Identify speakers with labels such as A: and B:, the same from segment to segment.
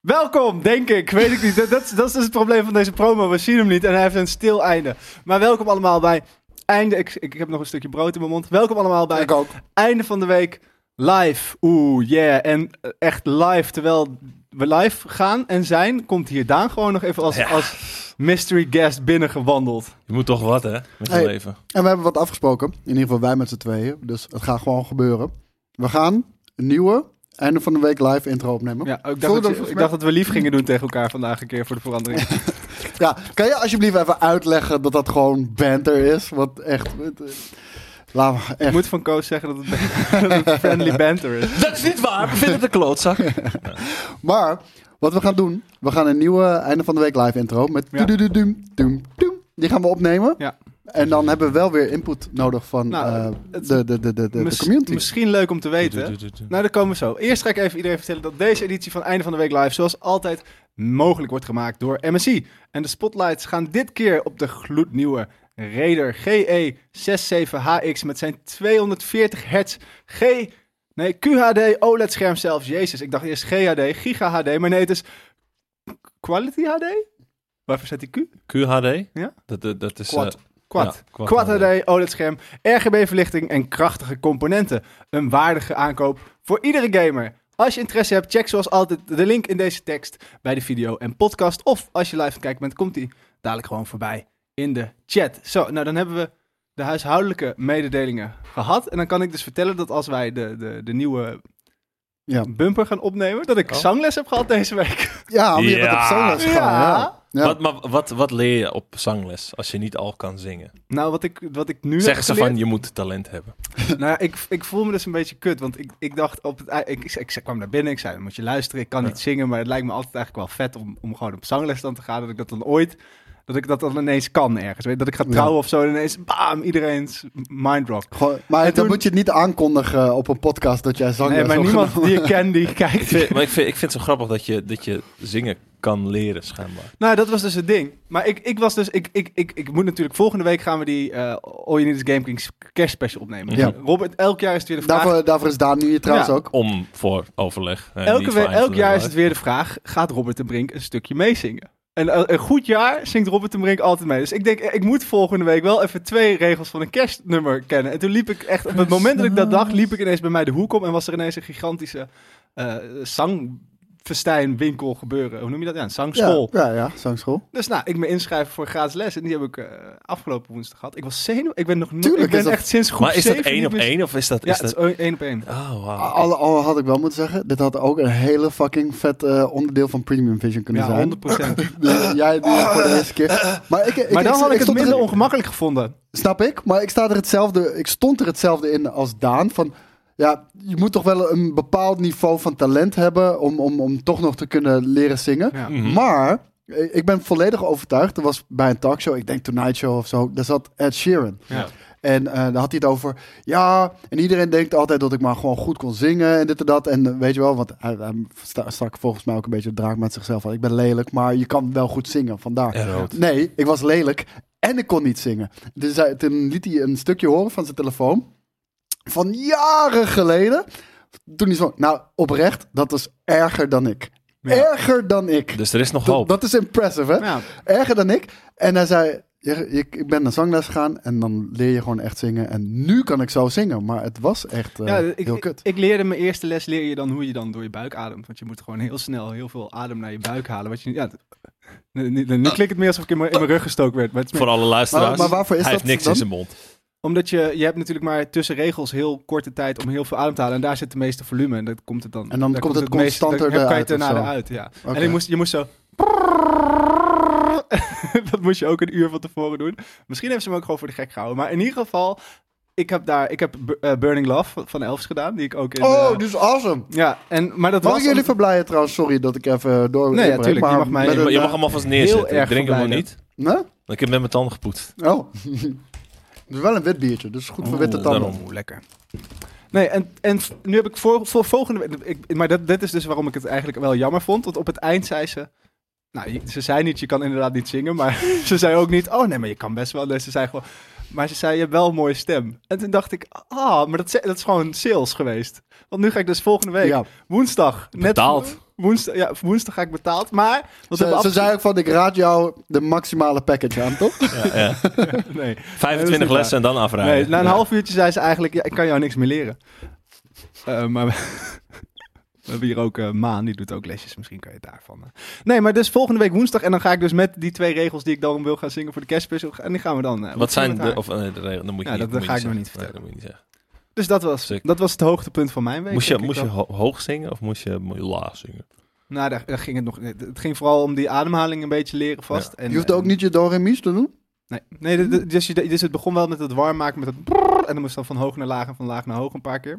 A: Welkom, denk ik. Weet ik niet. Dat, dat, is- dat is dus het probleem van deze promo. We zien hem niet en hij heeft een stil einde. Maar welkom allemaal bij einde. Ik, ik heb nog een stukje brood in mijn mond. Welkom allemaal bij
B: Ik ook.
A: einde van de week live. Oeh, yeah. En eh, echt live, terwijl we live gaan en zijn, komt hier Daan gewoon nog even als, als mystery guest binnengewandeld.
C: Je moet toch wat, hè? Met je
B: Hey.
C: leven.
B: En we hebben wat afgesproken. In ieder geval wij met z'n tweeën. Dus het gaat gewoon gebeuren. We gaan een nieuwe einde van de week live intro opnemen.
A: Ja, ik
B: Voel
A: dacht,
B: je
A: dat,
B: dat-
A: ik dacht dat we lief gingen doen tegen elkaar vandaag een keer voor de verandering.
B: Ja, kan je alsjeblieft even uitleggen dat dat gewoon banter is? Want echt... het, eh, Laat maar,
A: Ik
B: echt.
A: moet van Koos zeggen dat het, dat het friendly banter is.
C: Dat is niet waar. We vinden het een klootzak.
B: Maar wat we gaan doen, we gaan een nieuwe einde van de week live intro met
A: Ja.
B: doedoedoedoem, doem, doem. Die gaan we opnemen.
A: Ja.
B: En dan hebben we wel weer input nodig van
A: Nou,
B: eh,
A: het-
B: de, de, de, de, de
A: Miss-
B: community.
A: Misschien leuk om te weten.
C: Doe, doe, doe, doe.
A: Nou, daar komen we zo. Eerst ga ik even iedereen vertellen dat deze editie van Einde van de Week Live, zoals altijd, mogelijk wordt gemaakt door MSI. En de spotlights gaan dit keer op de gloednieuwe Raider E GE67HX met zijn 240 hertz G. Nee, QHD OLED-scherm E zelfs. Jezus, ik dacht eerst GHD, Giga HD, maar nee, het is Quality HD? Waarvoor zet die Q?
C: QHD?
A: Ja.
C: Dat, dat, dat is... eh,
B: Quad.
A: Quad.
C: ja,
A: Quad HD, OLED-scherm, RGB-verlichting en krachtige componenten. Een waardige aankoop voor iedere gamer. Als je interesse hebt, check zoals altijd de link in deze tekst bij de video en podcast. Of als je live kijkt bent, komt die dadelijk gewoon voorbij in de chat. Zo, nou dan hebben we de huishoudelijke mededelingen gehad. En dan kan ik dus vertellen dat als wij de, de, de nieuwe
B: Ja.
A: bumper gaan opnemen, dat ik
C: Oh.
A: zangles heb gehad deze week.
B: Ja, maar je bent op
C: Ja.
B: zo'n les gegaan. Ja. Ja.
C: Wat, maar wat, wat leer je op zangles als je niet al kan zingen?
A: Nou, wat ik, wat ik nu
C: Zeggen
A: heb
C: ze
A: geleerd-
C: van, je moet talent hebben.
A: Nou ja, ik, ik voel me dus een beetje kut. Want ik, ik dacht op het ei- ik, ik, ik kwam naar binnen. Ik zei: Moet je luisteren? Ik kan niet zingen. Maar het lijkt me altijd eigenlijk wel vet om, om gewoon op zangles dan te gaan. Dat ik dat dan ooit. Dat ik dat dan ineens kan ergens. Weet, je, dat ik ga
B: Ja.
A: trouwen of zo. En ineens, bam, iedereen's mind rock.
B: Gewoon- maar
A: En
B: dan
A: toen-
B: moet je het niet aankondigen op een podcast dat jij zang
A: Nee, maar niemand die ik ken die
C: Ik
A: kijkt.
C: vind, maar ik vind, ik vind het zo grappig dat je, dat je zingen kan leren, schijnbaar.
A: Nou, dat was dus het ding. Maar ik, ik was dus. Ik, ik, ik, ik moet natuurlijk. Volgende week gaan we die eh All You Need Is Game Kings Cash Special opnemen.
B: Ja.
A: Robert, elk jaar is het weer de vraag.
B: Daarvoor, daarvoor is Daan nu je trouwens
A: Ja.
B: ook.
C: Om voor overleg. eh, niet
A: Elke
C: voor
A: we-
C: eind van
A: elk
C: de
A: jaar is
C: dag.
A: het weer de vraag: gaat Robert de Brink een stukje meezingen? En eh, een goed jaar zingt Robert de Brink altijd mee. Dus ik denk, eh, ik moet volgende week wel even twee regels van een kerstnummer kennen. En toen liep ik echt, op het moment dat ik dat dacht, liep ik ineens bij mij de hoek om. En was er ineens een gigantische eh zangfestijnwinkel gebeuren. Hoe noem je dat? Ja, een zangschool.
B: Ja, ja, ja zangschool.
A: Dus nou, ik me inschrijven voor gratis les. En die heb ik eh, afgelopen woensdag gehad. Ik was zenuw. Ik ben nog nooit.
B: Tuurlijk
A: Ik ben
B: is dat-
A: echt sinds groep
C: Maar is dat
A: zeven
C: één
A: niet
C: op
A: meer-
C: één of is dat...
A: Ja,
C: Is
A: het is
C: dat...
A: één- één op één.
C: Oh, wauw.
B: Al, al had ik wel moeten zeggen, dit had ook een hele fucking vet eh, onderdeel van Premium Vision kunnen
A: Ja,
B: zijn.
A: 100 procent.
B: Dus jij die voor de eerste keer. Maar, ik, ik,
A: Maar dan had ik het
B: stond er-
A: minder ongemakkelijk gevonden.
B: Snap ik, maar ik, sta er hetzelfde, ik stond er hetzelfde in als Daan. Van, ja, je moet toch wel een bepaald niveau van talent hebben om, om, om toch nog te kunnen leren zingen.
A: Ja.
C: Mhm.
B: Maar eh, ik ben volledig overtuigd. Er was bij een talkshow, ik denk Tonight Show of zo, daar zat Ed Sheeran.
A: Ja.
B: En eh, daar had hij het over, ja, en iedereen denkt altijd dat ik maar gewoon goed kon zingen en dit en dat. En eh, weet je wel, want hij, hij sta- stak volgens mij ook een beetje de draak met zichzelf. van, Ik ben lelijk, maar je kan wel goed zingen, vandaar.
C: En rood.
B: Nee, ik was lelijk en ik kon niet zingen. Dus hij, toen liet hij een stukje horen van zijn telefoon. Van jaren geleden. Toen hij zo, nou oprecht, dat was erger dan ik.
A: Ja.
B: Erger dan ik.
C: Dus er is nog
B: Dat,
C: hoop.
B: dat is impressive, hè?
A: Ja.
B: Erger dan ik. En hij zei, je, je- ik ben naar zangles gegaan en dan leer je gewoon echt zingen. En nu kan ik zo zingen, maar het was echt eh,
A: Ja, ik,
B: heel
A: ik,
B: kut.
A: ik leerde mijn eerste les, leer je dan hoe je dan door je buik ademt. Want je moet gewoon heel snel heel veel adem naar je buik halen. Wat je, ja, dat- nu, nu, nu klinkt het meer alsof ik in mijn, in mijn rug gestoken werd. Maar het is meer-
C: Voor alle luisteraars.
B: Maar- maar waarvoor is
C: Hij
B: dat
C: heeft niks
B: dan?
C: in zijn mond.
A: omdat je, je hebt natuurlijk maar tussen regels heel korte tijd om heel veel adem te halen. En daar zit de meeste volume. En dat komt het dan.
B: En dan
A: daar
B: komt het
A: meeste- daar-
B: constanter
A: daar kan je het
B: eruit of
A: daarna
B: zo.
A: eruit, ja.
B: Oké.
A: En je moest, je moest zo... dat moest je ook een uur van tevoren doen. Misschien hebben ze hem ook gewoon voor de gek gehouden. Maar in ieder geval, ik heb daar... Ik heb Bu- eh, Burning Love van Elves gedaan. Die ik ook in... eh,
B: Oh, dit is awesome.
A: Ja, en, maar dat
B: Mag
A: was
B: ik jullie verblijden trouwens? Sorry dat ik even door.
A: Nee, ja,
B: inbreek,
A: tuurlijk, je mag mij-
B: met
C: Je
B: een,
C: mag
B: eh,
C: hem alvast neerzetten.
A: erg
C: Ik drink hem nog
A: verblijden.
C: niet.
B: hè?
C: Ik heb met mijn tanden gepoetst.
B: Oh. Het is wel een wit biertje, dus goed voor
C: Oeh,
A: Oh,
B: witte tanden.
C: daarom.
A: Oeh, lekker. Nee, en, en nu heb ik voor, voor volgende week... Ik, maar dat, dit is dus waarom ik het eigenlijk wel jammer vond. Want op het eind zei ze... Nou, je- ze zei niet, je kan inderdaad niet zingen. Maar ze zei ook niet, oh nee, maar je kan best wel. Nee, ze zei gewoon... Maar ze zei, je hebt wel een mooie stem. En toen dacht ik, ah, maar dat, ze- dat is gewoon sales geweest. Want nu ga ik dus volgende week,
B: Ja.
A: woensdag... Net,
C: Betaald.
A: woensdag, ja, woensdag ga ik betaald. Maar, dat
B: Ze,
A: hebben we
B: ze zei ook van, ik raad jou de maximale package aan, toch?
C: Ja, ja.
A: afgesproken. Nee,
C: 25
A: waar.
C: lessen en dan afrijden.
A: nee, na een
C: Ja.
A: half uurtje zei ze eigenlijk, ja, ik kan jou niks meer leren. Eh, maar we, we hebben hier ook eh, Maan, die doet ook lesjes. Misschien kan je het daarvan. eh. Nee, maar dus volgende week woensdag. En dan ga ik dus met die twee regels die ik dan wil gaan zingen voor de kerstspecial. En die gaan we dan... eh,
C: Wat zijn
A: met
C: de...
A: haar.
C: Of, eh, nee, de regel- dan moet je
A: Ja,
C: niet,
A: dat- dat
C: moet
A: ga
C: je
A: ik nog
C: zeggen.
A: niet vertellen.
C: Nee, dat moet je niet zeggen.
A: Dus dat was,
C: Sick.
A: dat was het hoogtepunt van mijn week.
C: Moest je,
A: denk ik
C: moest
A: dan.
C: je ho- hoog zingen of moest je, moest je laag zingen?
A: Nou, daar, daar ging het nog... Het ging vooral om die ademhaling een beetje leren vast. En,
B: Je hoeft ook
A: en-
B: niet je do re mi's te doen.
A: Nee, nee dit- dit- dus, je- dus het begon wel met het warm maken, met het brrr, en dan moest dan van hoog naar laag en van laag naar hoog een paar keer.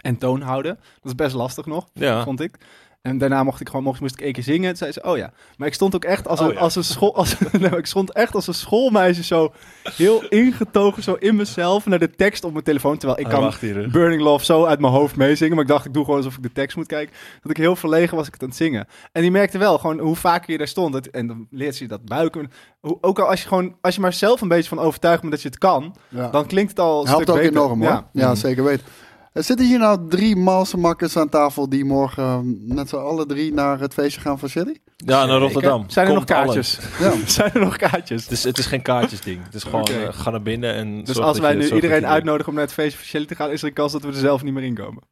A: En toon houden. Dat is best lastig nog,
C: Ja.
A: vond ik. En daarna mocht ik gewoon, mocht, moest ik één keer zingen. Toen zei ze, oh ja. Maar ik stond ook echt als
C: Oh
A: een,
C: ja.
A: als een school, als, nou, ik stond echt als een schoolmeisje zo heel ingetogen, zo in mezelf, naar de tekst op mijn telefoon. Terwijl ik
C: Ah,
A: kan
C: wacht hier.
A: Burning Love zo uit mijn hoofd meezingen. Maar ik dacht, ik doe gewoon alsof ik de tekst moet kijken. Dat ik heel verlegen was ik het aan het zingen. En die merkte wel gewoon hoe vaker je daar stond. Dat, en dan leert ze je dat buiken. Hoe, ook al als je gewoon, als je maar zelf een beetje van overtuigd bent dat je het kan.
B: Ja.
A: Dan klinkt het al een
B: Helpt
A: stuk
B: ook
A: beter.
B: enorm, hoor. Ja,
A: Ja.
C: Mhm.
B: zeker weten. Er zitten hier nou drie malse makkers aan tafel die morgen eh, met z'n allen drie naar het feestje gaan van Shitty.
C: Ja, naar Rotterdam.
A: eh, Zijn er
C: Komt
A: nog
C: allen.
A: kaartjes?
B: Ja.
A: Zijn er nog kaartjes?
C: Het is, het is geen kaartjesding. Het is gewoon,
A: Oké.
C: eh, ga naar binnen en...
A: Dus
C: zorg
A: als
C: dat
A: wij
C: je-
A: nu
C: zorg dat
A: iedereen
C: je-
A: uitnodigen om naar het feestje van Shelly te gaan, is er een kans dat we er zelf niet meer in komen.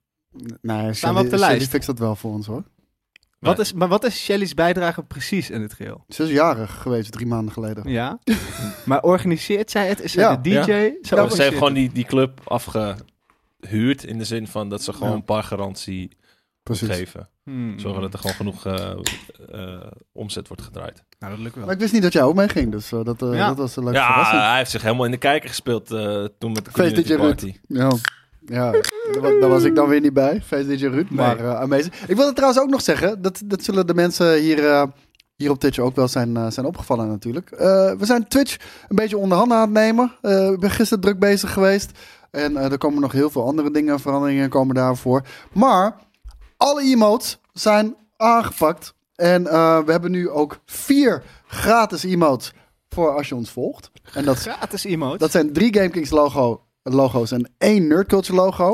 B: Nee,
A: Staan we op de
B: Shelley-
A: lijst?
B: Shelley fixt dat wel voor ons hoor.
C: Maar-
A: Wat is, maar wat is Shelly's bijdrage precies in het geheel?
B: Ze is jarig geweest drie maanden geleden.
A: Ja. maar organiseert zij het? Is zij
B: Ja.
A: de DJ? Zij
C: Ja, Oh, ze
A: organiseert
C: heeft
A: het.
C: gewoon die, die club afgehuurd. In de zin van dat ze gewoon
B: Ja.
C: een paar garantie
B: Precies.
C: geven.
A: Hmm.
C: Zorgen dat er gewoon genoeg eh, eh, omzet wordt gedraaid.
A: Nou, dat lukt wel.
B: Maar ik wist niet dat jij ook mee ging, dus eh, dat, eh,
A: Ja.
B: dat was een leuke
C: Ja,
B: verrassing.
C: hij heeft zich helemaal in de kijker gespeeld eh, toen met de
B: Feest
C: community
B: DJ Ruud.
C: party.
B: Ja, ja. Daar wa- daar was ik dan weer niet bij. Feest DJ Ruud, maar eh, amazing. Ik wilde trouwens ook nog zeggen, dat, dat zullen de mensen hier, eh, hier op Twitch ook wel zijn, eh, zijn opgevallen natuurlijk. Eh, we zijn Twitch een beetje onder handen aan het nemen. Eh, ik ben gisteren druk bezig geweest. En eh, er komen nog heel veel andere dingen en veranderingen komen daarvoor. Maar alle emotes zijn aangepakt. En eh, we hebben nu ook vier gratis emotes voor als je ons volgt. En dat,
A: Gratis emote.
B: dat zijn drie GameKings logo, logo's en één Nerdculture logo.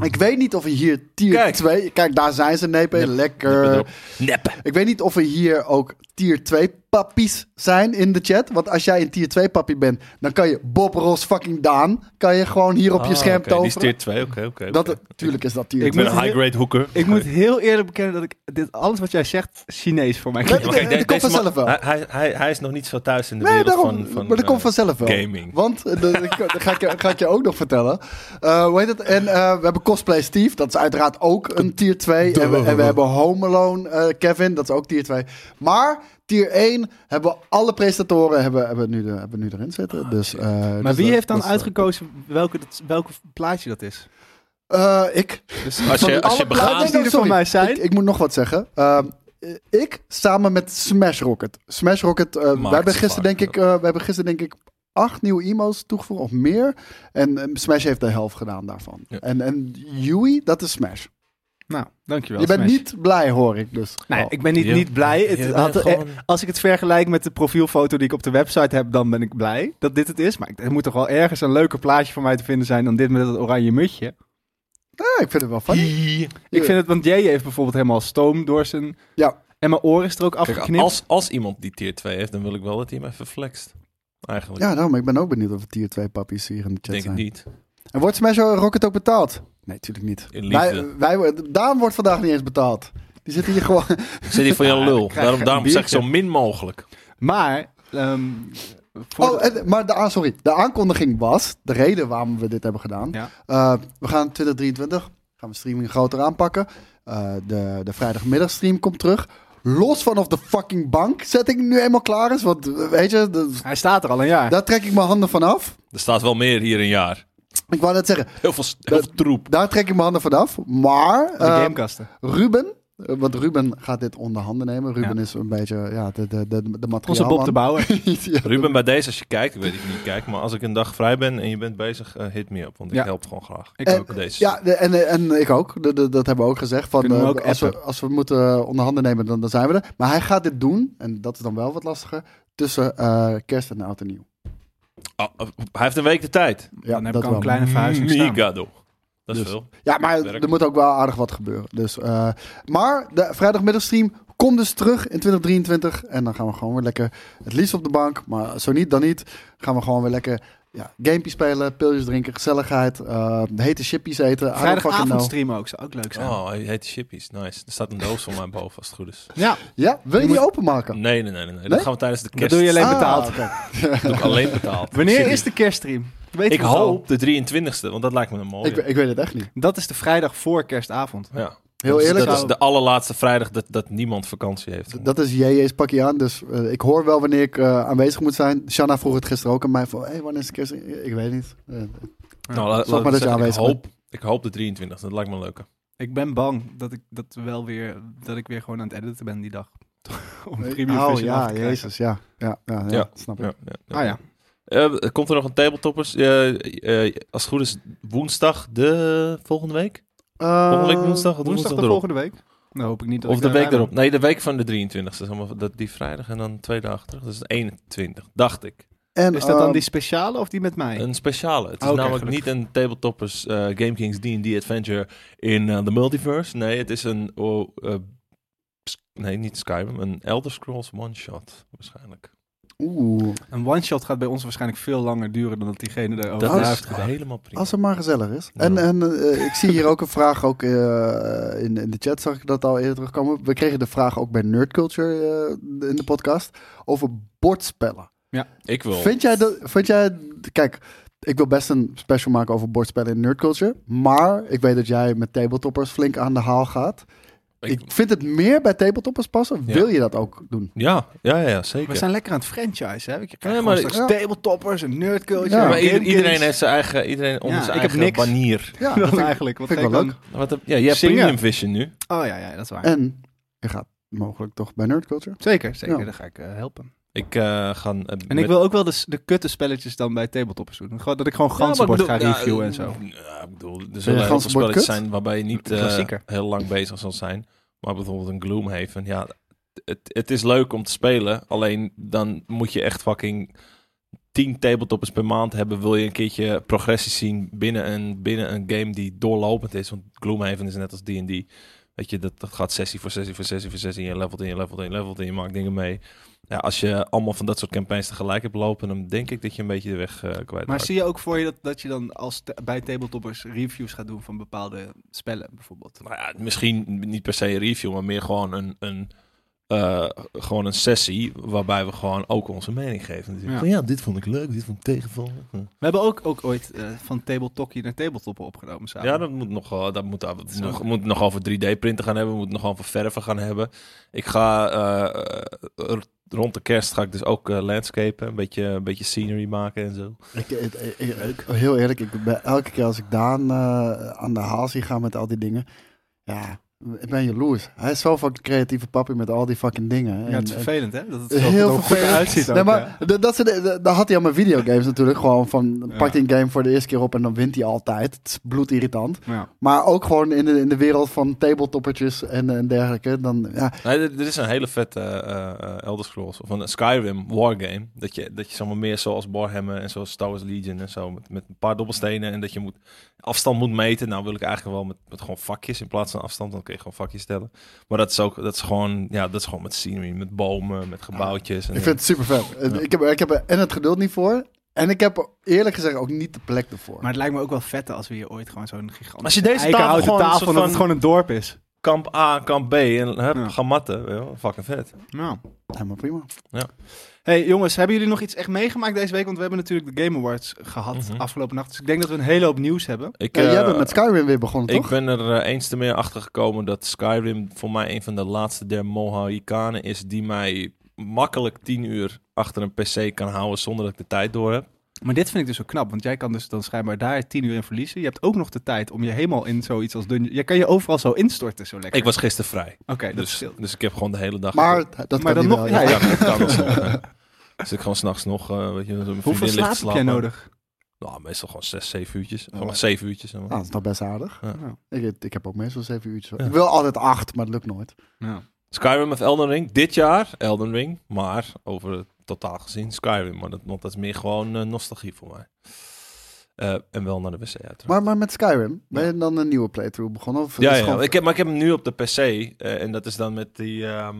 B: Ik weet niet of we hier tier
C: Kijk.
B: 2... Kijk, daar zijn ze, nepen.
C: Nep,
B: Lekker.
C: Nep.
B: Ik weet niet of we hier ook tier 2 pappies zijn in de chat. Want als jij een tier 2 pappie bent, dan kan je Bob Ross fucking Daan... kan je gewoon hier op je
C: Ah,
B: scherm
C: oké, Die is
B: toveren.
C: tier 2, oké, oké.
B: dat,
C: oké.
B: Tuurlijk is dat tier
A: Ik
B: 2.
C: Ik ben
A: moet-
C: een high-grade hoeker.
A: Ik moet heel eerlijk bekennen dat ik dit, alles wat jij zegt Chinees voor mij
B: Nee,
A: klinkt.
B: maar kijk, dat komt
C: deze man-
B: vanzelf wel.
C: Hij, hij, hij, hij is nog niet zo thuis in de
B: Nee,
C: wereld
B: daarom.
C: van, van...
B: maar dat
C: eh,
B: komt vanzelf wel.
C: gaming.
B: Want, eh, dat ik- dat ga, ik, je- ga ik je ook nog vertellen. Eh, hoe heet het? En eh, we hebben Cosplay Steve, dat is uiteraard ook een tier 2. En we, en we hebben Home Alone eh, Kevin, dat is ook tier 2. Maar tier 1 hebben we alle presentatoren hebben, hebben nu, de, hebben nu erin
C: Ah,
B: zitten. Dus, eh,
A: Maar
B: dus
A: wie
B: dat-
A: heeft dan
B: dat is-
A: uitgekozen welke, dat, welke plaatje dat is?
B: Eh, ik.
A: Dus
C: Als
A: van
C: je, als je
A: alle plaatjes
C: begaan...
A: die er van
B: Sorry,
A: mij zijn.
B: Ik, ik moet nog wat zeggen. Ehm, ik samen met Smash Rocket. Smash Rocket, eh, wij hebben gisteren
C: vaak,
B: denk ik, eh, we hebben gisteren denk ik acht nieuwe emo's toegevoegd of meer. En eh, Smash heeft de helft gedaan daarvan.
C: Ja.
B: En, en Yui, dat is Smash.
A: nou, dankjewel.
B: Je bent
A: Smash.
B: niet blij hoor ik dus.
A: Nee,
B: Oh.
A: ik ben niet,
C: Je-
A: niet blij. Het
C: je bent
A: had- eh,
C: gewoon-
A: Als ik het vergelijk met de profielfoto die ik op de website heb, dan ben ik blij dat dit het is. Maar ik- er moet toch wel ergens een leuker plaatje voor mij te vinden zijn dan dit met dat oranje mutje.
B: Ja, ik vind het wel funny.
A: Ik vind het, want jij heeft bijvoorbeeld helemaal stoom door zijn...
B: Ja.
A: En mijn oor is er ook
C: Kijk,
A: afgeknipt.
C: als, als iemand die tier 2 heeft, dan wil ik wel dat hij hem even flext. Eigenlijk.
B: Ja, daarom. Ik ben ook benieuwd of er tier 2 pappies hier in de
C: ik
B: chat
C: denk het
B: zijn.
C: niet.
B: En wordt Smash Rocket ook betaald? Nee, eh, natuurlijk niet.
C: In liefde.
B: Wij, wij, Daan wordt vandaag niet eens betaald. Die zit hier gewoon...
C: Zit hij van je lul.
A: krijg
C: Daarom,
A: een
C: daarom zeg ik zo
A: biertje.
C: min mogelijk.
A: Maar... ehm, voor
B: Oh, en- maar de, ah, sorry. De aankondiging was, de reden waarom we dit hebben gedaan.
A: Ja.
B: Eh, we gaan 2023, gaan we streaming groter aanpakken. Eh, de, de vrijdagmiddagstream komt terug. Los van of de fucking bank setting nu eenmaal klaar is. Want eh, weet je, de-
A: Hij staat er al een jaar.
B: daar trek ik mijn handen van af.
C: Er staat wel meer hier een jaar.
B: Ik wou net zeggen,
C: Heel veel, s- heel
B: Dat-
C: veel troep.
B: daar trek ik mijn handen van af. Maar
A: de
B: eh,
A: gamekasten.
B: Ruben, eh, want Ruben gaat dit onder handen nemen. Ruben is een beetje ja, de, de, de, de
A: Onze Bob de
B: materiaalman.
A: Bouwer.
B: Ja.
C: Ruben, bij deze, als je kijkt, ik weet dat je niet kijkt, maar als ik een dag vrij ben en je bent bezig, eh, hit me op, want ik
A: Ja.
C: help gewoon graag.
A: Ik
B: Eh,
A: ook.
C: Deze.
B: Ja, de- en, eh, en ik ook. De- de- dat hebben we ook gezegd. Van,
A: Kunnen we
B: eh,
A: ook
B: als, we,
A: appen?
B: als we moeten onderhanden nemen, dan, dan zijn we er. Maar hij gaat dit doen, en dat is dan wel wat lastiger, tussen eh, kerst en oud en nieuw.
C: Oh, eh, hij heeft een week de tijd.
B: Ja,
A: dan heb
B: dat
A: ik al een
B: wel.
A: kleine verhuizing staan.
C: Migado. Dat Dat is
B: Dus-
C: veel.
B: Ja, maar
C: Werk.
B: er moet ook wel aardig wat gebeuren. Dus, eh, maar de vrijdagmiddagstream komt dus terug in 2023. En dan gaan we gewoon weer lekker het liefst op de bank. Maar zo niet, dan niet. Gaan we gewoon weer lekker ja, gamepje spelen, pilletjes drinken, gezelligheid. eh, hete chippies eten. I don't fucking know.
A: Vrijdagavond streamen ook, zou ook leuk zijn.
C: Oh, hij heet Chippies. Nice. Er staat een doos voor mij boven als het goed is.
A: Ja,
B: Ja, wil je
A: Je
B: die
A: moet-
B: openmaken?
C: Nee, nee, nee, nee. nee.
B: Nee?
C: Dat gaan we tijdens de kerst.
A: dat doe je alleen
B: Ah,
A: betaald. Oh,
B: oké.
C: Dat doe ik alleen betaald.
A: Wanneer
C: Serieus.
A: is de kerststream? Weet
C: Ik
A: je het al?
C: hoop de 23e, want dat lijkt me een mooie.
B: ik, ik weet het echt niet.
A: Dat is de vrijdag voor kerstavond.
C: ja.
B: Heel
C: dat is-
B: eerlijk. nou-
C: Dat is de allerlaatste vrijdag dat, dat niemand vakantie heeft.
B: Dat is JJ's pakje aan, dus eh, ik hoor wel wanneer ik eh, aanwezig moet zijn. Shanna vroeg het gisteren ook aan mij van, hey, wanneer is de kerst? Ik weet niet. Eh,
C: nou, laat-
B: Zorg
C: laat
B: maar dat je
C: zeggen,
B: aanwezig
C: ik hoop, ik hoop de 23e, dat lijkt me leuker.
A: Ik ben bang dat ik dat wel weer dat ik weer gewoon aan het editen ben die dag. Om
B: Nee.
A: premium
B: oh
A: version af
B: ja,
A: te krijgen.
B: jezus, ja. Ja, ja, ja,
C: Ja.
B: snap ik.
C: Ja, ja, ja.
A: Ah ja.
C: Eh, komt er nog een tabletoppers? Eh, eh, als het goed is, woensdag de volgende week?
B: Ehm,
C: Volgende week woensdag? of de
A: Eh, Woensdag de
C: erop?
A: volgende week. Nou hoop ik niet dat
C: Of
A: ik
C: de
A: daar
C: week
A: bij ben.
C: erop. Nee, de week van de 23 e Dat die vrijdag en dan twee dagen terug. Dat is 21, dacht ik.
B: En,
A: Is dat dan
B: ehm,
A: die speciale of die met mij?
C: Een speciale. Het is
A: Oh, Oké,
C: namelijk
A: gelukkig.
C: niet een tabletoppers eh Game Kings D&D Adventure in eh, de multiverse. Nee, het is een... oh, eh, s- nee, niet Skyrim. Een Elder Scrolls one-shot waarschijnlijk.
B: Oeh,
A: Een one-shot gaat bij ons waarschijnlijk veel langer duren dan dat diegene erover
C: dat
A: na
C: is
A: heeft gedaan.
C: helemaal prima.
B: als het maar gezellig is.
C: Ja.
B: En, en eh, ik zie hier ook een vraag, ook eh, in, in de chat zag ik dat al eerder terugkomen. We kregen de vraag ook bij Nerd Culture eh, in de podcast over bordspellen.
C: Ik wil...
B: Vind jij dat? Vind jij, kijk, ik wil best een special maken over bordspellen in nerdculture. Maar ik weet dat jij met tabletoppers flink aan de haal gaat. Ik,
C: ik-
B: vind het meer bij tabletoppers passen.
C: Ja.
B: Wil je dat ook doen?
C: ja, ja, ja, zeker.
A: We zijn lekker aan het franchise, hè? Ik
C: Nee,
A: krijg
C: maar-
A: maar, straks tabletoppers en nerdculture.
B: Ja,
A: en
C: maar ieder-
A: Game
C: iedereen
A: Kings.
C: heeft zijn eigen, iedereen onder
A: Ja,
C: zijn
A: ik heb
C: eigen
A: niks.
C: banier.
B: Ja,
A: dat eigenlijk. Wat
B: vind ik
A: ik
B: wel
A: dan?
C: Wat heb, ja, jij hebt
A: Zingen.
C: Premium Vision nu.
A: Oh ja, ja, dat is waar.
B: En je gaat mogelijk toch bij nerdculture.
A: Zeker, zeker.
B: Ja.
A: Daar ga ik eh, helpen.
C: Ik eh ga... eh,
A: En
C: met-
A: ik wil ook wel de, s- de kutte spelletjes dan bij tabletoppers doen. Gewoon, dat ik gewoon ganzenbord
C: Ja, eh, maar
A: ga
C: ik bedoel-
A: reviewen
C: ja,
A: en zo.
C: Ja, ik bedoel, er zullen heel veel
B: ganzenbord
C: spelletjes
B: kut?
C: zijn waarbij je niet
A: De
C: eh,
A: klassieker.
C: heel lang bezig zal zijn. Maar bijvoorbeeld een Gloomhaven, ja, het, het is leuk om te spelen. Alleen dan moet je echt fucking 10 tabletoppers per maand hebben. Wil je een keertje progressie zien binnen een, binnen een game die doorlopend is. Want Gloomhaven is net als D&D. Weet je, dat, dat gaat sessie voor sessie voor sessie voor sessie. En je levelt en je levelt en je levelt en je maakt dingen mee. Ja, als je allemaal van dat soort campagnes tegelijk hebt lopen, dan denk ik dat je een beetje de weg eh kwijt
A: Maar
C: raakt.
A: zie je ook voor je dat, dat je dan als te- bij tabletoppers reviews gaat doen van bepaalde spellen bijvoorbeeld?
C: nou ja, misschien niet per se een review, maar meer gewoon een, een, eh, gewoon een sessie waarbij we gewoon ook onze mening geven. Natuurlijk.
A: Ja.
C: Van, ja, dit vond ik leuk, dit vond ik tegenvallen. Hm.
A: We hebben ook, ook ooit eh, van tabletokkie naar tabletoppen opgenomen
C: Ja,
A: samen.
C: dat moet nog, wel- dat moet, nou, dat
A: is
C: nog,
A: ook-
C: moet nog over 3D-printen gaan hebben, moet nog over verven gaan hebben. Ik ga eh, eh, r- rond de kerst ga ik dus ook eh, landscapen, een beetje, een beetje scenery maken en zo.
B: Ik, ik- ik- ik- heel eerlijk, ik ben, elke keer als ik Daan eh, aan de haal zie gaan met al die dingen. Ja, ik ben jaloers. Hij is zo fucking creatieve papi met al die fucking dingen.
A: Ja,
B: En-
A: het is
B: en-
A: vervelend hè? Dat het
B: Heel
A: heel goed
B: vervelend.
A: uitziet ook,
B: Nee,
A: ja.
B: maar d- dat, zijn de- d- daar had hij al mijn videogames natuurlijk. Gewoon van
A: Ja.
B: pakt hij een game voor de eerste keer op en dan wint hij altijd. Het is bloedirritant.
A: Ja.
B: Maar ook gewoon in de, in de wereld van tabletoppertjes en, en dergelijke. Dan, ja,
C: Nee, er, er is een hele vette eh, eh, Elder Scrolls of een Skyrim wargame. Dat je, dat je zomaar meer zoals Warhammer en zoals Star Wars Legion en zo met, met een paar dobbelstenen en dat je moet afstand moet meten. Nou wil ik eigenlijk wel met, met gewoon vakjes in plaats van afstand. Dan kun je gewoon vakjes stellen. Maar dat is ook dat is gewoon ja dat is gewoon met scenery, met bomen, met gebouwtjes. En
B: ik vind het super vet.
C: Ja.
B: Ik, heb, er- ik heb er en het geduld niet voor. En ik heb er eerlijk gezegd ook niet de plek ervoor.
A: Maar het lijkt me ook wel vet als we hier ooit gewoon zo'n gigantische
C: Als je deze tafel
A: eikenhouten
C: gewoon een
A: tafel,
C: soort
A: dat het
C: van-
A: gewoon een dorp is.
C: kamp A, kamp B en hup,
A: Ja.
C: gaan matten. Ja, fucking vet.
A: Nou.
B: Ja, maar prima.
A: Hey jongens, hebben jullie nog iets echt meegemaakt deze week? Want we hebben natuurlijk de Game Awards gehad
C: Mhm.
A: afgelopen nacht. Dus ik denk dat we een hele hoop nieuws hebben.
C: Ik,
B: Ja, jij
C: eh,
B: bent met Skyrim weer begonnen,
C: Ik
B: toch?
C: ben er eh, eens te meer achter gekomen dat Skyrim voor mij een van de laatste der Mohikanen is die mij makkelijk tien uur achter een PC kan houden zonder dat ik de tijd door heb.
A: Maar dit vind ik dus zo knap, want jij kan dus dan schijnbaar daar tien uur in verliezen. Je hebt ook nog de tijd om je helemaal in zoiets als dungeon... Je kan je overal zo instorten, zo lekker.
C: Ik was gisteren vrij,
A: Oké, dat
C: dus,
A: scheelt.
C: dus ik heb gewoon de hele dag.
B: Maar dat kan
A: dan
B: hij
A: nog-
B: wel,
A: ja,
B: ja.
C: ja, ja, dat kan alsnog, hè. Dus ik gewoon s'nachts nog, eh, weet je, met mijn
A: Hoeveel
C: vriendin ligt te
A: slaap heb jij
C: slapen.
A: nodig?
C: Nou, meestal gewoon zes, zeven uurtjes. Gewoon
B: maar-
C: zeven uurtjes. zeg maar.
B: Ah, dat is toch best aardig.
A: Nou,
B: Ik, ik heb ook meestal zeven uurtjes.
C: Ja.
B: Ik wil altijd acht, maar het lukt nooit.
A: nou.
C: Skyrim of Elden Ring, dit jaar Elden Ring, maar over het totaal gezien Skyrim. Maar dat, want dat is meer gewoon eh, nostalgie voor mij. Eh, en wel naar de wc uiteraard.
B: Maar, maar met Skyrim, ben je
C: Ja.
B: dan een nieuwe playthrough begonnen? Of het
C: ja,
B: is
C: ja.
B: gewoon-
C: Ik heb, maar ik heb hem nu op de PC. eh, en dat is dan met die, ehm,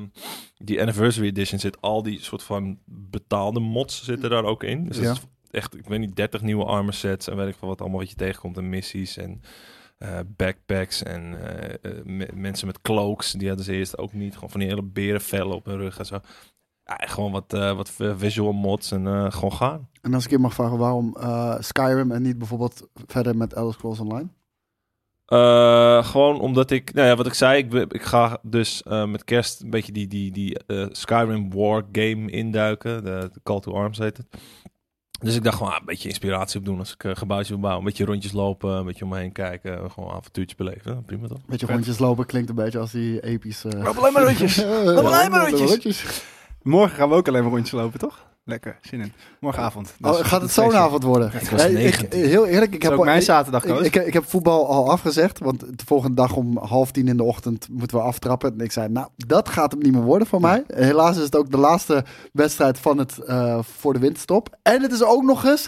C: die Anniversary Edition zit al die soort van betaalde mods zitten daar ook in. Dus dat
B: Ja.
C: is echt, ik weet niet, 30 nieuwe armor sets en weet ik veel wat allemaal wat je tegenkomt. En missies en eh, backpacks en eh, eh, me- mensen met cloaks. Die hadden ze eerst ook niet. Gewoon van die hele berenvellen op hun rug en zo. Ja, en gewoon wat, eh, wat visual mods en eh, gewoon gaan.
B: En als ik je mag vragen, waarom eh, Skyrim en niet bijvoorbeeld verder met Elder Scrolls Online?
C: Eh, gewoon omdat ik, nou ja, wat ik zei, ik, be- ik ga dus eh, met kerst een beetje die, die, die eh, Skyrim War game induiken. De, de Call to Arms heet het. Dus ik dacht gewoon ah, een beetje inspiratie opdoen als ik eh, gebouwtje wil bouwen. Een beetje rondjes lopen, een beetje om me heen kijken, gewoon een avontuurtje beleven. Nou, Prima toch?
B: Beetje
A: Vet.
B: rondjes lopen klinkt een beetje als die epische...
A: Loop alleen maar rondjes. Loop alleen maar rondjes.
B: rondjes.
A: Morgen gaan we ook alleen maar rondjes lopen, toch? Lekker, zin in. Morgenavond. Dus
B: Oh, gaat het zo'n avond worden?
C: Ik was
B: Nee,
C: 19.
B: heel eerlijk, ik
A: Dat
B: heb,
A: is ook
B: al-
A: mijn
B: ik,
A: zaterdag,
B: ik,
A: Koos.
B: ik, ik heb voetbal al afgezegd, want de volgende dag om half tien in de ochtend moeten we aftrappen. En ik zei, nou, dat gaat hem niet meer worden voor mij. Helaas is het ook de laatste wedstrijd van het eh, voor de winterstop. En het is ook nog eens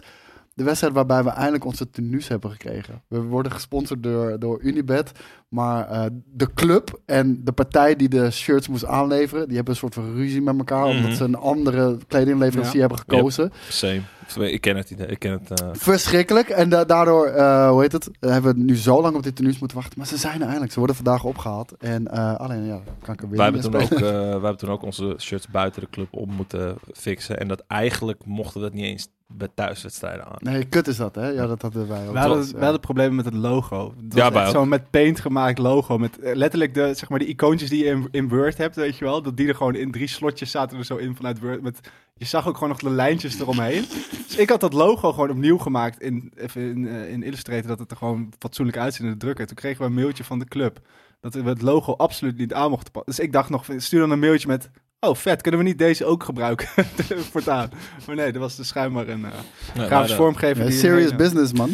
B: de wedstrijd waarbij we eindelijk onze tenues hebben gekregen. We worden gesponsord door, door Unibet, maar eh, de club en de partij die de shirts moest aanleveren, die hebben een soort van ruzie met elkaar,
C: Mhm.
B: omdat ze een andere kledingleverancier
A: Ja.
B: hebben gekozen.
C: Same. Of, eh, Ik ken het idee, ik ken het. eh,
B: Verschrikkelijk. En da- daardoor, eh, hoe heet het, hebben we nu zo lang op dit tenues moeten wachten. Maar ze zijn er eindelijk. Ze worden vandaag opgehaald. En eh, alleen, ja, kan ik er weer
C: wij, hebben
B: niet
C: toen
B: meer
C: ook,
B: spelen.
C: eh, wij hebben toen ook onze shirts buiten de club om moeten fixen. En dat eigenlijk mochten we dat niet eens bij thuiswedstrijden aan.
B: Nee, kut is dat, hè? Ja, dat hadden wij ook.
A: We hadden,
B: Dus,
A: we
B: ja.
A: hadden problemen met het logo. Het was
C: Ja,
A: echt
C: wij ook.
A: zo'n met paint gemaakt logo. Met eh, letterlijk de, zeg maar, die icoontjes die je in, in Word hebt, weet je wel. Dat die er gewoon in drie slotjes zaten er zo in vanuit Word. Met, je zag ook gewoon nog de lijntjes eromheen. dus ik had dat logo gewoon opnieuw gemaakt in, even in, eh, in Illustrator. Dat het er gewoon fatsoenlijk uitziet in de drukker. Toen kregen we een mailtje van de club. Dat we het logo absoluut niet aan mochten passen. Dus ik dacht nog, stuur dan een mailtje met... Oh, vet, kunnen we niet deze ook gebruiken voortaan? Maar nee, dat was dus schijnbaar een eh
C: Nee, wij,
A: grafisch
C: eh,
A: vormgever.
B: Ja,
A: die
B: serious
A: een-
B: business, man.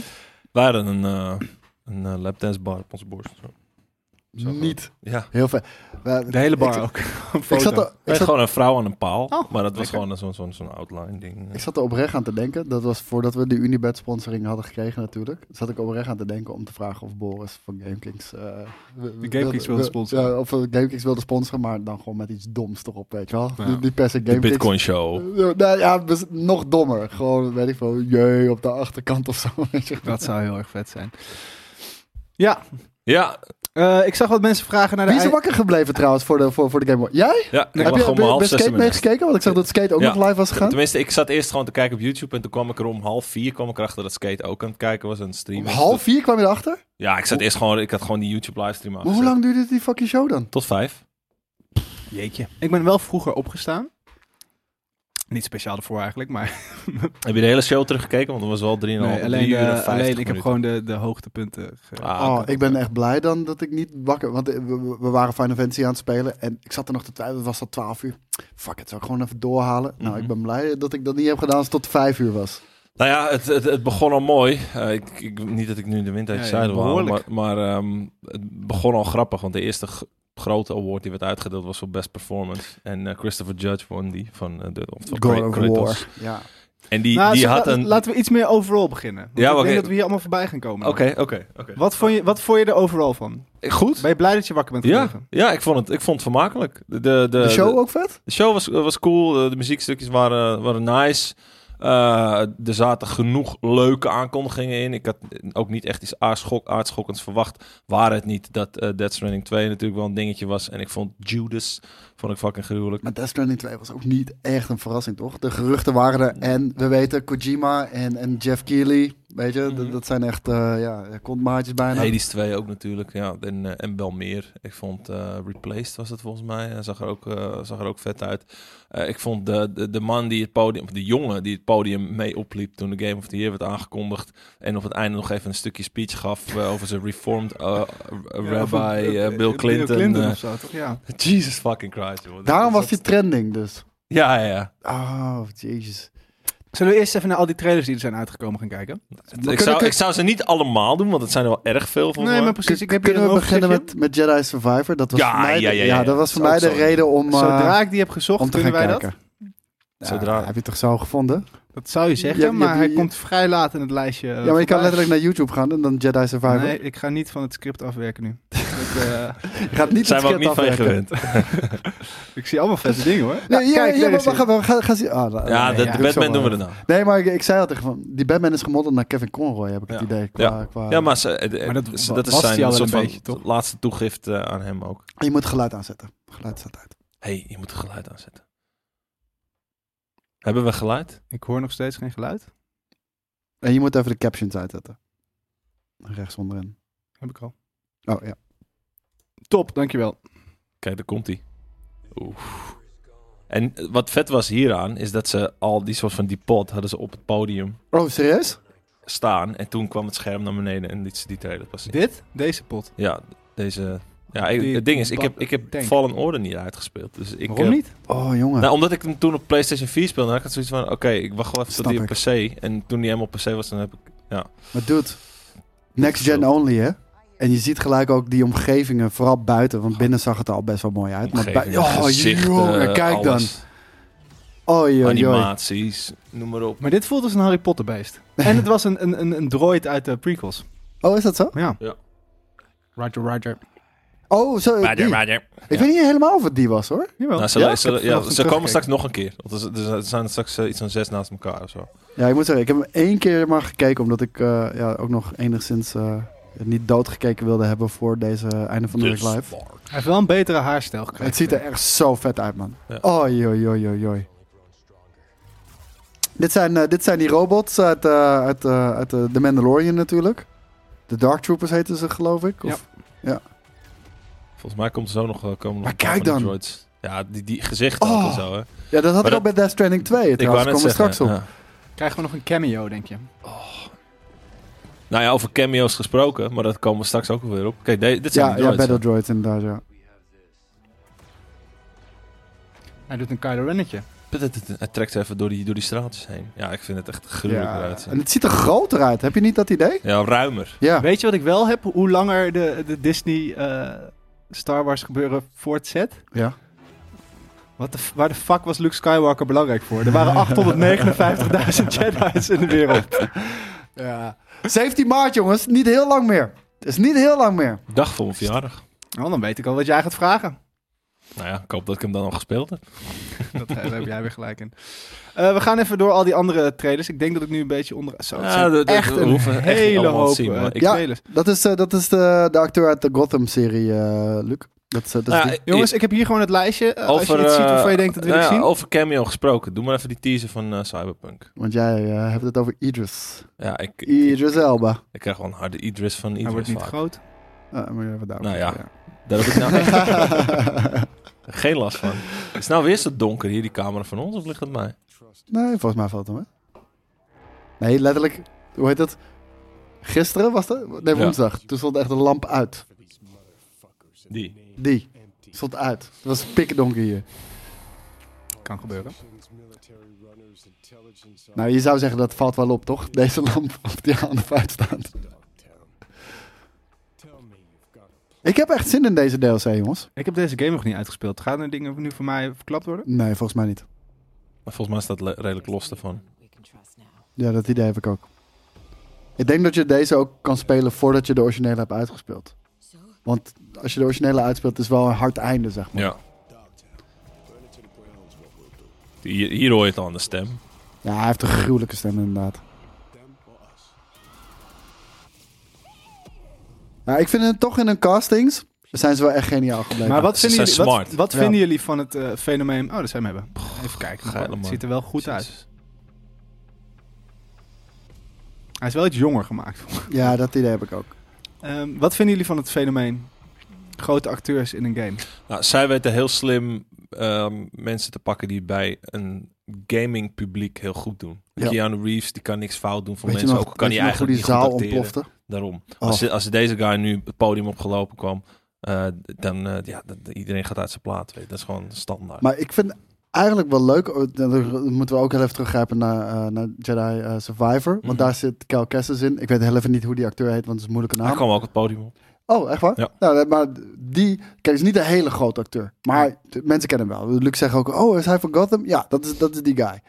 C: wij hadden een, eh, een eh, lapdance bar op onze borst. Zo. Zo
B: Niet.
C: Ja.
B: Heel ver. We-
A: De hele bar
B: Ik,
A: ook.
B: ik, zat er, ik,
C: Nee,
B: zat,
C: gewoon een vrouw aan een paal.
A: Oh,
C: maar dat was
A: lekker.
C: gewoon zo'n zo'n zo'n outline ding. Eh,
B: ik zat er oprecht aan te denken. Dat was voordat we de Unibet-sponsoring hadden gekregen, natuurlijk. Zat ik oprecht aan te denken om te vragen of Boris van GameKings... eh, wilde-
A: Kings wilde sponsoren.
B: Ja, of eh, GameKings wilde sponsoren, maar dan gewoon met iets doms erop, weet je wel.
A: Ja.
B: Die, die per se
C: de
B: GameKings...
C: Bitcoin show.
B: Ja, nou ja, bes- nog dommer. Gewoon, weet ik veel, jee op de achterkant of zo. weet je.
A: Dat zou heel erg vet zijn. Ja,
C: Ja,
A: eh, ik zag wat mensen vragen naar de...
B: Wie is er
A: ei-
B: wakker gebleven trouwens voor de, voor, voor de Game Boy? Jij?
C: ja ik
B: Heb
C: lag
B: je
C: om half
B: bij
C: zes
B: Skate
C: in mijn nest.
B: meegekeken? Want ik zag dat Skate ook
C: Ja.
B: nog live was gegaan.
C: Tenminste, ik zat eerst gewoon te kijken op YouTube. En toen kwam ik er om half vier. kwam ik erachter dat Skate ook aan het kijken was. Aan het
B: Om
C: streamen. Dus-
B: half vier kwam je erachter?
C: Ja, ik zat eerst gewoon. Ik had gewoon die YouTube livestream aan.
B: Maar hoe lang duurde die fucking show dan?
C: Tot vijf.
A: Jeetje. Ik ben wel vroeger opgestaan. Niet speciaal ervoor eigenlijk, maar...
C: Heb je de hele show teruggekeken? Want het was wel drie en een half.
A: Nee, alleen,
C: drie uur en
A: eh,
C: vijftig
A: alleen ik heb
C: minuten.
A: gewoon de, de hoogtepunten... Ge...
C: Ah,
B: Oh,
C: oké.
B: ik ben echt blij dan dat ik niet wakker... Want eh, we, we- we waren Final Fantasy aan het spelen en ik zat er nog te twijfelen. Het was al twaalf uur. Fuck het, zou ik gewoon even doorhalen? Nou,
C: Mhm.
B: ik ben blij dat ik dat niet heb gedaan als het tot vijf uur was.
C: Nou ja, het, het, het begon al mooi. Eh, ik, ik, niet dat ik nu de wind uit
A: Ja,
C: de
A: ja,
C: zeilen wil halen, maar,
A: behoorlijk.
C: maar ehm, het begon al grappig. Want de eerste g- grote award die werd uitgedeeld was voor Best Performance. En eh, Christopher Judge won die van eh, de of van
B: God
C: Kra-
B: of
C: Kratos. Eh,
B: War. Ja.
C: En die,
A: Nou,
C: die
A: zeg,
C: had
A: la-
C: een... Oké,
A: Laten we iets meer overall beginnen. Want
C: Ja,
A: ik
C: oké.
A: denk dat we hier allemaal voorbij gaan komen.
C: oké, oké.
A: Wat vond, je, wat vond je er overal van?
C: Goed?
A: Ben je blij dat je wakker bent
C: Ja,
A: gebleven?
C: ja ik, vond het, ik vond het vermakelijk. De, de, de,
B: De show ook vet?
C: de show was, was cool. eh, De, de muziekstukjes waren, waren nice. Eh, er zaten genoeg leuke aankondigingen in. Ik had ook niet echt iets aardschok, aardschokkends verwacht. Waar het niet dat eh Dead Stranding 2 natuurlijk wel een dingetje was. En ik vond Judas vond ik fucking gruwelijk.
B: Maar Death Stranding 2 was ook niet echt een verrassing, toch? De geruchten waren er. En we weten, Kojima en, en Jeff Keighley, weet je, d-
C: Mhm.
B: dat zijn echt eh ja, kontmaatjes bijna.
C: Hades 2 ook natuurlijk. Ja, en, eh, en wel meer. Ik vond eh, Replaced was het volgens mij. Hij zag er ook, eh, zag er ook vet uit. Eh, ik vond de, de, de man die het podium, of de jongen die het podium mee opliep toen de Game of the Year werd aangekondigd. En op het einde nog even een stukje speech gaf eh, over zijn reformed eh,
A: Ja,
C: rabbi
A: van, eh,
C: eh,
A: eh,
C: Bill Clinton.
A: of zo, toch? Ja.
C: eh, Jesus fucking Christ, joh.
B: Daarom
C: Dat-
B: was die trending dus.
C: Ja, ja, ja.
B: Oh, jezus.
A: Zullen we eerst even naar al die trailers die er zijn uitgekomen gaan kijken?
C: Ik
B: kunnen-
C: zou,
B: kun-
C: ik zou ze niet allemaal doen, want het zijn er wel erg veel van.
A: Nee, maar
B: Kun-
A: precies. Ik heb hier
B: Kunnen
A: een
B: we beginnen
A: overzichtje.
B: met, met Jedi Survivor? Dat was
C: Ja,
B: voor mij, de-
C: ja, ja, ja, ja.
B: dat was voor
C: Dat
B: mij
C: is
B: de
C: ook zo.
B: reden om, eh,
A: Zodra ik die heb gezocht,
B: om te
A: kunnen
B: gaan
A: wij dat?
B: kijken. Ja,
C: Zodra-
B: Heb je het toch zo gevonden?
A: Dat zou je zeggen,
B: Je hebt- je
A: maar
B: hebt
A: hij
B: die-
A: komt vrij laat in het lijstje. eh,
B: Ja, maar je kan
A: voorbij.
B: letterlijk naar YouTube gaan en dan Jedi Survivor.
A: Nee, ik ga niet van het script afwerken nu. Dat, eh,
B: Je gaat niet
C: Zijn
B: het
C: we ook niet
B: script
C: van je
B: afwerken.
C: gewend.
A: ik zie allemaal vette dingen hoor.
B: Nee, ja,
A: kijk,
B: ja,
A: daar
B: maar
A: is hij.
B: we gaan, we gaan, gaan zien. Ah, nou,
C: Ja,
B: nee,
C: de,
B: ja.
C: de
B: Doe ik zo
C: Batman
B: wel.
C: doen we er nou.
B: Nee, maar ik, ik zei al tegen van, die Batman is gemodeld naar Kevin Conroy, heb ik het
C: Ja.
B: idee. Qua, qua,
C: Ja, maar, ze, eh, eh,
A: Maar dat
C: ze-
A: wa-
C: dat is
A: was hij
C: zijn
A: al
C: soort
A: een
C: van
A: beetje, toch?
C: laatste toegift eh, aan hem ook.
B: Je moet geluid aanzetten. Geluid staat uit.
C: Hé, hey, je moet het geluid aanzetten. Hebben we geluid?
A: Ik hoor nog steeds geen geluid.
B: En je moet even de captions uitzetten. Rechts onderin.
A: Heb ik al.
B: Oh ja.
A: Top, dankjewel.
C: Kijk, daar komt hij. Oef. En eh, wat vet was hieraan, is dat ze al die soort van die pot hadden ze op het podium
B: Oh, serieus?
C: staan. En toen kwam het scherm naar beneden en liet ze die trailer pas zien.
A: Dit? Deze pot.
C: Ja, deze... Ja, ik-
A: Die
C: het ding is, ik
A: ba-
C: heb, ik heb
A: tank.
C: Fallen Order niet uitgespeeld. Dus ik,
A: Waarom
C: eh,
A: niet?
B: Oh, jongen.
C: Nou, omdat ik hem toen op PlayStation 4 speelde, had ik had zoiets van: oké, ik wacht wel even tot
B: Snap
C: hij op PC. En toen die helemaal op PC was, dan heb ik.
B: Maar dude, next gen only, hè? En je ziet gelijk ook die omgevingen, vooral buiten. Want binnen zag het er al best wel mooi uit. Maar
C: omgeving,
B: bui- oh,
C: gezichten,
B: jongen, kijk
C: alles.
B: dan. Oh, joh, joh.
C: Animaties, noem maar op.
A: Maar dit voelt als een Harry Potter beest. en het was een, een, een, een droid uit de prequels.
B: Oh, is dat zo?
A: Ja.
C: Ja.
A: Roger, Roger.
B: Oh, zo. die. Ik weet niet helemaal of het die was, hoor.
A: Jawel.
C: Nou, ze,
A: Ja,
C: le-
A: ik
C: ze-
A: heb
C: ja,
A: vanochtend
C: ze komen straks
A: teruggekeken.
C: nog een keer. Want er z- er z- er zijn straks eh, iets van zes naast elkaar of zo.
B: Ja, ik moet zeggen, ik heb hem één keer maar gekeken. Omdat ik eh, ja, ook nog enigszins eh, niet doodgekeken wilde hebben voor deze eh, einde van de week
C: Dus
B: live.
A: Hij heeft wel een betere haarstijl gekregen.
B: Het ziet er echt zo vet uit, man.
C: Ja.
B: Oh, joh, joh, joh, joh. Dit zijn, eh, dit zijn die robots uit, eh, uit, eh, uit eh, The Mandalorian natuurlijk. De Dark Troopers heten ze, geloof ik. Of,
C: Volgens mij komt er zo nog. eh, Komen nog
B: Maar
C: een paar
B: kijk
C: van die
B: dan.
C: droids. Ja, die, die gezichten
B: Oh,
C: ook en zo. Hè.
B: ja. dat had
C: Maar
B: ik al bij Death Stranding 2.
C: Ik wou
B: Trouwens,
C: net
B: komen we
C: zeggen.
B: straks op.
C: ja.
A: Krijgen we nog een cameo, denk je?
C: Nou ja, over cameo's gesproken, maar dat komen we straks ook weer op. Kijk, de- dit zijn
B: Ja,
C: die
B: ja,
C: droids.
B: Battle Droids inderdaad, ja.
A: Hij doet een Kylo Rennetje.
C: Hij trekt even door die, door die straatjes heen. Ja, ik vind het echt gruwelijk
B: ja.
C: eruit zien.
B: En het ziet er groter uit. Heb je niet dat idee?
C: Ja, ruimer.
B: Ja.
A: Weet je wat ik wel heb? Hoe langer de, de Disney eh, Star Wars gebeuren voortzet?
B: Ja.
A: Wat de, f- waar de fuck was Luke Skywalker belangrijk voor? Er waren 859.000 Jedi's in de wereld.
B: ja. 17 maart, jongens. Niet heel lang meer. Het is niet heel lang meer.
C: Dag voor mijn verjaardag.
A: Nou, dan weet ik al wat jij gaat vragen.
C: Nou ja, ik hoop dat ik hem dan al gespeeld heb.
A: Dat, daar heb jij weer gelijk in. Eh, we gaan even door al die andere trailers. Ik denk dat ik nu een beetje onder... Zo, het
C: Ja,
A: zijn
C: dat- dat-
A: echt
C: we
A: een
C: hoeven echt niet
A: hele
C: allemaal te
A: hoop
C: zien,
A: eh,
C: maar ik-
B: Ja.
A: trailers.
B: Dat is, eh, dat is de, de acteur uit de Gotham-serie, eh, Luc. Dat is, eh,
C: Ah, Nou
B: dat is die.
A: Jongens, ik heb hier gewoon het lijstje. Eh, als je iets ziet
C: eh,
A: waarvan je denkt dat wil
C: nou
A: ik
C: ja,
A: zien.
C: Over cameo gesproken. Doe maar even die teaser van eh, Cyberpunk.
B: Want jij eh, hebt het over Idris.
C: Ja, ik, ik,
B: Idris Elba.
C: ik krijg wel een harde Idris van
A: Hij wordt
C: Idris
A: niet
C: vaak.
A: groot.
B: Ah, moet je even daarop
C: Nou
B: klikken,
C: Daar heb ik nou echt geen last van. Het is nou weer zo donker hier, die camera van ons, of ligt het mij?
B: Nee, volgens mij valt het hem, hè? Nee, letterlijk, hoe heet dat? Gisteren was dat? Nee,
C: Ja.
B: woensdag. Toen stond echt de lamp uit.
C: Die.
B: Die stond uit. Het was pikdonker hier.
A: Kan gebeuren.
B: Nou, je zou zeggen dat valt wel op, toch? Deze lamp op die aan of uit staat. Ik heb echt zin in deze DLC, jongens.
A: Ik heb deze game nog niet uitgespeeld. Gaan er dingen nu voor mij verklapt worden?
B: Nee, volgens mij niet.
C: Maar volgens mij staat le- redelijk los ervan.
B: Ja, dat idee heb ik ook. Ik denk dat je deze ook kan spelen voordat je de originele hebt uitgespeeld. Want als je de originele uitspeelt, is wel een hard einde, zeg maar.
C: Ja. Hier, hier hoor je het al aan de stem.
B: Ja, hij heeft een gruwelijke stem, inderdaad. Ja, ik vind het toch in hun castings zijn ze wel echt geniaal gebleven.
A: Maar wat
C: ze
A: vinden,
C: zijn
A: jullie, wat,
C: smart.
A: wat
B: Ja.
A: vinden jullie van het eh, fenomeen... Oh, dat zijn we hebben. Even kijken.
C: geile
A: Het
C: man.
A: ziet er wel goed uit.
C: Jezus.
A: Hij is wel iets jonger gemaakt.
B: Ja, dat idee heb ik ook.
A: Ehm, wat vinden jullie van het fenomeen grote acteurs in een game?
C: Nou, zij weten heel slim ehm, mensen te pakken die het bij een gaming publiek heel goed doen.
B: Ja.
C: Keanu Reeves, die kan niks fout doen voor
B: Weet je
C: mensen.
B: nog,
C: ook al kan
B: weet
C: hij
B: je nog hoe
C: eigenlijk
B: die
C: niet
B: zaal
C: goed acteren.
B: ontplofte?
C: Daarom.
B: Oh.
C: Als, de- als deze guy nu het podium opgelopen kwam, eh, dan eh, ja, dat- iedereen gaat uit zijn plaat. Weet. je. Dat is gewoon standaard.
B: Maar ik vind eigenlijk wel leuk, oh, dan moeten we ook heel even teruggrijpen naar, eh, naar Jedi eh, Survivor. Want
C: Mhm.
B: daar zit Cal Kestis in. Ik weet heel even niet hoe die acteur heet, want het is een moeilijke
C: Hij
B: naam.
C: kwam ook het podium op.
B: Oh, echt waar?
C: Ja.
B: Nou, maar die, kijk, het is niet een hele grote acteur. Maar de mensen kennen hem wel. Luc zegt ook, oh, is hij van Gotham? Ja, dat is, dat is die guy.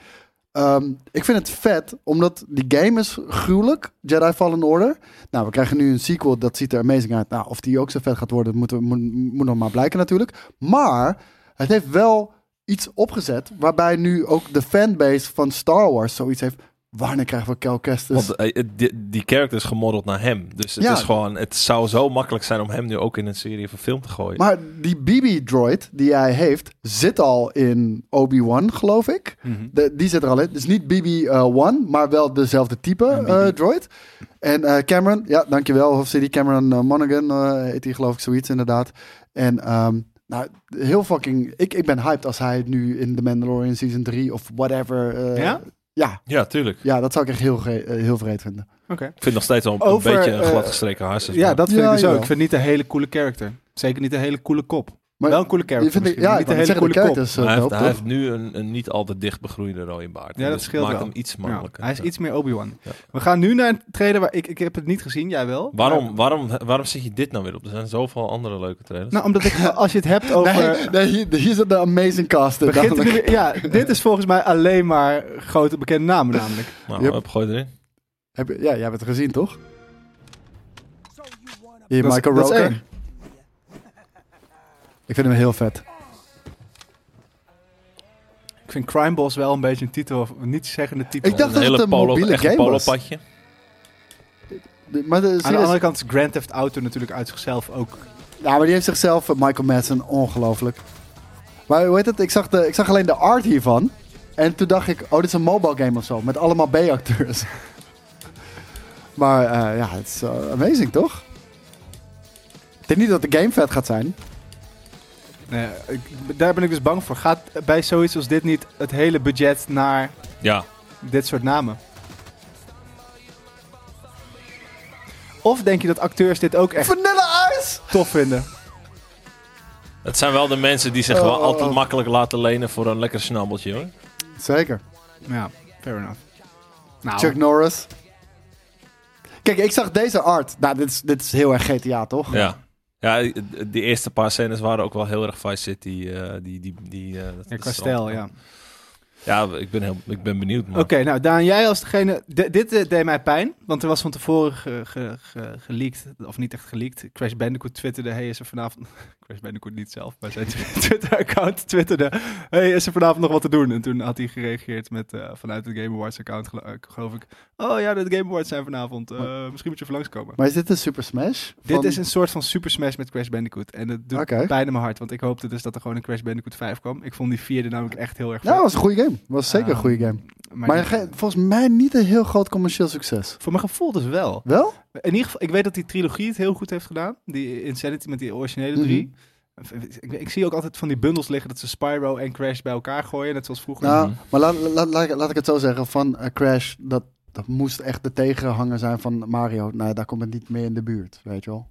B: Ehm, ik vind het vet, omdat die game is gruwelijk. Jedi Fallen Order. Nou, we krijgen nu een sequel, dat ziet er amazing uit. Nou, of die ook zo vet gaat worden, moet, moet, moet nog maar blijken natuurlijk. Maar het heeft wel iets opgezet, waarbij nu ook de fanbase van Star Wars zoiets heeft. Wanneer krijgen we Cal Kestis?
C: Want eh, het- die, die character is gemodeld naar hem. Dus het
B: Dus- Ja.
C: is gewoon, het zou zo makkelijk zijn om hem nu ook in een serie of een film te gooien.
B: Maar die BB-droid die hij heeft, zit al in Obi-Wan, geloof ik.
A: Mhm.
B: De- die zit er al in. Dus niet BB-1, maar wel dezelfde type eh, droid. En eh, Cameron, ja, dankjewel. Of City Cameron eh, Monaghan eh, heet hij, geloof ik, zoiets inderdaad. En ehm, nou, heel fucking... Ik, ik ben hyped als hij nu in The Mandalorian Season 3 of whatever... eh,
A: Ja?
B: ja?
C: ja, tuurlijk.
B: Ja, dat zou ik echt heel, ge- eh, heel vreed vinden.
A: Oké.
C: Ik vind nog steeds wel een,
A: Over,
C: beetje een
A: eh,
C: gladgestreken hartstikke.
A: Ja, dat vind
B: Ja,
A: ik dus ook.
B: jawel.
A: Ik vind niet een hele coole character. Zeker niet een hele coole kop.
B: Maar
A: wel een coole
B: Die
A: character
B: vind ik,
A: misschien,
B: ja,
A: maar
B: ik
A: niet
B: wou
A: een
B: net
A: hele
B: zeggen,
A: coole
B: de character
A: kop.
B: is eh,
C: hij, heeft,
B: dope,
C: hij
B: toch?
C: heeft nu een, een niet al te dicht begroeide rode baard.
A: Ja,
C: En
A: dat scheelt
C: maakt
A: wel.
C: hem iets
A: Ja,
C: makkelijker.
A: hij is
C: Ja.
A: iets meer Obi-Wan.
C: Ja.
A: We gaan nu naar een trailer waar ik, ik heb het niet gezien, jij wel.
C: Waarom,
A: Maar-
C: waarom, waarom zet je dit nou weer op? Er zijn zoveel andere leuke trailers.
A: nou, omdat ik, als je het hebt over...
B: Nee, nee, hier, hier zit de amazing cast.
A: begint
B: namelijk.
A: het weer- ja, dit is volgens mij alleen maar grote bekende namen namelijk.
C: nou,
B: Yep.
C: hup, gooi erin.
B: Heb je- ja, jij hebt het gezien, toch? Hier,
A: Dat is-
B: Michael
A: dat is
B: Roker.
A: één.
B: Ik vind hem heel vet.
A: Ik vind Crime Boss wel een beetje een titel, of een nietszeggende titel.
B: Ik dacht
C: Een
B: dat
C: hele
B: het een
C: polo-
B: mobiele
C: echt
B: game
C: een
B: was.
C: polopadje.
B: De- Maar, de,
A: Aan de
B: serieus-
A: andere kant is Grand Theft Auto natuurlijk uit zichzelf ook.
B: ja, maar die heeft zichzelf, eh, Michael Madsen, ongelooflijk. Maar hoe heet het? Ik zag, de, ik zag alleen de art hiervan. En toen dacht ik, oh, dit is een mobile game of zo. Met allemaal B-acteurs. maar eh, ja, het is eh, amazing, toch? Ik denk niet dat de game vet gaat zijn.
A: Nee, eh, ik- daar ben ik dus bang voor. Gaat bij zoiets als dit niet het hele budget naar
C: Ja,
A: dit soort namen? Of denk je dat acteurs dit ook echt
B: Vanilla Ice!
A: tof vinden?
C: het zijn wel de mensen die zich
B: Oh,
C: wel
B: oh,
C: altijd
B: oh.
C: makkelijk laten lenen voor een lekker snabbeltje hoor.
B: Zeker.
A: Ja, fair enough. Nou,
B: Chuck Norris. Kijk, ik zag deze art. Nou, dit is, dit is heel erg GTA, toch?
C: Ja. Ja, die eerste paar scènes waren ook wel heel erg Vice City. eh, die, die, die, eh, dat-
A: ja,
C: dat
A: qua
C: is
A: stijl,
C: allemaal-
A: ja.
C: Ja, ik ben, heel, ik ben benieuwd.
A: Oké,
C: Man.
A: nou Daan, jij als degene... D- dit eh, deed mij pijn, want er was van tevoren ge- ge- ge- geleakt, of niet echt geleakt. Crash Bandicoot twitterde, hey is er vanavond... Crash Bandicoot niet zelf, maar zijn Twitter-account twitterde, hey is er vanavond nog wat te doen? En toen had hij gereageerd met, eh, vanuit het Game Awards-account, gelo- eh, geloof ik. Oh ja, de Game Awards zijn vanavond, Eh, misschien moet je even langskomen.
B: Maar is dit een Super Smash?
A: Dit
B: Van-
A: is een soort van Super Smash met Crash Bandicoot. En het doet
B: Oké.
A: pijn in mijn hart, want ik hoopte dus dat er gewoon een Crash Bandicoot 5 kwam. Ik vond die vierde namelijk echt heel erg
B: Ja,
A: vet.
B: was een goede game. Was zeker een
A: Ehm,
B: goede game.
A: Maar,
B: Nou, Maar
A: die-
B: ge- volgens mij niet een heel groot commercieel succes.
A: voor mijn gevoel dus wel.
B: Wel?
A: In ieder geval, ik weet dat die trilogie het heel goed heeft gedaan. Die Insanity met die originele
B: Mhm.
A: drie. Ik, ik zie ook altijd van die bundels liggen dat ze Spyro en Crash bij elkaar gooien. Net zoals vroeger.
B: Nou,
C: Mhm.
B: maar laat, laat, laat, ik- laat ik het zo zeggen. Van eh, Crash, dat, dat moest echt de tegenhanger zijn van Mario. Nou, daar komt het niet meer in de buurt, weet je wel.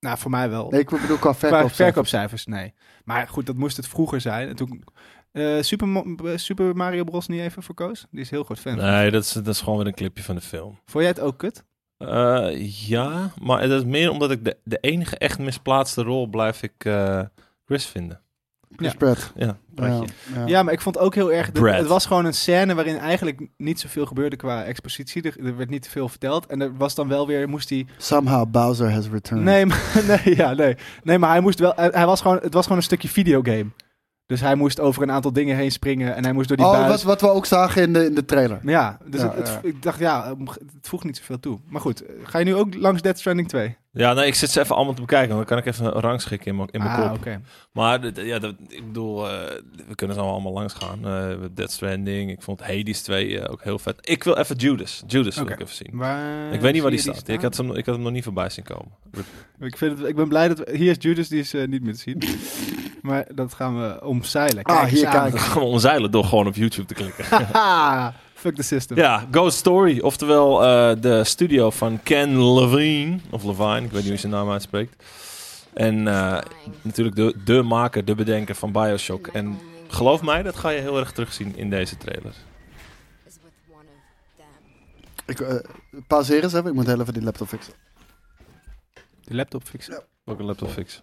A: Nou, voor mij wel.
B: Nee, ik bedoel qua
A: Qua
B: verkoop.
A: verkoopcijfers, nee. Maar goed, dat moest het vroeger zijn. En toen eh, Super, Mo- eh, Super Mario Bros. niet even voor koos. Die is heel goed fan.
C: Nee, dat is, dat is gewoon weer een clipje van de film.
A: Vond jij het ook kut?
C: Eh, ja, maar dat is meer omdat ik de, de enige echt misplaatste rol blijf ik eh, Chris vinden.
B: Chris
A: Ja.
B: Pratt.
C: Ja,
B: Ja,
C: praatje.
B: ja.
A: Ja, maar ik vond ook heel erg... dat-
C: Brad.
A: het was gewoon een scène waarin eigenlijk niet zoveel gebeurde qua expositie. Er, er werd niet te veel verteld. En er was dan wel weer... Moest die
B: Somehow Bowser has returned.
A: Nee, maar, nee, ja, nee. nee, maar hij moest wel. Hij, hij was gewoon, het was gewoon een stukje videogame. Dus hij moest over een aantal dingen heen springen en hij moest door die
B: oh,
A: buis.
B: wat, wat we ook zagen in de, in de trailer.
A: Ja, dus
B: Ja,
A: het, het-
B: ja.
A: ik dacht, ja, het voegt niet zoveel toe. Maar goed, eh, ga je nu ook langs Dead Stranding 2?
C: ja nee, ik zit ze even allemaal te bekijken, want dan kan ik even een rangschikken in mijn in mijn
A: ah,
C: kop.
A: oké.
C: Maar dat- ja, dat, ik bedoel, eh, we kunnen ze allemaal langs gaan. Eh Dead Stranding, ik vond Hades 2 eh, ook heel vet. Ik wil even Judas. Judas wil
A: Oké.
C: ik even zien.
A: Waar
C: ik weet niet waar die
A: zie je
C: staat. Ik, had hem, ik had hem nog niet voorbij zien komen.
A: Ik, vind het, ik ben blij dat... we- hier is Judas, die is eh, niet meer te zien. maar dat gaan we omzeilen.
B: Ah,
A: eens
B: hier,
A: aan.
B: kijk.
C: Ik ga hem omzeilen door gewoon op YouTube te klikken.
A: Haha, Fuck the system.
C: Ja, Ghost Story. Oftewel eh, de studio van Ken Levine. Of Levine, ik weet niet hoe je zijn naam uitspreekt. En eh, natuurlijk de, de maker, de bedenker van Bioshock. En geloof mij, dat ga je heel erg terugzien in deze
D: is
C: trailer.
D: with one of them.
B: Ik, eh, pauzeer eens even, ik moet heel even die laptop fixen.
C: Oh
A: De laptop fixen.
C: Welke laptop fix?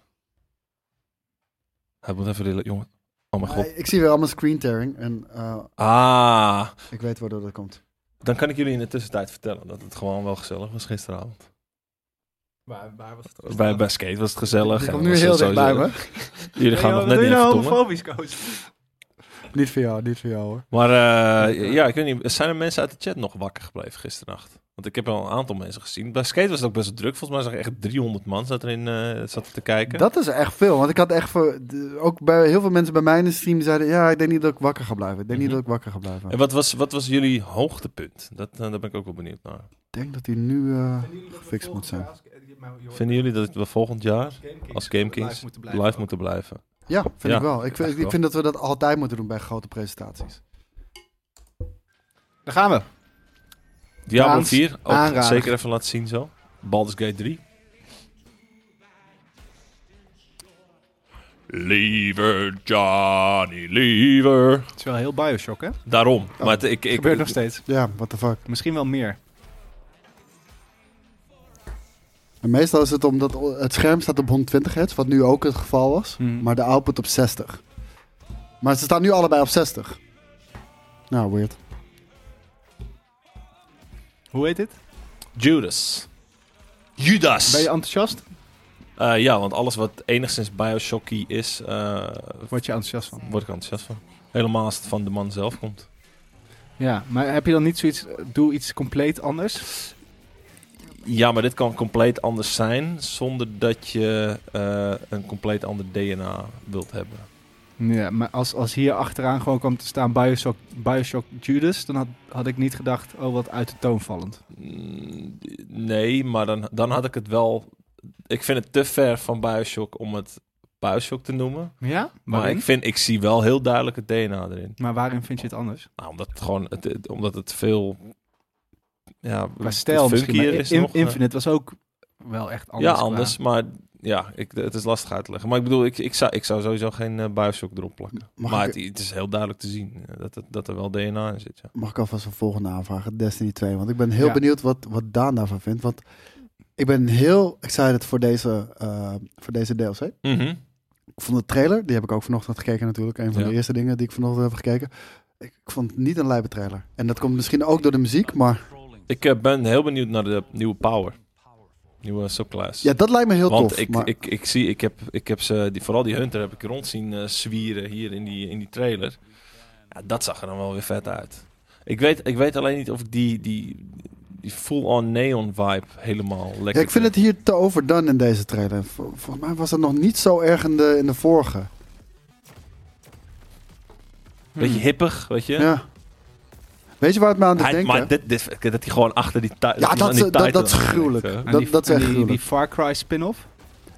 C: Hij moet even... die la- Jongen. Oh mijn god.
B: Maar Ah, Ik zie weer allemaal screen tearing en eh,
C: Ah,
B: ik weet waardoor dat komt.
C: dan kan ik jullie in de tussentijd vertellen dat het gewoon wel gezellig was gisteravond.
A: Waar, waar was het?
C: Bij, bij skate was het gezellig.
B: Ik
C: en
B: kom nu
C: was
B: heel
C: het
B: dicht bij
C: sowieso-
B: me.
C: Jullie gaan
A: Hey,
C: nog
A: joh,
C: net
A: doe
C: niet
A: je nou
C: even tongen.
A: homofobisch, coach?
B: Niet voor jou, niet voor jou hoor.
C: Maar eh, ja, ik weet niet. Zijn er mensen uit de chat nog wakker gebleven gisternacht? Want ik heb al een aantal mensen gezien. Bij skate was het ook best druk. Volgens mij zag ik echt 300 man zat erin eh zat te kijken.
B: Dat is echt veel, want ik had echt voor, de- ook bij heel veel mensen bij mij in de stream die zeiden, ja, ik denk niet dat ik wakker ga blijven. Ik denk niet
C: Mhm.
B: dat ik wakker ga blijven.
C: En wat was, wat was jullie hoogtepunt? Dat, eh, daar ben ik ook wel benieuwd naar.
B: Ik denk dat hij nu eh, gefixt moet zijn.
C: Vinden jullie dat we volgend jaar als Game Kings
A: live moeten blijven?
C: live moeten blijven?
B: Ja, vind
C: Ja,
B: ik wel. Ik,
C: echt
B: vind,
C: wel.
B: ik vind dat we dat altijd moeten doen bij grote presentaties.
A: Daar gaan we.
C: Diablo
A: Daans,
C: 4, ook
A: aanrader.
C: zeker even laten zien zo. Baldur's Gate 3. Liever Johnny, liever.
A: Het is wel heel Bioshock, hè?
C: Daarom. maar het- ik, ik,
A: Oh. Gebeurt nog steeds.
B: Ja, what the fuck.
A: Misschien wel meer.
B: En meestal is het omdat o- het scherm staat op 120 hertz, wat nu ook het geval was,
A: Mhm.
B: maar de output op 60. Maar ze staan nu allebei op 60. Nou, weird.
A: Hoe heet dit?
C: Judas. Judas.
A: Ben je enthousiast?
C: Eh, ja, want alles wat enigszins Bioshocky is, eh,
A: Word je enthousiast van?
C: word ik enthousiast van. Helemaal als het van de man zelf komt.
A: Ja, maar heb je dan niet zoiets... eh, Doe iets compleet anders?
C: Ja, maar dit kan compleet anders zijn zonder dat je eh, een compleet ander DNA wilt hebben.
A: Ja, maar als, als hier achteraan gewoon kwam te staan Bioshock, Bioshock Judas... dan had, had ik niet gedacht, oh wat uit de toon vallend.
C: Mm, Nee, maar dan, dan had ik het wel. Ik vind het te ver van Bioshock om het Bioshock te noemen.
A: Ja?
C: Maar
A: Waarin?
C: ik, vind, ik zie wel heel duidelijk het DNA erin.
A: Maar waarin vind je het anders?
C: Nou, omdat het gewoon het, het- omdat het veel. Ja,
A: Qua stijl misschien.
C: funkier
A: maar
C: is
A: In-
C: nog, eh.
A: Infinite was ook wel echt anders.
C: ja,
A: qua-
C: anders. Maar ja, ik, het is lastig uit te leggen. Maar ik bedoel, ik, ik, zou, ik zou sowieso geen eh, Bioshock erop plakken.
B: Mag
C: maar
B: ik-
C: het, het is heel duidelijk te zien eh, dat, het, dat er wel DNA in zit. Ja.
B: Mag ik alvast een volgende aanvragen? Destiny 2. Want ik ben heel
A: Ja.
B: benieuwd wat, wat Daan daarvan vindt. Want ik ben heel excited voor deze, eh, voor deze DLC.
C: Mhm.
B: Ik vond de trailer, die heb ik ook vanochtend gekeken natuurlijk. Een van
C: Ja.
B: de eerste dingen die ik vanochtend heb gekeken. Ik, ik vond het niet een lijpe trailer. En dat komt misschien ook door de muziek, maar...
C: Ik eh, ben heel benieuwd naar de nieuwe Power. Nieuwe subclass.
B: Ja, dat lijkt me heel
C: Want
B: tof.
C: ik,
B: maar,
C: ik, ik zie, ik heb, ik heb ze, die, vooral die Hunter heb ik rond zien eh, zwieren hier in die, in die trailer. Ja, dat zag er dan wel weer vet uit. Ik weet, ik weet alleen niet of ik die, die, die full-on neon vibe helemaal lekker
B: ja, ik vind het hier te overdone in deze trailer. Vol- volgens mij was het nog niet zo erg in de, in de vorige.
C: Beetje hippig, weet je?
B: Hmm. Ja. Weet je waar het me aan doet
C: Hij-
B: denken?
C: maar dit, dit, dat hij gewoon achter die tijd.
B: Ja, dat,
C: die
B: dat, dat,
C: Titan
B: is
C: aan hangt,
B: gruwelijk.
C: hè?
A: En
B: Dat,
A: die,
B: dat is
A: en
B: echt
A: die,
B: gruwelijk.
A: die Far Cry spin-off?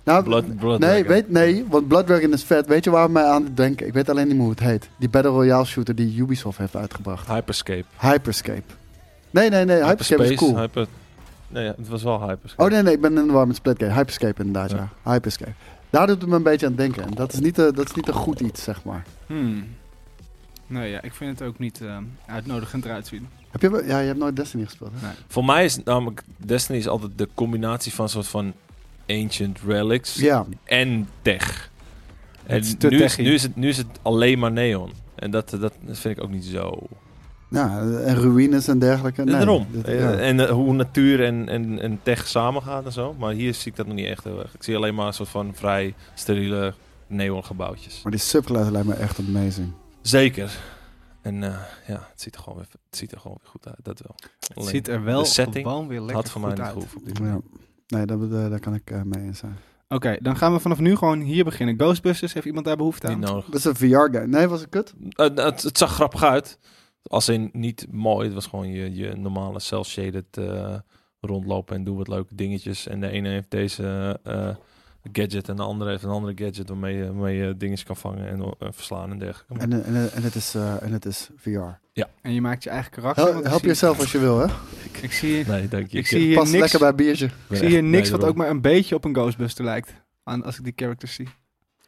B: Nou,
C: Blood- Blood
B: nee,
C: Dragon.
B: weet, nee, want Blood Dragon is vet. Weet je waar het mij aan doet denken? Ik weet alleen niet meer hoe het heet. Die Battle Royale shooter die Ubisoft heeft uitgebracht.
C: Hyperscape.
B: Hyperscape. Nee, nee, nee. Hyperscape
C: Hyperspace,
B: is cool.
C: Hyper... Nee, ja, het was wel Hyperscape.
B: Oh nee, nee, ik ben in de war met Splitgate. Hyperscape inderdaad, ja. Hyperscape. Daar doet het me een beetje aan denken. En dat is niet, eh, dat is niet een goed iets, zeg maar.
A: Hmm. Nee, ja, ik vind het ook niet ehm, uitnodigend eruit zien.
B: Heb je, wel- ja, je hebt nooit Destiny gespeeld, hè?
C: Voor mij is namelijk Destiny is altijd de combinatie van soort van ancient relics
B: Ja,
C: en tech. En
A: Het is te
C: nu, is,
A: techie.
C: nu, is het, nu is het alleen maar neon. En dat, eh, dat vind ik ook niet zo.
B: ja, en ruïnes en dergelijke. Nee,
C: Daarom.
B: dit-
C: Eh,
B: ja.
C: En eh, hoe natuur en, en, en tech samengaat en zo. Maar hier zie ik dat nog niet echt heel erg. Ik zie alleen maar een soort van vrij steriele neon gebouwtjes.
B: Maar die subclass lijkt me echt amazing.
C: Zeker. En eh, ja, het ziet, er gewoon weer, het ziet er gewoon weer goed uit. Dat wel.
A: Het
C: Alleen,
A: ziet er wel
C: de setting
A: gewoon weer
C: het
A: lekker
C: had voor mij
A: goed
C: niet
A: uit.
C: gehoeven. op dit moment.
B: Ja. Nee, daar, daar daar kan ik eh, mee eens zijn.
A: Oké, dan gaan we vanaf nu gewoon hier beginnen. Ghostbusters, heeft iemand daar behoefte aan?
C: Niet nodig.
B: Dat is een VR-game. Nee, was het kut?
C: Eh, het, het zag grappig uit. Als in niet mooi. Het was gewoon je, je normale cel-shaded eh, rondlopen en doe wat leuke dingetjes. En de ene heeft deze eh, gadget en de andere heeft een andere gadget waarmee je, waarmee je dingetjes kan vangen en eh, verslaan en dergelijke. Maar-
B: En, en, en, het, is, eh, en het is VR.
A: En je maakt je eigen karakter. want
B: Hel-
A: ik
B: help
A: zie-
B: jezelf als je wil, hè?
A: Ik zie,
C: nee, dank je.
A: ik zie hier
B: Pas
A: niks,
B: lekker bij biertje.
A: ik zie hier niks wat ook maar een beetje op een Ghostbuster lijkt. Aan, als ik die characters zie.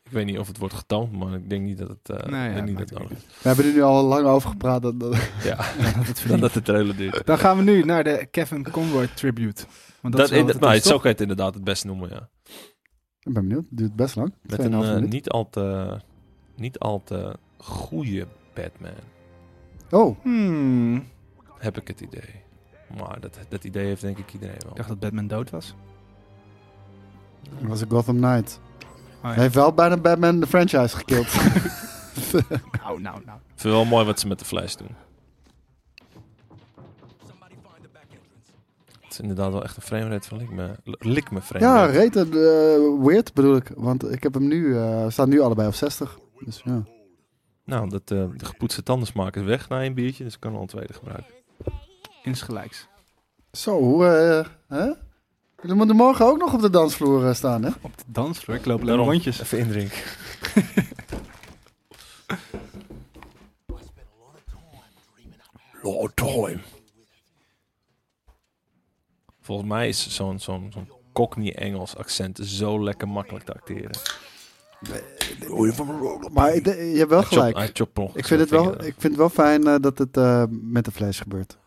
C: Ik weet niet of het wordt getoond, maar ik denk niet dat het, eh, ik
A: ja,
C: denk niet
A: maakt
C: dat het
A: ook
C: nodig is.
B: We hebben er nu al lang over gepraat. Dat, dat-
C: Ja,
A: dat
C: dan dat de trailer duurt.
A: Dan gaan we nu naar de Kevin Conroy tribute. Want
C: Dat,
A: is wel
C: in,
A: wat het
C: nou,
A: is,
C: zo
A: toch?
C: kan je het inderdaad het best noemen, ja.
B: Ik ben benieuwd. Het duurt best lang.
C: Met een
B: 2,5
C: eh,
B: minuut.
C: niet al te niet al te goede Batman.
B: Oh,
A: Hmm. Ik
C: Heb ik het idee. Maar dat, dat idee heeft denk ik iedereen wel.
A: dacht dat Batman dood was.
B: dat was een Gotham Knight.
A: Oh ja.
B: Hij heeft wel bijna Batman de franchise gekild.
A: Nou, nou, nou.
C: Ik vind het wel mooi wat ze met de Flash doen. Het is inderdaad wel echt een framerate van lik me, lik me
B: ja,
C: framerate.
B: rate eh, weird bedoel ik. Want ik heb hem nu, eh staan nu allebei op 60. Dus ja.
C: nou, dat, eh, de gepoetste tanden smaken is weg na een biertje, dus ik kan al een tweede gebruiken.
A: Insgelijks.
B: Zo, eh hè? Jullie moeten morgen ook nog op de dansvloer eh, staan, hè?
A: Op de dansvloer. Ik loop alleen
C: Daarom,
A: maar rondjes.
C: Even indrinken. Lord time. Volgens mij is zo'n zo'n zo'n Cockney-Engels accent zo lekker makkelijk te acteren.
B: Maar ik- je hebt wel
C: Hij chop-
B: gelijk.
C: hij chopt per ongeluk
B: Ik vind, het
C: zijn
B: wel,
C: vinger
B: ik vind het wel fijn eh, dat het eh, met de flash gebeurt.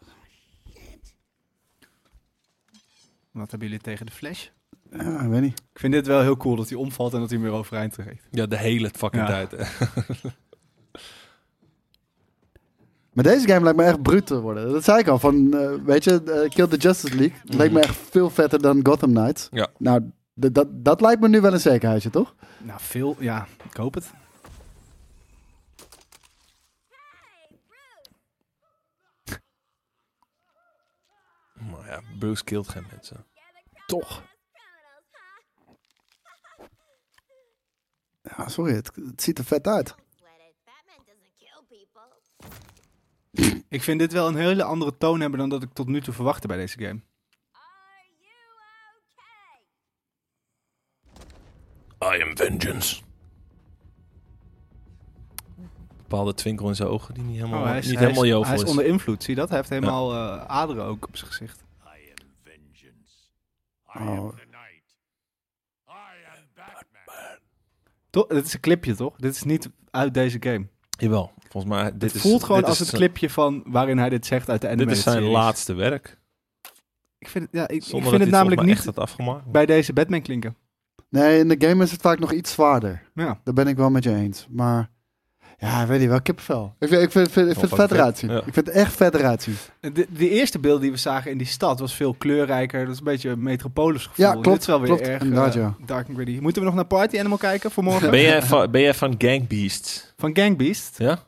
A: Wat hebben jullie tegen de Flash?
B: Ja, ik weet niet.
A: Ik vind dit wel heel cool dat hij omvalt en dat hij hem weer overeind trekt.
C: Ja, de hele fucking
A: Ja.
C: tijd. hè.
B: Maar deze game lijkt me echt bruut te worden. Dat zei ik al. Van, eh, weet je, eh, Kill the Justice League Het lijkt me echt veel vetter dan Gotham Knights.
C: Mhm. Ja.
B: Nou, d- dat- dat lijkt me nu wel een zekerheidje, toch?
A: Nou, veel. Ja, ik hoop het.
C: Maar ja, Bruce killt geen mensen.
A: Toch.
B: Ja, sorry, het, het ziet er vet uit.
D: Sweat it. Batman doesn't kill people.
A: Ik vind dit wel een hele andere toon hebben dan dat ik tot nu toe verwachtte bij deze game.
D: Are you okay?
C: I am vengeance. Bepaalde twinkel in zijn ogen die niet helemaal, Oh, niet helemaal
A: Oh, hij
C: jovel
A: is, hij is
C: is.
A: onder invloed, zie je dat? Hij heeft helemaal eh, aderen ook op zijn gezicht.
E: I am vengeance. I am
B: Oh.
E: the night. I am Batman.
A: Toch? Dit is een clipje, toch? Dit is niet uit deze game.
C: Jawel, volgens mij. Dit
A: Dit het
C: is,
A: voelt gewoon
C: dit
A: als
C: is
A: het
C: zijn-
A: clipje van waarin hij dit zegt uit de
C: Dit
A: animated
C: is zijn
A: series.
C: laatste werk.
A: Ik vind, het- ja, ik, ik
C: Zonder
A: vind het namelijk niet
C: echt had afgemaakt.
A: bij deze Batman klinken.
B: Nee, in de game is het vaak nog iets zwaarder.
A: Ja.
B: Daar ben ik wel met je eens. Maar ja, ik weet niet, wel kipvel. Ik, vind- ik vind, ik vind, ik vind het
C: fucking
B: vet eruit zien.
C: vet, ja.
B: Ik vind het echt vet eruit zien.
A: De, de eerste beelden die we zagen in die stad was veel kleurrijker. Dat is een beetje een metropolis gevoel.
B: Ja, klopt,
A: Dit is wel weer
B: klopt,
A: erg
B: inderdaad,
A: eh,
B: ja.
A: dark and gritty. Moeten we nog naar Party Animal kijken voor morgen?
C: Ben jij, van, ben jij van Gangbeasts?
A: Van Gangbeast?
C: Ja?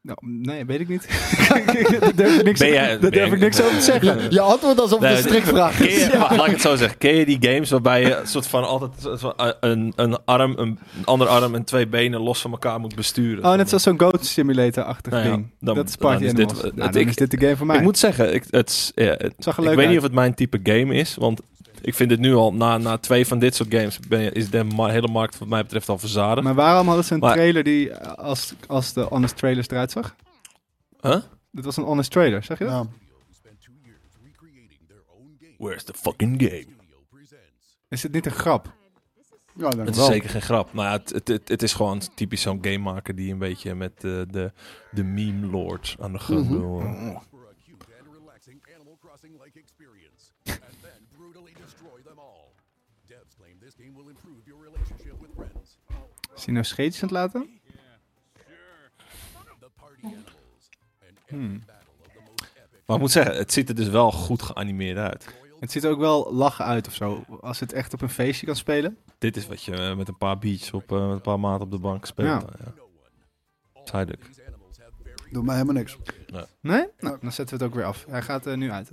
A: Nou, nee, weet ik niet. Daar durf ik niks,
C: Ben jij-
A: daar durf
C: ben-
A: ik niks over te zeggen.
B: Je antwoordt alsof het
C: Nee,
B: een strikvraag
C: Ken
B: is.
C: je, Laat ik het zo zeggen. Ken je die games waarbij je een soort van altijd een soort van, eh, een, een arm, een, een andere arm en twee benen los van elkaar moet besturen?
A: Oh, net zoals zo'n Goat Simulator-achtig
C: Nou ja,
A: ding.
C: dan-
A: dat is Party
C: dan is dit-
A: Animals.
C: het-
A: nou,
C: het-
A: dan
C: ik-
A: is dit de game voor mij.
C: Ik moet zeggen, ik, het, is- ja, het-
A: Zag er
C: ik
A: leuk
C: weet niet
A: uit.
C: of het mijn type game is, want ik vind het nu al, na, na twee van dit soort games, ben, je- is de ma- hele markt wat mij betreft al verzadigd.
A: Maar waarom hadden ze een
C: Maar-
A: trailer die eh, als, als de Honest Trailers eruit zag?
C: Huh?
A: Dat was een Honest Trailer, zeg je dat?
B: Ja.
C: Where's the fucking game?
A: Is dit niet een grap?
B: Ja, dan
C: Het is
B: wel.
C: zeker geen grap, maar ja, het, het, het, het is gewoon typisch zo'n gamemaker die een beetje met eh, de, de meme lord aan de gang
B: Mhm.
C: wil. eh.
E: For a cute and relaxing Animal Crossing like experience. and then brutally destroy them all. Devs claim this game will improve your relationship with friends.
A: Is hij nou scheetjes aan het laten?
E: The party animals. An
A: Hmm.
E: epic battle of the most epic
C: Maar ik moet zeggen, het ziet er dus wel goed geanimeerd uit.
E: royal
A: Het ziet er ook wel lachen uit of zo. Als het echt op een feestje kan spelen.
C: Dit is wat je eh, met een paar beats op eh, met een paar maten op de bank speelt.
A: Ja.
C: Ja. Tijdelijk.
E: These animals have very
B: Doet mij helemaal niks.
A: Nee? Nou, dan zetten we het ook weer af. Hij gaat er nu uit.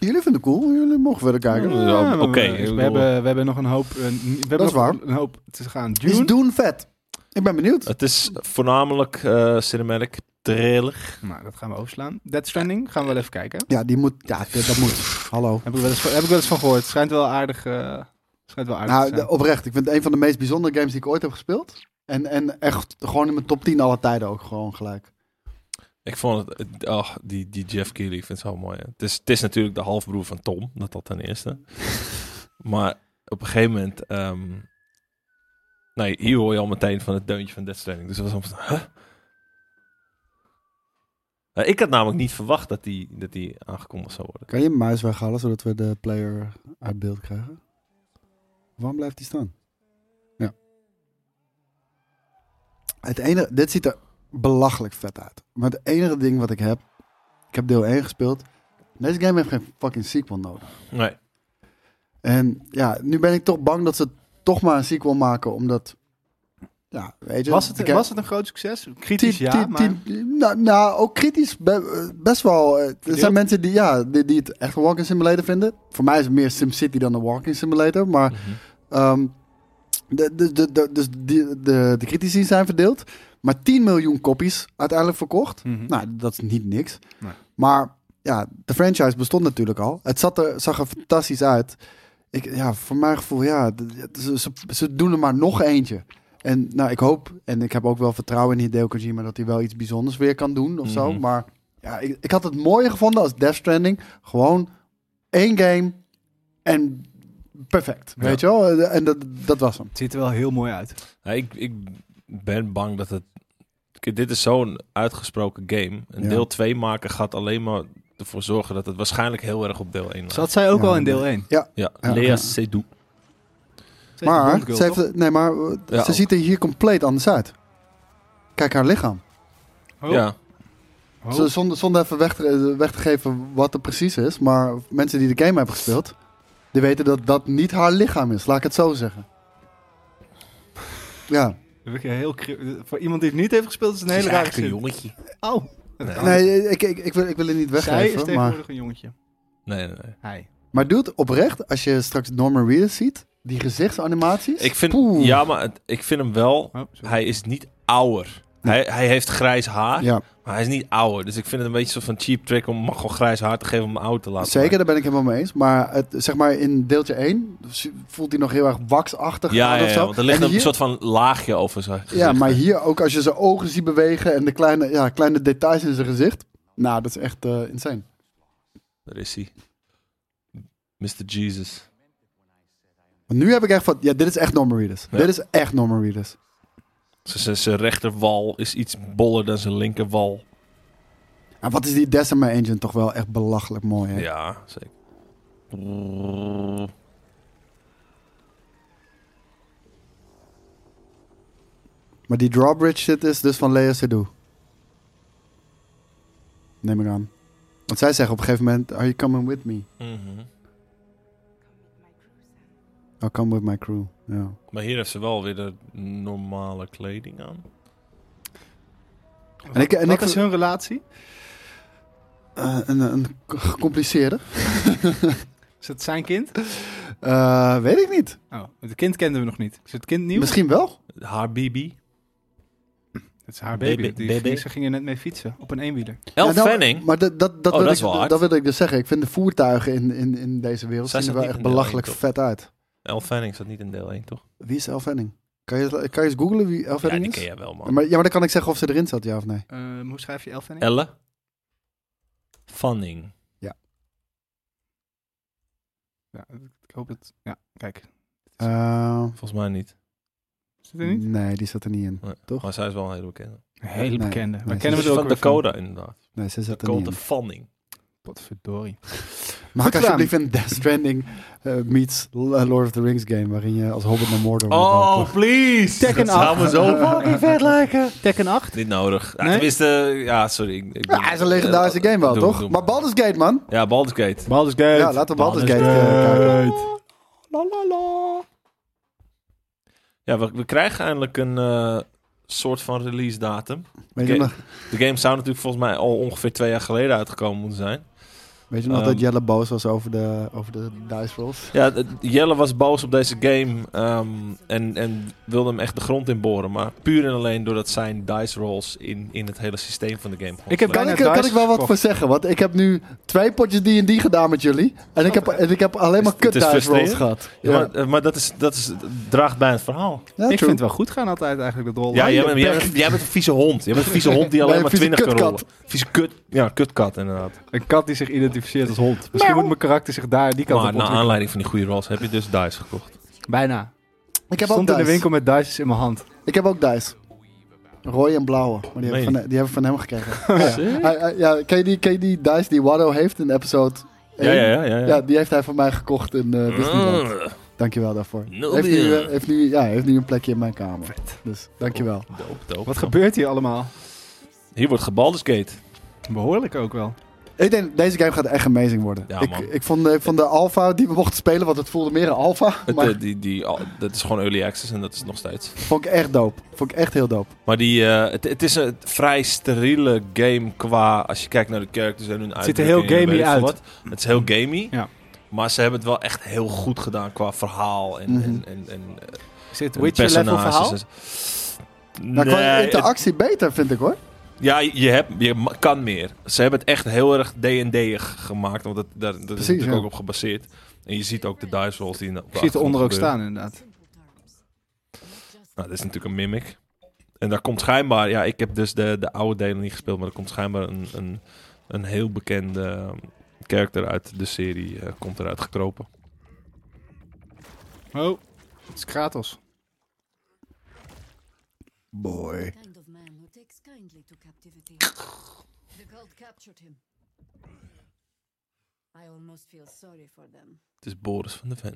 B: Jullie vinden het cool, jullie mogen verder kijken.
C: Ja,
A: Ja, maar
C: oké,
A: we-
C: ik
A: we,
C: bedoel-
A: hebben, we hebben nog een hoop, eh, n- we hebben
B: Dat
A: nog
B: is waar.
A: een hoop te gaan.
B: Is
A: Dune?
B: Doen vet? Ik ben benieuwd.
C: Het is voornamelijk eh, cinematic trailer.
A: Nou, dat gaan we overslaan. Dead Stranding gaan we wel even kijken.
B: Ja, die moet. Ja, dat, dat moet. Hallo.
A: Heb ik wel eens van, heb ik wel eens van gehoord. Schijnt wel aardig, eh, schijnt wel aardig te
B: Nou,
A: zijn.
B: de- oprecht. Ik vind het een van de meest bijzondere games die ik ooit heb gespeeld. En, en echt gewoon in mijn top 10 alle tijden ook gewoon gelijk.
C: Ik vond het, het- ah, die, die Jeff Keighley, ik vind het zo mooi. hè. Het is, het is natuurlijk de halfbroer van Tom, dat dat ten eerste. maar op een gegeven moment, ehm, nee, hier hoor je al meteen van het deuntje van Death Stranding. Dus dat was allemaal van, huh? Nou, Ik had namelijk niet verwacht dat die, dat die aangekondigd zou worden.
B: Kan je mijn muis weghalen zodat we de player uit beeld krijgen? Waarom blijft die staan? Ja. Het enige, dit ziet er belachelijk vet uit. Maar het enige ding wat ik heb, ik heb deel 1 gespeeld. Deze game heeft geen fucking sequel nodig.
C: Nee.
B: En ja, nu ben ik toch bang dat ze toch maar een sequel maken, omdat... Ja, weet je...
A: Was het,
B: ik heb-
A: was het een groot succes?
B: Tien-
A: Kritisch ja,
B: tien-
A: maar...
B: tien- nou, nou, ook kritisch be- best wel. eh, Er
A: Verdeeld.
B: zijn mensen die, ja, die, die het echt een walking simulator vinden. Voor mij is het meer SimCity dan een walking simulator.
C: Ah.
B: Maar ehm, de, de, de, de, dus die, de, de critici zijn verdeeld. Maar 10 miljoen kopies uiteindelijk verkocht.
A: Mhm.
C: Hm.
B: Nou, dat is niet niks.
A: Nee.
B: Maar ja, de franchise bestond natuurlijk al. Het zat er, zag er fantastisch uit. Ik, ja, voor mijn gevoel, ja, d- d- ze, ze, ze doen er maar nog eentje. En nou, ik hoop, en ik heb ook wel vertrouwen in Hideo Kojima... dat hij wel iets bijzonders weer kan doen of zo.
C: Mhm.
B: Maar ja, ik, ik had het mooier gevonden als Death Stranding. Gewoon één game en perfect,
A: Ja.
B: weet je wel? Eh, En dat, dat was hem.
A: Het ziet er wel heel mooi uit.
C: Ja, Nou, ik, ik ben bang dat het... Kijk, Dit is zo'n uitgesproken game. Een
B: Ja.
C: deel 2 maken gaat alleen maar ervoor zorgen dat het waarschijnlijk heel erg op deel 1 lijkt.
A: Zat zij ook
B: Ja,
A: al in deel 1.
C: Ja,
B: Ja.
C: Lea
B: Ja.
C: Seydoux.
B: Maar, ze, heeft, nee, maar eh,
C: Ja,
B: ze
C: ook.
B: ziet er hier compleet anders uit. Kijk haar lichaam.
A: Oh,
C: Ja,
B: Z- Zonder, zonder even weg te, weg te geven wat er precies is. Maar mensen die de game hebben gespeeld, die weten dat dat niet haar lichaam is. Laat ik het zo zeggen. Ja.
A: heel cri- voor iemand die het niet heeft gespeeld, is het een hele rare
C: een
A: zin.
C: jongetje.
A: Oh.
C: Nee.
B: Nee, ik, ik, ik, wil, ik wil het niet
A: Zij is
B: weggeven. Maar,
A: tegenwoordig een jongetje.
C: Nee, nee, nee.
A: Hij.
B: maar dude, oprecht, als je straks Norman Reedus ziet, die gezichtsanimaties.
C: Ik vind,
B: poeh.
C: ja, maar het- ik vind hem wel...
A: Oh, sorry.
C: Hij is niet ouder. Hij, hij heeft grijs haar,
B: Ja,
C: maar hij is niet ouder. Dus ik vind het een beetje zo van cheap trick om hem gewoon grijs haar te geven om hem oud te laten
B: zeker, daar ben ik helemaal mee eens. Maar het, zeg maar in deeltje 1 voelt hij nog heel erg waxachtig
C: worden. Ja,
B: aan
C: ja,
B: of
C: ja,
B: zo.
C: want er ligt
B: En
C: een
B: hier-
C: soort van laagje over zijn gezicht.
B: Ja, maar hier ook als je zijn ogen ziet bewegen en de kleine, ja, kleine details in zijn gezicht. Nou, dat is echt eh, insane.
C: Daar is hij. Mr. Jesus.
B: Want nu heb ik echt van, ja, dit is echt Norman Reedus.
C: Ja.
B: Dit is echt Norman Reedus.
C: Z- z- Zijn rechterwal is iets boller dan zijn linkerwal.
B: En wat is die Decima Engine toch wel echt belachelijk mooi, hè?
C: Ja, zeker.
B: Maar die drawbridge shit is dus van Lea Seydoux. Neem ik aan. Want zij zeggen op een gegeven moment, are you coming with me?
C: Mhm.
A: Mm-hmm.
B: I'll come with my crew. Ja.
C: Maar hier heeft ze wel weer de normale kleding aan.
B: En ik, en
A: Wat
B: ik
A: is hun relatie?
B: eh, een, een gecompliceerde?
A: Is het zijn kind?
B: Eh, weet ik niet.
A: Oh, het kind kenden we nog niet. Is het kind nieuw?
B: Misschien wel.
C: Haar BB.
A: Het is haar baby.
C: Baby-
A: Die,
C: baby.
A: Ze gingen net mee fietsen op een eenwieler.
C: El
B: Ja, nou,
C: Fanning.
B: Maar dat, dat, dat,
C: Oh,
B: wil ik,
C: dat is wel hard.
B: dat wil ik dus zeggen. Ik vind de voertuigen in, in, in deze wereld
C: Zij
B: zien er
C: zat
B: wel
C: niet
B: echt
C: in deel
B: belachelijk
C: één, toch?
B: vet uit.
C: El Fanning zat niet in deel 1, toch?
B: Wie is Elle Fanning? Kan je, kan je eens googlen wie Elle
C: Ja,
B: Fanning
C: die
B: is?
C: ken jij wel,
B: Ja,
C: man.
B: maar, ja, maar dan kan ik zeggen of ze erin zat, ja of nee.
A: Ehm, hoe schrijf je Elfenning?
C: Elle Fanning.
A: ja, ik hoop het. Ja, kijk.
B: Eh,
C: Volgens mij niet.
A: Zit er niet?
B: Nee, die zat er niet in.
C: Nee.
B: Toch?
C: Maar zij is wel een hele bekende.
A: Een hele
B: Nee,
A: bekende.
B: nee,
A: Waar
B: ze
A: kennen we het
C: Dus
A: ook weer
C: van
A: van?
C: Dakota, inderdaad.
B: Nee, ze zat er niet
C: Dakota
B: in.
C: Fanning.
A: Potverdorie.
B: Maak
A: gedaan.
B: alsjeblieft een Death Stranding eh, meets Lord of the Rings game, waarin je als hobbit naar Mordor moet lopen.
C: Oh, please!
A: Tekken
C: Dat zou me
A: 8.
C: zo fucking vet lijken.
A: Tekken 8?
C: Niet nodig. Ja,
A: Nee?
C: Tenminste, ja, sorry. Ik, ik
B: Ja, hij is een legendarische game wel,
C: Doe-
B: toch?
C: doe-
B: maar Baldur's Gate, man!
C: Ja, Baldur's Gate.
A: Baldur's Gate.
B: Ja, laten we Baldur's Gate
A: Gate.
B: eh, kijken.
C: La la la. Ja, we, we krijgen eindelijk een eh, soort van release datum.
B: Weet je,
C: Oké.
B: nog,
C: De game zou natuurlijk volgens mij al ongeveer twee jaar geleden uitgekomen moeten zijn.
B: weet je nog
C: Ehm.
B: dat Jelle boos was over de, over de dice rolls?
C: Ja, d- Jelle was boos op deze game ehm, en, en wilde hem echt de grond in boren. Maar puur en alleen doordat zijn dice rolls in, in het hele systeem van de game gewoon
A: Ik heb
C: slecht-
B: Kan
A: Bijna
B: ik, kan
A: dice
B: ik wel wat
A: verkocht.
B: voor zeggen? Want ik heb nu twee potjes D&D gedaan met jullie. En ik heb, en ik heb alleen maar
C: Is- het
B: kut
C: is
B: dice rolls
C: frustrerend.
B: gehad.
C: Ja, maar eh, maar dat, is, dat is, draagt bij het verhaal.
B: Ja,
A: Ik
B: true.
A: vind het wel goed gaan altijd eigenlijk, dat rol.
C: Ja,
A: Ah,
C: jij
A: je
C: bent, jij,
A: bek.
C: bent, jij bent een vieze hond. Jij bent een vieze hond die
B: Nee,
C: alleen
B: een
C: maar
B: vieze
C: 20 kan rollen.
B: kutkat.
C: Vieze kut. Ja, kutkat inderdaad.
A: Een kat die zich identificeert als hond. Misschien moet mijn karakter zich daar die kant
C: Maar
A: op
C: naar
A: ontwikkelen.
C: aanleiding van die goede rolls heb je dus dice gekocht.
A: Bijna.
B: Ik
A: Ik
B: heb ook
A: stond in
B: dice.
A: de winkel met dices in mijn hand.
B: Ik heb ook dice. Rode en blauwe. Maar die,
C: Meen
B: heb ik van, die heb ik van hem gekregen.
C: Sick.
B: Hij- hij- ja, ken, je die, ken je die dice die Watto heeft in episode
C: Ja,
B: 1?
C: ja, ja. ja, ja.
B: die heeft hij van mij gekocht in eh Disneyland.
C: Mm.
B: Dankjewel daarvoor.
C: Nul
B: heeft, nu,
C: bier.
B: eh, heeft, nu, ja, heeft nu een plekje in mijn kamer. Dus dankjewel.
C: Doop, doop.
A: Wat gebeurt hier allemaal?
C: Hier wordt gebalders gate.
A: Behoorlijk ook wel.
B: Ik denk, deze game gaat echt amazing worden.
C: Ja,
B: ik,
C: man.
B: ik vond, eh, van de alpha die we mochten spelen, want het voelde meer een alpha.
C: Het,
B: Maar
C: eh, die, die, al- dat is gewoon early access en dat is het nog steeds.
B: vond ik echt dope. Vond ik echt heel dope.
C: Maar die, eh, het, het is een vrij steriele game qua... Als je kijkt naar de characters en hun
A: ziet er
C: uitdrukkingen
A: heel
C: en weet
A: gamey
C: ik veel
A: uit.
C: Wat. Het is heel gamey.
A: Ja.
C: Maar ze hebben het wel echt heel goed gedaan qua verhaal en,
B: Mhm.
C: en, en, en, eh,
A: Zit
C: en
A: Witcher level
C: personages.
A: verhaal?
B: Nou,
C: Nee,
B: qua
C: het-
B: interactie beter, vind ik hoor.
C: Ja, je, hebt, je ma- kan meer. Ze hebben het echt heel erg D&D'ig gemaakt, want dat, daar, dat is
B: Precies,
C: natuurlijk
B: ja.
C: ook op gebaseerd. En je ziet ook de dice rolls die... in de- op de
A: Ik zie het eronder ook
C: achtergrond gebeuren.
A: staan inderdaad.
C: Nou, dit is natuurlijk een mimic. En daar komt schijnbaar... Ja, ik heb dus de, de oude delen niet gespeeld, maar er komt schijnbaar een, een, een heel bekende ehm, character uit de serie eh, komt eruit gekropen.
A: Oh, het is Kratos.
B: Boy.
F: kind of man who takes kindly to captivity. The cult captured him. I almost feel sorry for them.
C: Het is Boris van de Ven.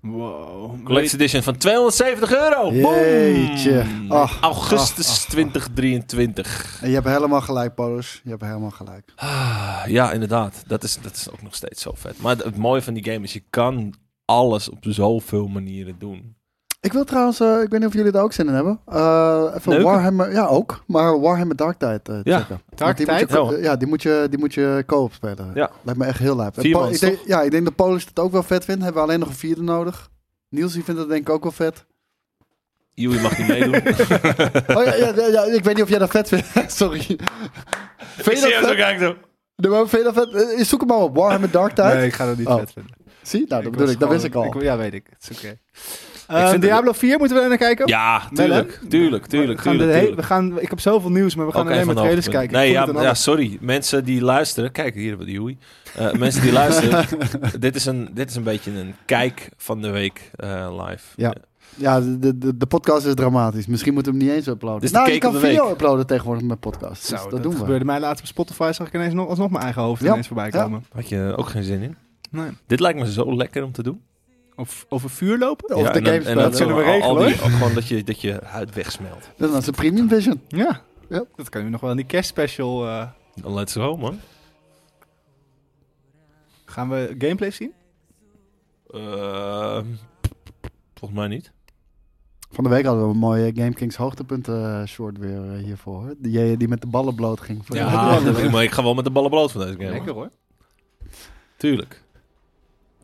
A: Wow.
C: Collectie edition van 270 euro! Boom!
B: Jeetje. Ah,
C: Augustus
B: ah, ah, ah.
C: 2023.
B: En je hebt helemaal gelijk, Paulus. Je hebt helemaal gelijk.
C: Ah, ja, inderdaad. Dat is, dat is ook nog steeds zo vet. Maar het, het mooie van die game is, je kan alles op zoveel manieren doen.
B: Ik wil trouwens, eh, ik weet niet of jullie daar ook zin in hebben. Eh, even
C: Neuken?
B: Warhammer, ja ook, maar Warhammer Dark Tide eh,
C: Ja,
B: checken. Want
A: Dark
B: die moet je
A: Tide?
B: ko- ja, die moet je, die moet je co-op spelen.
C: Ja.
B: Lijkt me echt heel lijp. En
C: Vier
B: Paul-
C: mans,
B: ik denk, Ja, ik denk dat Polis het ook wel vet vindt. Hebben we alleen nog een vierde nodig. Niels, die vindt dat denk ik ook wel vet.
C: Joey mag niet meedoen.
B: Oh ja, ja, ja, ja, ik weet niet of jij dat vet vindt. Sorry. Vind je
C: Ik
B: dat
C: zie jou zo
B: vet?
C: kijken, zo.
B: Nee, maar Vind je dat vet? Eh, Zoek hem maar op, Warhammer Dark Tide.
A: Nee, ik ga dat niet
B: Oh.
A: vet vinden.
B: Zie, nou, dat
A: was
B: bedoel ik, dat wist ik
A: gewoon-
B: al.
A: ja, weet ik. Het is oké.
C: vind
A: Ehm,
C: dat-
A: Diablo 4 moeten we daar naar kijken?
C: Ja,
A: Wel, hè?
C: tuurlijk. Tuurlijk, tuurlijk,
A: we gaan
C: tuurlijk.
A: de hele-
C: tuurlijk.
A: we gaan, ik heb zoveel nieuws, maar we gaan
C: Ook
A: alleen
C: een
A: maar
C: van de
A: trailers
C: hoogtepunten.
A: kijken. Ik
C: Nee,
A: vond
C: ja,
A: het een
C: ja,
A: ander-
C: sorry. Mensen die luisteren. Kijk, hier hebben we die Joey. Eh, mensen die luisteren. dit, is een, dit is een beetje een kijk van de week eh, live.
B: Ja. Ja, de, de, de podcast is dramatisch. Misschien moeten we hem niet eens uploaden.
C: Dit is de
B: nou, je
C: cake
B: kan
C: of the
B: video
C: week.
B: uploaden tegenwoordig met podcasts.
A: Zo,
B: Dus dat,
A: dat,
B: doen we.
A: gebeurde mij laatst op Spotify. Zag ik ineens nog, alsnog mijn eigen hoofd
B: Ja,
A: ineens voorbij
B: ja.
A: komen.
C: Had je er ook geen zin in?
A: Nee.
C: Dit lijkt me zo lekker om te doen.
A: Of over vuur lopen?
B: Of de
C: en dan-
B: games
C: en
B: spelen.
C: dan
A: Dat zullen we
C: al- al
A: regelen,
C: die- Gewoon dat je, dat je huid wegsmelt.
B: Dat is een premium vision.
A: Ja.
B: Ja.
A: Dat kunnen we nog wel in die kerstspecial. eh,
C: Let's go, man.
A: gaan we gameplay zien?
C: Ehm, volgens mij niet.
B: Van de week hadden we een mooie Game Kings hoogtepunten eh, short weer eh, hiervoor. hoor. Die, die met de ballen bloot ging. Voor de-
C: Ja, maar ik ga wel met de ballen bloot van deze game. hoor.
A: Lekker hoor.
C: Tuurlijk.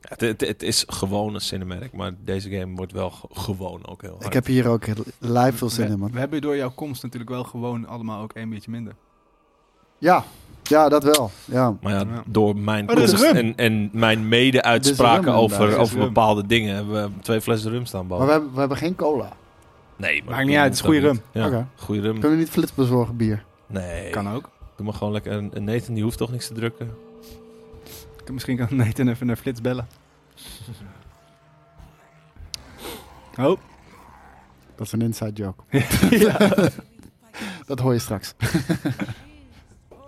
C: Ja, Het, het, het is gewoon een cinematic, maar deze game wordt wel ge- gewoon ook heel hard.
B: Ik heb hier ook live veel zin
A: we,
B: in, man.
A: we hebben door jouw komst natuurlijk wel gewoon allemaal ook een beetje minder.
B: Ja, ja dat wel. Ja.
C: Maar ja,
A: Ja.
C: door mijn
A: Oh, dit is
C: komst
A: rum.
C: en, en mijn
B: Dit is
C: mede-uitspraken
B: rum, inderdaad.
C: over,
A: Dit is
C: over
A: rum.
C: bepaalde dingen hebben we twee flessen rum staan
B: Maar
C: boven.
B: we hebben, we hebben geen cola.
C: Nee, maar
A: Maakt niet uit, het is goede rum.
C: Ja,
B: Oké.
C: goede rum.
B: Hm. Kunnen we niet flits bezorgen bier?
C: Nee,
A: Kan ook.
C: doe maar gewoon lekker. En en Nathan, die hoeft toch niks te drukken?
A: Misschien kan Nathan even naar Flits bellen. Oh.
B: Dat is een inside joke.
A: Ja.
B: Dat hoor je straks.
C: Oh,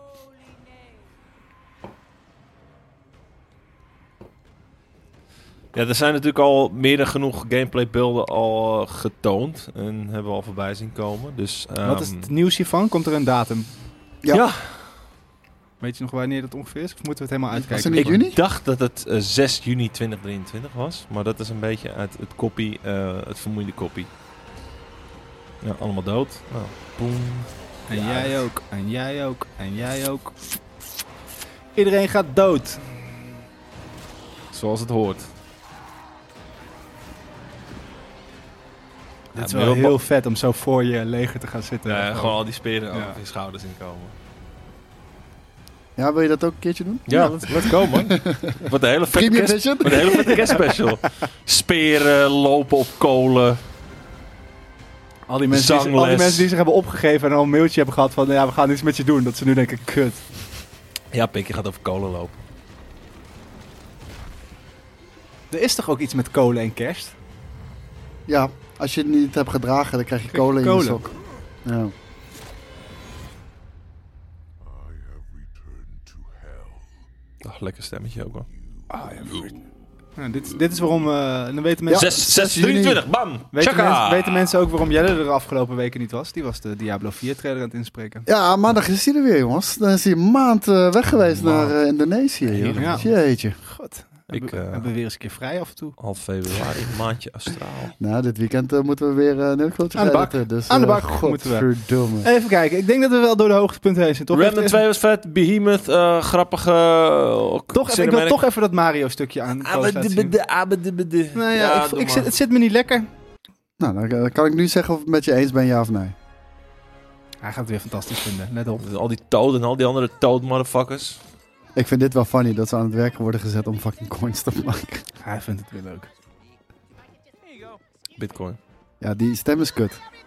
C: Ja, er zijn natuurlijk al meer dan genoeg gameplaybeelden al eh, getoond. En hebben we al voorbij zien komen. Dus,
A: Wat is
C: ehm,
A: het nieuws hiervan? Komt er een datum?
B: Ja.
C: Ja.
A: Weet je nog wanneer dat ongeveer is? Of moeten we het helemaal
B: Was
A: uitkijken?
B: het niet
A: Ik-
B: juni?
C: Ik dacht dat het eh, 6 juni 2023 was, maar dat is een beetje uit het koppie, eh, het vermoeiende koppie. Ja, allemaal dood. Nou, boem.
A: En jij ook. En jij ook. En jij ook. Iedereen gaat dood.
C: Zoals het hoort.
A: Dit is
C: maar
A: wel
C: heel
A: heel vet om zo voor je leger te gaan zitten.
C: Ja, gewoon al die speren
A: Ja.
C: over je schouders inkomen.
B: Ja, wil je dat ook een keertje doen?
C: Ja, let's, let's go man. Wat een hele vette
B: Premium
C: kerst,
B: vision?
C: wat een hele vette kerstspecial. Speren, lopen op kolen.
A: Al die, mensen die, zich- al die
C: Zangles.
A: mensen die zich hebben opgegeven en al een mailtje hebben gehad van ja, we gaan iets met je doen. Dat ze nu denken, kut.
C: Ja, Pik, je gaat over kolen lopen.
A: Er is toch ook iets met kolen en kerst?
B: Ja, als je het niet hebt gedragen, dan krijg je
A: Krijg je
B: cola in je
A: kolen.
B: sok. Ja.
E: I have returned to hell.
C: Oh, lekker stemmetje ook wel.
E: You
A: Nou, dit, dit is waarom... eh, en dan weten mensen...
C: 6, 6, 23, bam!
A: Weten,
C: Tjaka!
A: mensen- weten mensen ook waarom Jelle er de afgelopen weken niet was? Die was de Diablo 4 trailer aan het inspreken.
B: Ja, maandag is hij er weer, jongens. Dan is hij een maand eh, weg geweest naar eh, Indonesië. joh.
A: Ja.
B: Jeetje.
A: God.
C: Ik,
A: Hebben-
C: eh,
A: hebben we weer eens een keer vrij af en toe.
C: Half februari, een maandje astraal.
B: Nou, dit weekend eh, moeten we weer eh Nerdculture
A: Aan de bak.
B: editen, Dus,
A: Aan de
B: eh,
A: bak moeten we.
B: godverdomme.
A: Even kijken. Ik denk dat we wel door de hoogtepunten heen zijn. Toch
C: Remnant
A: Even-
C: 2 was vet, Behemoth, eh, grappige... eh,
A: Toch even, ik wil
C: cinematic-
A: toch even dat Mario stukje aan. Koos laten zien.
C: Abedibede, abedibede.
A: Nou ja,
C: Ja,
A: ik,
C: doe
A: ik
C: maar.
A: zit, het zit me niet lekker.
B: Nou, dan eh, kan ik nu zeggen of ik het met je eens ben, ja of nee.
A: Hij gaat het weer fantastisch vinden. Let op.
C: Al die toad en al die andere toad motherfuckers.
B: Ik vind dit wel funny dat ze aan het werk worden gezet om fucking coins te maken.
A: Hij vindt het weer leuk.
C: Bitcoin.
B: Ja, die stem is kut.
D: Everybody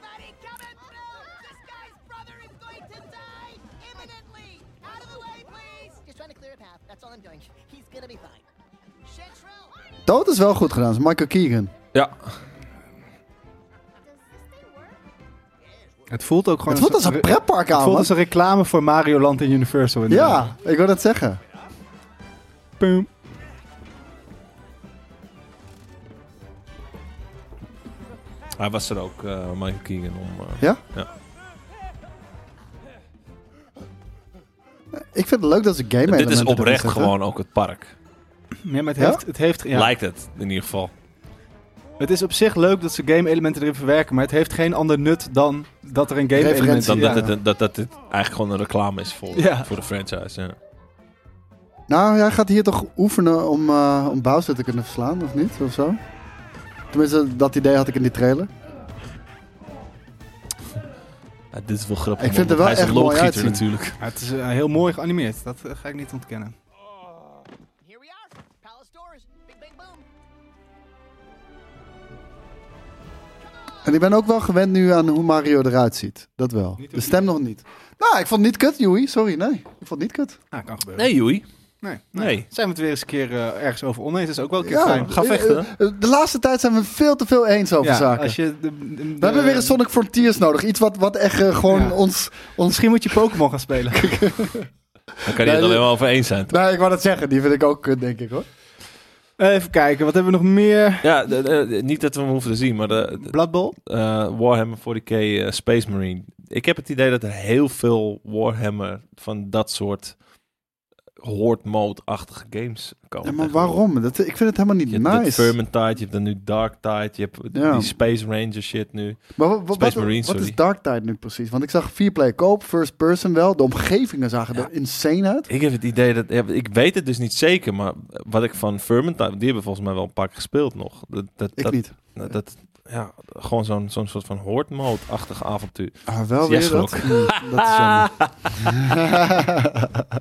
D: come and through! This guy's brother is going to die imminently! Out of the way, please!
G: Just trying to clear a path. That's all I'm doing. He's gonna be fine. Chantrell!
B: Dood is wel goed gedaan. Dat is Michael Keegan.
C: Ja,
D: Does this thing work?
A: Het voelt ook gewoon.
B: Het voelt als een pretpark
A: Het
B: aan,
A: voelt
B: man.
A: als een reclame voor Mario Land en Universal. inderdaad.
B: Ja, ik wil dat zeggen.
A: Boom.
C: hij was er ook, eh, Michael Keegan, om... eh,
B: Ja?
C: Ja.
B: Ik vind het leuk dat ze game
C: Dit is
B: elementen erin
C: oprecht
B: zetten.
C: gewoon ook het park.
A: Ja, maar het
B: Ja?
A: heeft. Het, heeft ja.
C: Lijkt het, in ieder geval.
A: het is op zich leuk dat ze game-elementen erin verwerken. Maar het heeft geen ander nut dan dat er een game-element
B: Referentie.
A: Ja.
C: Dan dat, het, dat, dat dit eigenlijk gewoon een reclame is voor,
A: Ja.
C: voor de franchise. Ja.
B: Nou, jij gaat hier toch oefenen om, eh om Bowser te kunnen verslaan, of niet? Of zo? Tenminste, dat idee had ik in die trailer.
C: Ja, dit is wel grappig.
B: Ik vind het
C: want
B: er wel
C: hij is
B: echt
C: een
B: mooi
C: loodgieter
B: uitzien.
C: natuurlijk.
A: Ja, het is eh, heel mooi geanimeerd. Dat eh, ga ik niet ontkennen.
G: Here we are! Palace doors! Big bang boom!
B: En ik ben ook wel gewend nu aan hoe Mario eruit ziet. Dat wel. De stem nog niet. Nou, ik vond het niet kut, Joey. Sorry, nee. Ik vond het niet kut.
A: Ah, kan gebeuren.
C: Nee, Joey.
A: Nee.
C: Nee.
A: Zijn we het weer eens een keer eh, ergens over oneens? Dat is ook wel een keer
B: Ja,
A: fijn.
C: ga vechten.
B: eh, eh, De laatste tijd zijn we veel te veel eens over
A: Ja,
B: zaken.
A: als je de- de-
B: We
A: de-
B: hebben weer een Sonic Frontiers nodig. Iets wat, wat echt eh, gewoon
A: Ja.
B: ons, ons...
A: Misschien moet je Pokémon gaan spelen.
C: Dan kan je het
B: Nee,
C: alleen maar over eens zijn.
B: Nee, ik wou dat zeggen. Die vind ik ook kut, denk ik, hoor.
A: Even kijken, wat hebben we nog meer?
C: Ja, de- de- niet dat we hem hoeven te zien, maar de, de-
A: Blood Bowl?
C: eh, Warhammer 40k eh, Space Marine. Ik heb het idee dat er heel veel Warhammer van dat soort horde mode-achtige games komen.
B: Ja, maar
C: tegenwoordig.
B: waarom? Dat, eh, ik vind het helemaal niet
C: Je hebt de
B: nice.
C: Vermintide, je hebt dan nu Dark Tide, je hebt
B: Ja.
C: die Space Ranger shit nu.
B: Maar wa- wa-
C: Space
B: wat,
C: Marine,
B: wat
C: sorry.
B: is Dark Tide nu precies? Want ik zag vier play koop, first person wel. De omgevingen zagen er insane uit.
C: Ik heb het idee dat... ja, ik weet het dus niet zeker, maar wat ik van Vermintide... want Die hebben volgens mij wel een paar keer gespeeld nog. Dat, dat,
B: Ik
C: dat,
B: niet.
C: dat- dat- ja, gewoon zo'n zo'n soort van horde mode-achtig avontuur.
B: Ah, wel
C: Jij
B: weer dat.
C: schrok.
B: Mm, dat is jammer.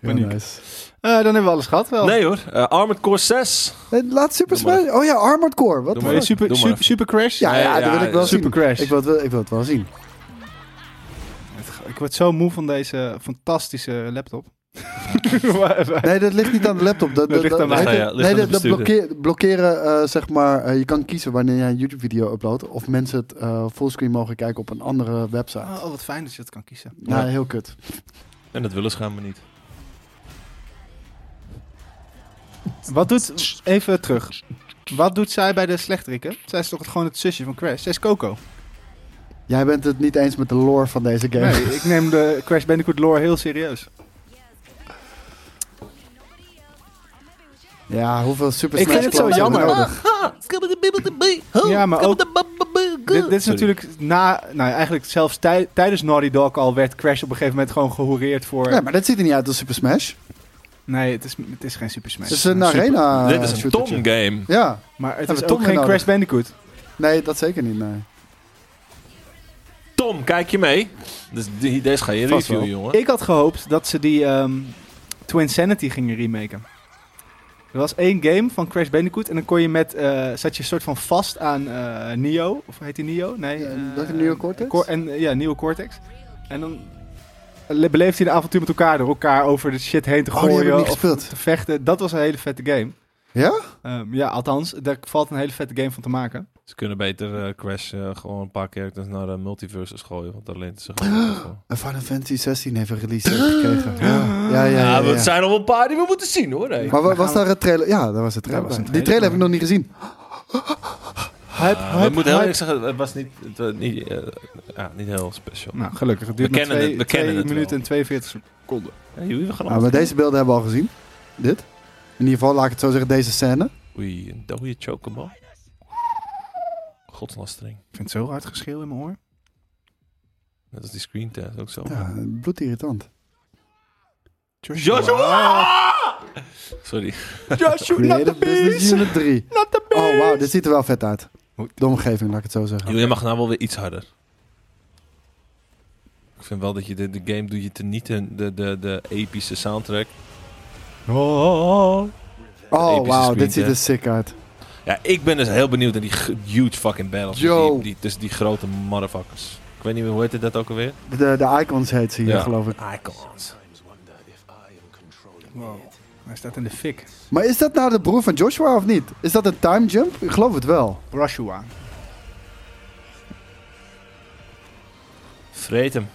B: Heel
A: Paniek.
B: nice.
A: Eh, dan hebben we alles gehad wel.
C: Nee hoor, eh, Armored Core 6.
B: Hey, laat Super
C: Doe maar.
B: Smash... Oh ja, Armored Core. Wat
C: Doe
B: de
C: maar.
B: fuck?
A: Eh, super,
C: Doe maar
A: super,
C: even.
A: super Crash?
B: Ja, ja,
C: Ja,
B: dat
C: ja,
B: wil ik wel
A: Super
B: zien.
A: Crash.
B: Ik wil, het wel, ik wil het wel zien.
A: Ik word zo moe van deze fantastische laptop. Waar even-
B: Nee, dat ligt niet aan de laptop. Dat,
A: ligt aan mij.
B: heet
C: Ja, ja,
B: het-
C: ligt
B: Nee,
C: aan de
B: dat, dat
C: bestuurder.
B: blokkeer- blokkeren, eh, zeg maar... eh, je kan kiezen wanneer jij een YouTube-video uploadt... of mensen het eh, fullscreen mogen kijken op een andere website.
A: oh, wat fijn dat je dat kan kiezen.
B: Nou, heel kut.
C: En dat willen ze gaan maar niet.
A: Wat doet... Even terug. Wat doet zij bij de slechterikken? Zij is toch het- gewoon het zusje van Crash? Zij is Coco.
B: Jij bent het niet eens met de lore van deze game.
A: Nee, ik neem de Crash Bandicoot lore heel serieus.
B: Ja, hoeveel Super
A: Ik
B: Smash
A: vind het zo
B: Bros. hebben we
A: jammer. Ah.
B: nodig?
A: Ja, maar ook... Dit, dit is natuurlijk na... Nou, eigenlijk zelfs tij- tijdens Naughty Dog al werd Crash op een gegeven moment gewoon gehoereerd voor...
B: Nee, maar dat ziet er niet uit als Super Smash.
A: Nee, het is, het is geen Super Smash.
B: Het is een
A: Super-
B: arena
C: Dit is een
B: Ah, shootertje.
C: Tom-game.
B: Ja,
A: Maar het
B: Hebben
A: is
B: we
A: ook
B: Tom
A: geen
B: nodig?
A: Crash Bandicoot.
B: nee, dat zeker niet. Nee.
C: Tom, kijk je mee? Dus die, deze ga je
A: Vast
C: reviewen,
A: wel.
C: jongen.
A: Ik had gehoopt dat ze die ehm, Twin Sanity gingen remaken. Er was één game van Crash Bandicoot en dan kon je met, eh, zat je een soort van vast aan eh Nio, of heet die Nio? Nee.
B: Ja,
A: eh,
B: dat is een nieuwe Cortex?
A: Cor- en, eh, ja, nieuwe Cortex. En dan le- beleefde je een avontuur met elkaar door elkaar over de shit heen te
B: Oh, die heb ik
A: gooien
B: niet
A: of
B: gespeeld.
A: te vechten. Dat was een hele vette game.
B: Ja?
A: Ehm, ja, althans, daar valt een hele vette game van te maken.
C: Ze kunnen beter eh, Crash eh, gewoon een paar characters naar de multiverses gooien. Want daar leent ze gewoon goed voor.
B: En Eh, Final Fantasy 16 heeft een release date gekregen. Ja, ja, ja. ja,
C: Ja, maar
B: ja.
C: het zijn nog wel een paar die we moeten zien hoor. hé.
B: Maar wa- was daar een trailer? Ja, daar was een trailer.
A: Daar was
B: bij.
A: een
B: Die trailer heb ik nog niet gezien. Hype,
C: Ah,
B: hype,
C: ik moet heel
B: hype.
C: eerlijk zeggen, het was niet, het was niet, eh, ja, niet heel special.
A: Nou, gelukkig. Het duurt
C: We
A: nog
C: kennen
A: twee,
C: het, we kennen
A: twee
C: het
A: minuten
C: wel.
A: en 42 seconden.
C: Ja, jullie, we gaan
B: Nou, maar deze beelden hebben we al gezien. Dit. In ieder geval, laat ik het zo zeggen, deze scène.
C: Oei, een dode chocobal. Godslastering.
A: Ik vind het zo hard geschreeuw in mijn oor.
C: Net als die screen test ook zo.
B: Ja, bloedirritant.
C: Sorry.
B: Creative Business Unit 3. Oh, wauw, dit ziet er wel vet uit. De omgeving, laat ik het zo zeggen.
C: Jullie mag nou wel weer iets harder. Ik vind wel dat je de, de game doe je teniet en de, de, de epische soundtrack.
B: Oh,
C: epische
B: wauw,
C: screen
B: dit ziet er
C: test.
B: sick uit.
C: Ja, ik ben dus heel benieuwd naar die g- huge fucking battles.
B: Yo.
C: Die, die, tussen die grote motherfuckers. Ik weet niet meer, hoe heette dat ook alweer?
B: De, de icons heet ze hier,
C: Ja.
B: geloof ik.
C: Icons.
A: Wow. Hij staat in de fik.
B: Maar is dat nou de broer van Joshua of niet? Is dat een time jump? Ik geloof het wel.
A: Joshua.
C: Vreet hem.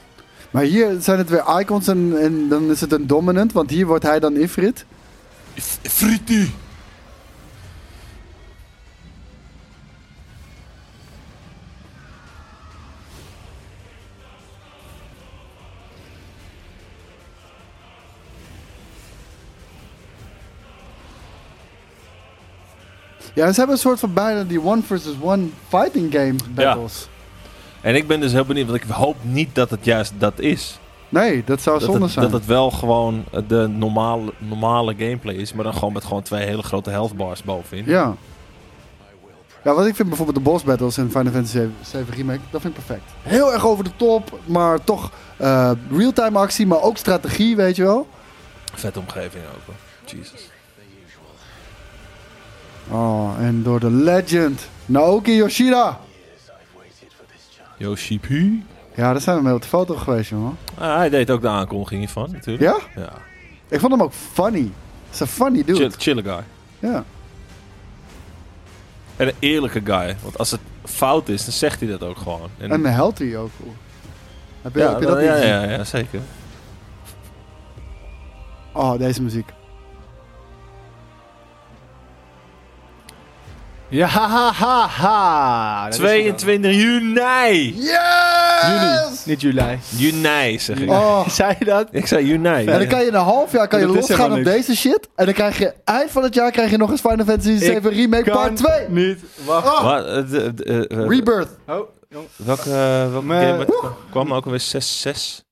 B: Maar hier zijn het weer icons en, en dan is het een dominant, want hier wordt hij dan Ifrit.
C: Friti!
B: Ja, ze hebben een soort van bijna die one versus one fighting game battles.
C: En ik ben dus heel benieuwd, want ik hoop niet dat het juist dat is.
B: Nee, dat zou
C: Dat
B: zonde
C: het,
B: zijn.
C: dat het wel gewoon eh, de normale, normale gameplay is, maar dan gewoon met gewoon twee hele grote health bars bovenin.
B: Ja. Ja, wat ik vind bijvoorbeeld de boss battles in Final Fantasy 7 Remake, dat vind ik perfect. Heel erg over de top, maar toch eh, real-time actie, maar ook strategie, weet je wel.
C: Vette omgeving ook. hoor. Jesus.
B: Oh, en door de legend, Naoki Yoshida.
C: Yoshipu.
B: Ja, daar zijn we mee op de foto geweest, jongen.
C: Ah, hij deed ook de aankondiging hiervan, natuurlijk.
B: Ja?
C: Ja.
B: Ik vond hem ook funny. Het is een funny dude.
C: Chill, chille guy.
B: Ja.
C: En een eerlijke guy. Want als het fout is, dan zegt hij dat ook gewoon. En,
B: En healthy ook. Heb je,
C: ja,
B: heb je dat niet
C: ja,
B: gezien?
C: ja, ja, zeker.
B: Oh, deze muziek.
A: Ja, ha, ha, ha, ha. Dat is hem dan.
C: 22 juni!
B: Yes!
A: Niet juli.
C: Juni, zeg ik.
B: Oh.
A: Zei je dat?
C: Ik zei juni.
B: En dan kan je in een half jaar kan je
A: Dat is
B: losgaan op
A: helemaal niks.
B: deze shit. En dan krijg je eind van het jaar krijg je nog eens Final Fantasy 7 Remake
A: kan
B: Part 2.
A: Niet. Wacht.
B: Oh,
C: Wat, eh, de- de- eh, eh,
B: Rebirth.
A: Oh, jong.
C: Welke, eh, welke
A: Maar-
C: game werd- kwam nou ook alweer 6-6?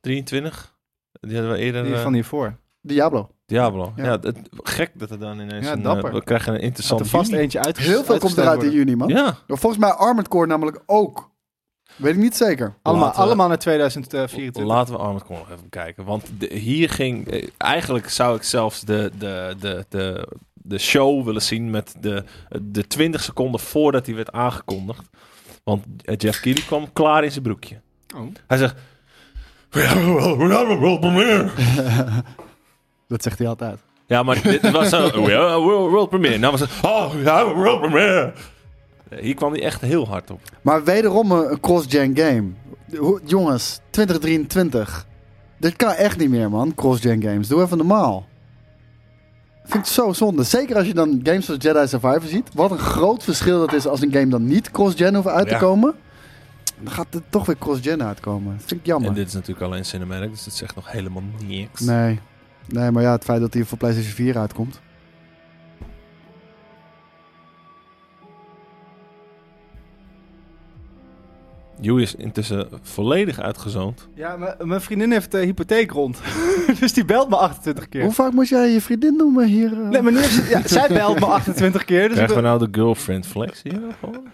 C: 23? Die hadden we eerder...
A: Die
C: eh,
A: van hiervoor.
B: Diablo.
C: Diablo.
B: Ja.
C: Ja, het, gek dat er dan ineens
A: Ja,
C: een... eh,
A: dapper.
C: we krijgen een
A: Had
C: interessant
A: er vast
C: juni.
A: eentje uit.
B: Heel veel komt eruit in juni, man.
C: Ja.
B: Volgens mij Armored Core namelijk ook. Weet ik niet zeker.
A: Allemaal,
C: Laten we-
A: allemaal naar 2024.
C: Laten we Armored Core nog even kijken. Want de- hier ging... eh, Eigenlijk zou ik zelfs de, de, de, de, de show willen zien met de, de 20 seconden voordat hij werd aangekondigd. Want eh, Jeff Keighley kwam klaar in zijn broekje.
A: Oh.
C: Hij zegt... We hebben wel, we hebben wel meer.
B: Dat zegt hij altijd.
C: Ja, maar dit was zo... We have a world, world premiere. Nou was het... Oh, we have a world premiere. Eh, Hier kwam hij echt heel hard op.
B: Maar wederom een een cross-gen game. Hoe- Jongens, 2023. Dit kan echt niet meer, man. Cross-gen games. Doe even normaal. Vind ik zo zonde. Zeker als je dan games als Jedi Survivor ziet. Wat een groot verschil dat is als een game dan niet cross-gen hoeft uit
C: Ja.
B: te komen. Dan gaat het toch weer cross-gen uitkomen. Vind ik jammer.
C: En dit is natuurlijk alleen cinematic, dus het zegt nog helemaal niks.
B: Nee. Nee, maar ja, het feit dat hij voor PlayStation 4 uitkomt.
C: Joey is intussen volledig uitgezoond.
A: Ja, m- mijn vriendin heeft de hypotheek rond. dus die belt me 28 keer.
B: Hoe vaak moest jij je vriendin noemen hier? eh?
A: Nee, maar nu heeft ze- ja, zij belt me 28 keer. Dus ik
C: Krijgen we
A: ben-
C: nou de girlfriend flex hier? gewoon?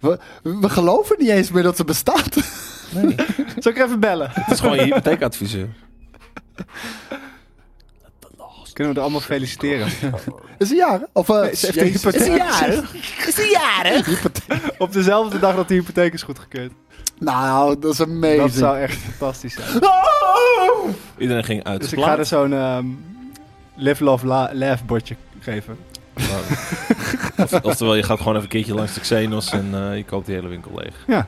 B: we, we geloven niet eens meer dat ze bestaat.
C: Nee.
A: zal ik er even bellen?
C: het is gewoon je hypotheekadviseur.
A: Kunnen we er allemaal feliciteren?
B: Is ze jaren? Of eh,
A: Nee, ze heeft een
B: jezus.
A: hypotheek.
G: Is hij jarig?
A: Op dezelfde dag dat de hypotheek is goedgekeurd.
B: Nou, dat is amazing. Oh!
A: Dat zou echt fantastisch zijn.
C: Iedereen ging uit
A: Dus
C: zijn
A: ik ga er
C: plaat.
A: zo'n ehm, live, love, la- laugh bordje geven.
C: Of- Oftewel, je gaat gewoon even een keertje langs de Xenos en eh, je koopt die hele winkel leeg.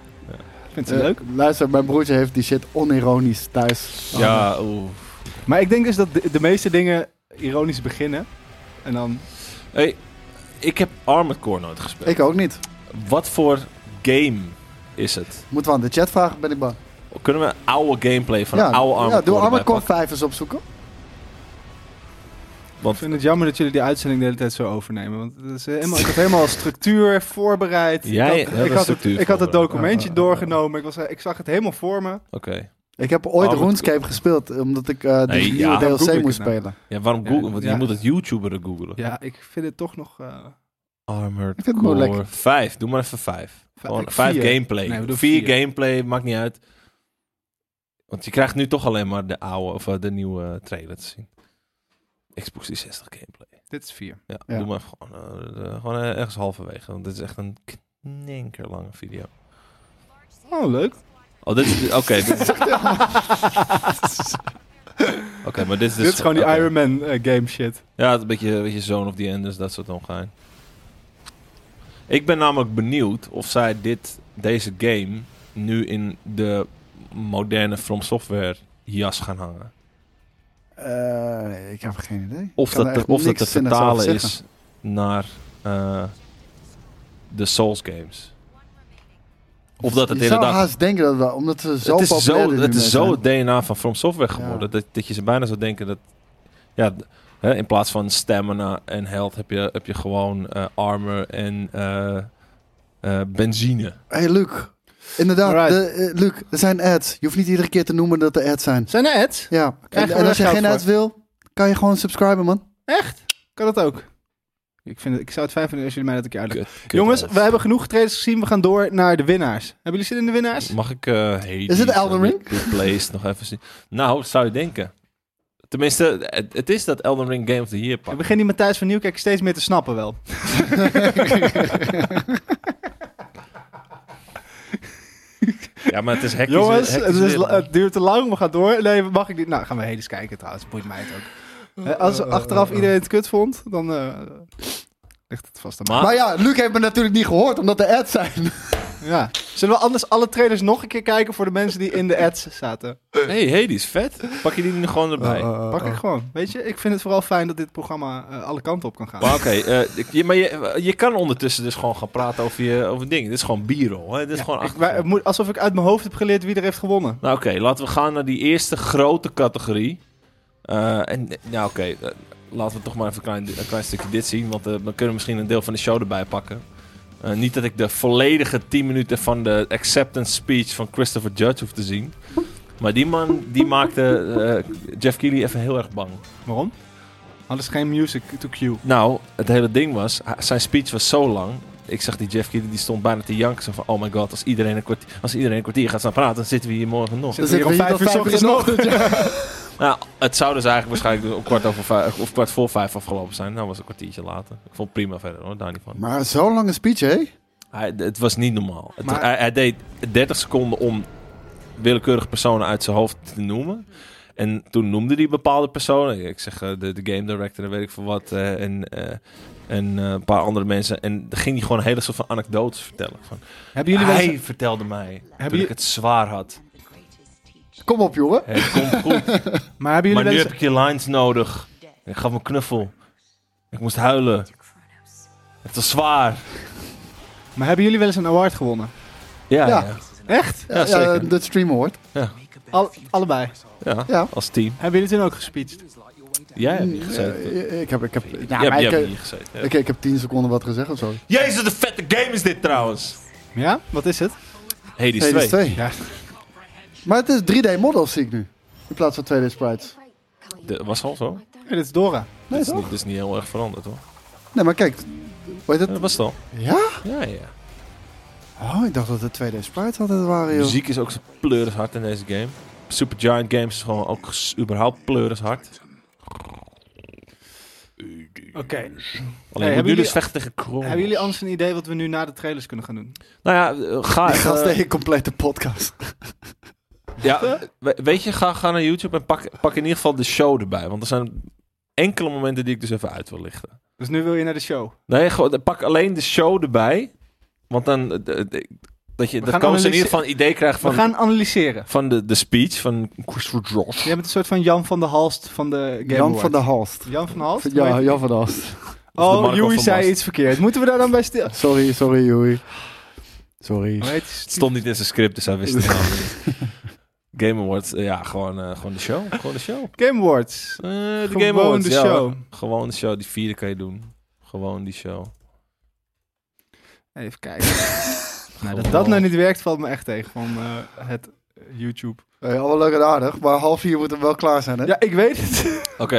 A: Vindt ze leuk.
B: Eh, luister, mijn broertje heeft die shit onironisch thuis.
C: Ja, oeh.
A: Maar ik denk dus dat de, de meeste dingen ironisch beginnen. En dan...
C: Hey, ik heb Armored Core nooit gespeeld.
B: Ik ook niet.
C: Wat voor game is het?
B: Moeten we aan de chat vragen, ben ik bang.
C: Kunnen we oude gameplay van oude Armored
B: ja, doe
C: Core
B: Armored
C: erbij
B: Core
C: pakken?
B: 5 eens opzoeken.
A: Ik vind het jammer dat jullie die uitzending de hele tijd zo overnemen. Want het is helemaal, ik had helemaal structuur voorbereid.
C: Jij
A: ik
C: hebt
A: had, ik
C: een
A: had, het,
C: structuur
A: ik had het
C: voorbereid.
A: documentje
B: Ah, ah, ah.
A: doorgenomen. Ik, was, ik zag het helemaal voor me.
C: Oké.
B: Ik heb ooit
C: Armored
B: RuneScape gespeeld, omdat ik eh de
C: Nee,
B: nieuwe
C: ja.
A: Waarom
B: DLC
A: google ik
B: moest
A: het nou?
B: spelen.
C: Ja, waarom
A: Ja,
C: googlen? Want
A: ja.
C: je moet het YouTuberen googelen.
A: Ja, ik vind het toch nog... eh,
C: Armored
B: Ik vind het moeilijk.
C: Core 5. Doe maar even 5. Gewoon
A: ik-
C: 5
A: vier.
C: gameplay.
A: Nee, we doen
C: 4
A: vier.
C: gameplay, maakt niet uit. Want je krijgt nu toch alleen maar de oude of eh, de nieuwe trailer te zien. Xbox 360 gameplay.
A: Dit is vier.
C: Ja,
B: Ja.
C: doe maar even gewoon, eh, eh, gewoon eh, ergens halverwege. Want dit is echt een kninker lange video.
A: Oh, leuk.
C: Oh, dit is... Oké. dit is- Oké, maar dit is dus...
A: Dit is gewoon die
C: oké.
A: Iron Man eh, game shit.
C: Ja, het is een beetje, een beetje Zone of the Enders, dat soort ongein. Ik ben namelijk benieuwd of zij dit, deze game nu in de moderne From Software jas gaan hangen.
B: Eh, nee, ik heb geen idee.
C: Of
B: Ik kan
C: dat,
B: er
C: te-
B: echt
C: of dat
B: niks
C: te
B: zinnigs over
C: vertalen
B: zeggen.
C: is naar eh, de Souls games. Of dat het
B: je zou
C: inderdaad...
B: haast denken dat we, omdat ze zo
C: Het is
B: populair
C: zo,
B: er nu
C: het
B: mee
C: is zo
B: zijn.
C: het DNA van From Software
B: Ja.
C: geworden. Dat, dat je ze bijna zou denken dat... Ja, d- hè, in plaats van stamina en health heb je, heb je gewoon eh, armor en eh, eh, benzine.
B: hey, Luc. Inderdaad,
A: Alright.
B: de, eh, Luc, er zijn ads. Je hoeft niet iedere keer te noemen dat er ads zijn.
A: Zijn er ads?
B: Ja, en,
A: we
B: en
A: er
B: als je
A: geld
B: geen
A: voor?
B: ads wil, kan je gewoon subscriben, man.
A: Kan dat ook? Ik, vind het, ik zou het fijn vinden als jullie mij dat een keer uitleggen.
C: Kut- kut
A: Jongens,
C: ads.
A: we hebben genoeg trailers gezien. We gaan door naar de winnaars. Hebben jullie zin in de winnaars?
C: Mag ik... eh Hades
B: Is het Elden
C: en
B: Ring?
C: Replaced nog even zien? Nou, zou je denken. Tenminste, het, het is dat Elden Ring Game of the Year
A: Ik
C: pak.
A: begin die Matthijs van Nieuwkerk steeds meer te snappen wel.
C: Ja, maar het is hectisch.
A: Jongens,
C: hectisch
A: het, is,
C: weer, man.
A: het duurt te lang. We gaan door. Nee, mag ik niet? Nou, gaan we Hades kijken trouwens. Boeit mij het ook. Eh, Als achteraf iedereen het kut vond, dan eh, ligt het vast aan mij.
C: Maar-
B: Maar ja, Luc heeft me natuurlijk niet gehoord, omdat er ads zijn.
A: Ja. Zullen we anders alle trailers nog een keer kijken voor de mensen die in de ads zaten?
C: Hey, Hades, vet. Pak je die nu gewoon erbij.
A: Pak ik gewoon. Weet je, ik vind het vooral fijn dat dit programma eh, alle kanten op kan gaan.
C: Maar oké, eh, ik- je- maar je, je kan ondertussen dus gewoon gaan praten over, je, over dingen. Dit is gewoon b-roll. Hè? Dit is gewoon
A: Ik,
C: achtergrond.
A: wij- het moet, alsof ik uit mijn hoofd heb geleerd wie er heeft gewonnen.
C: Nou oké, laten we gaan naar die eerste grote categorie. Eh, en nou oké, eh, laten we toch maar even een klein, een klein stukje dit zien. Want eh, we kunnen misschien een deel van de show erbij pakken. Eh, niet dat ik de volledige 10 minuten van de acceptance speech van Christopher Judge hoef te zien. Maar die man die maakte eh, Jeff Keighley even heel erg bang.
A: Waarom? Hadden ze geen music to cue.
C: Nou, het hele ding was, hij- zijn speech was zo lang. Ik zag die Jeff Keighley, die stond bijna te janken. Zo van, oh my god, als iedereen een kwartier, als iedereen een kwartier gaat staan praten, dan zitten we hier morgen nog.
A: Zitten we hier om
B: Zitten we
A: vijf uur
B: hier tot
A: ochtends
B: vijf
A: nog?
C: Nou, het zou dus eigenlijk waarschijnlijk om kwart over vijf of kwart voor vijf afgelopen zijn. Nou was het een kwartiertje later. Ik vond het prima verder hoor, daar niet van.
B: Maar zo'n lange speech, hé?
C: Hij, het was niet normaal. Het-
A: Maar-
C: hij, hij deed 30 seconden om willekeurige personen uit zijn hoofd te noemen. En toen noemde hij bepaalde personen. Ik zeg eh, de, de game director en weet ik veel wat. eh, en eh, en eh, een paar andere mensen. En dan ging hij gewoon een hele soort van anekdotes vertellen. Van,
A: Hebben jullie wel
C: hij
A: eens-
C: vertelde mij dat
A: jullie-
C: ik het zwaar had.
B: Kom op, jongen.
C: Het komt goed.
A: Maar hebben jullie
C: maar
A: wel
C: nu
A: eens-
C: heb ik je lines nodig. Ik gaf me een knuffel. Ik moest huilen. Het was zwaar.
A: Maar hebben jullie wel eens een award gewonnen?
C: Ja,
B: Ja.
C: ja. ja.
A: Echt?
B: Ja,
C: zeker.
B: de streamer hoort.
A: Al- allebei.
B: Ja.
C: als team.
A: Hebben jullie toen ook gespeeched?
C: Jij hebt
A: Mm,
C: hier gezeten. toch?
B: Eh, Ik heb, ik heb, nou,
C: Jij
B: maar
C: hebt- jij
B: ik,
C: hebt
B: eh,
C: hier gezeten. ja.
B: ik, ik heb tien seconden wat gezegd of zo.
C: Jezus, de vette game is dit trouwens.
A: Ja? Wat is het?
C: Hades
B: Hades
C: 2.
B: 2.
A: Ja.
B: Maar het is 3D-models, zie ik nu. In plaats van 2D sprites.
C: De- was al zo.
A: Ja, dit is Dora.
B: Nee,
C: Dat is, niet,
B: toch?
C: dat is niet heel erg veranderd hoor.
B: Nee, maar kijk. Weet
C: Ja,
B: het?
C: dat was het al.
B: Ja?
C: Ja, ja.
B: Oh, ik dacht dat het 2D sprites altijd waren,
C: De
B: joh.
C: muziek is ook zo pleuris hard in deze game. Super Giant Games is gewoon ook s- überhaupt pleuris hard.
A: Oké. hebben
C: Alleen moet nu dus
A: jullie-
C: vechten tegen Kronos.
A: Hebben jullie anders een idee wat we nu na de trailers kunnen gaan doen?
C: Nou ja, eh, ga.
B: Die gast
C: eh,
B: deed een complete podcast.
C: Ja, we- weet je, ga, ga naar YouTube en pak, pak in ieder geval de show erbij. Want er zijn enkele momenten die ik dus even uit wil lichten.
A: Dus nu wil je naar de show.
C: Nee, gewoon, eh, pak alleen de show erbij. Want dan... eh, de- de- dat je
A: gaan
C: dat komen ze in
A: analyse-
C: ieder geval een idee krijgen van,
A: We gaan analyseren.
C: van de, de speech van Christopher Josh.
A: Jij bent een soort van Jan van der Halst van de Game
B: Jan
A: Awards.
B: van der Halst.
A: Jan van der Halst? Hoe
B: Ja,
A: heet-
B: Jan van der Halst.
C: de
A: Oh,
C: Marco
A: Joey
C: van
A: zei
C: Basten.
A: iets verkeerd. Moeten we daar dan bij stil?
B: Sorry, sorry, Joey. Sorry.
A: Hoe heet-
C: Het stond niet in zijn script, dus hij wist het gewoon niet. Game Awards, eh, ja, gewoon, eh, gewoon de show. Gewoon de show.
A: Game Awards.
C: Eh, de
A: Gewoon
C: Game Awards,
A: de
C: ja,
A: show.
C: Gewoon de show, die vierde kan je doen. Gewoon die show.
A: Even kijken. nou, dat
C: Gewoon.
A: dat nou niet werkt, valt me echt tegen van eh, het eh, YouTube.
B: Hey, allemaal leuk en aardig, maar half vier moet hem wel klaar zijn, hè?
A: Ja, ik weet het.
C: Oké.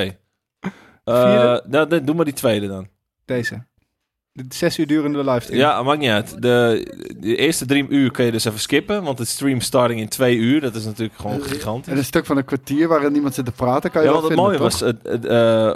C: Eh,
A: Vierde?
C: nou, nee, doe maar die tweede dan.
A: Deze. De zes uur durende livestream.
C: Ja, maakt niet uit. De, de eerste drie uur kun je dus even skippen, want het stream starting in twee uur, dat is natuurlijk gewoon
A: Eh,
C: gigantisch.
B: En een stuk van een kwartier waarin niemand zit te praten, kan je
C: Ja,
B: wel
C: want het
B: vinden,
C: mooie
B: toch?
C: was, het, het, eh,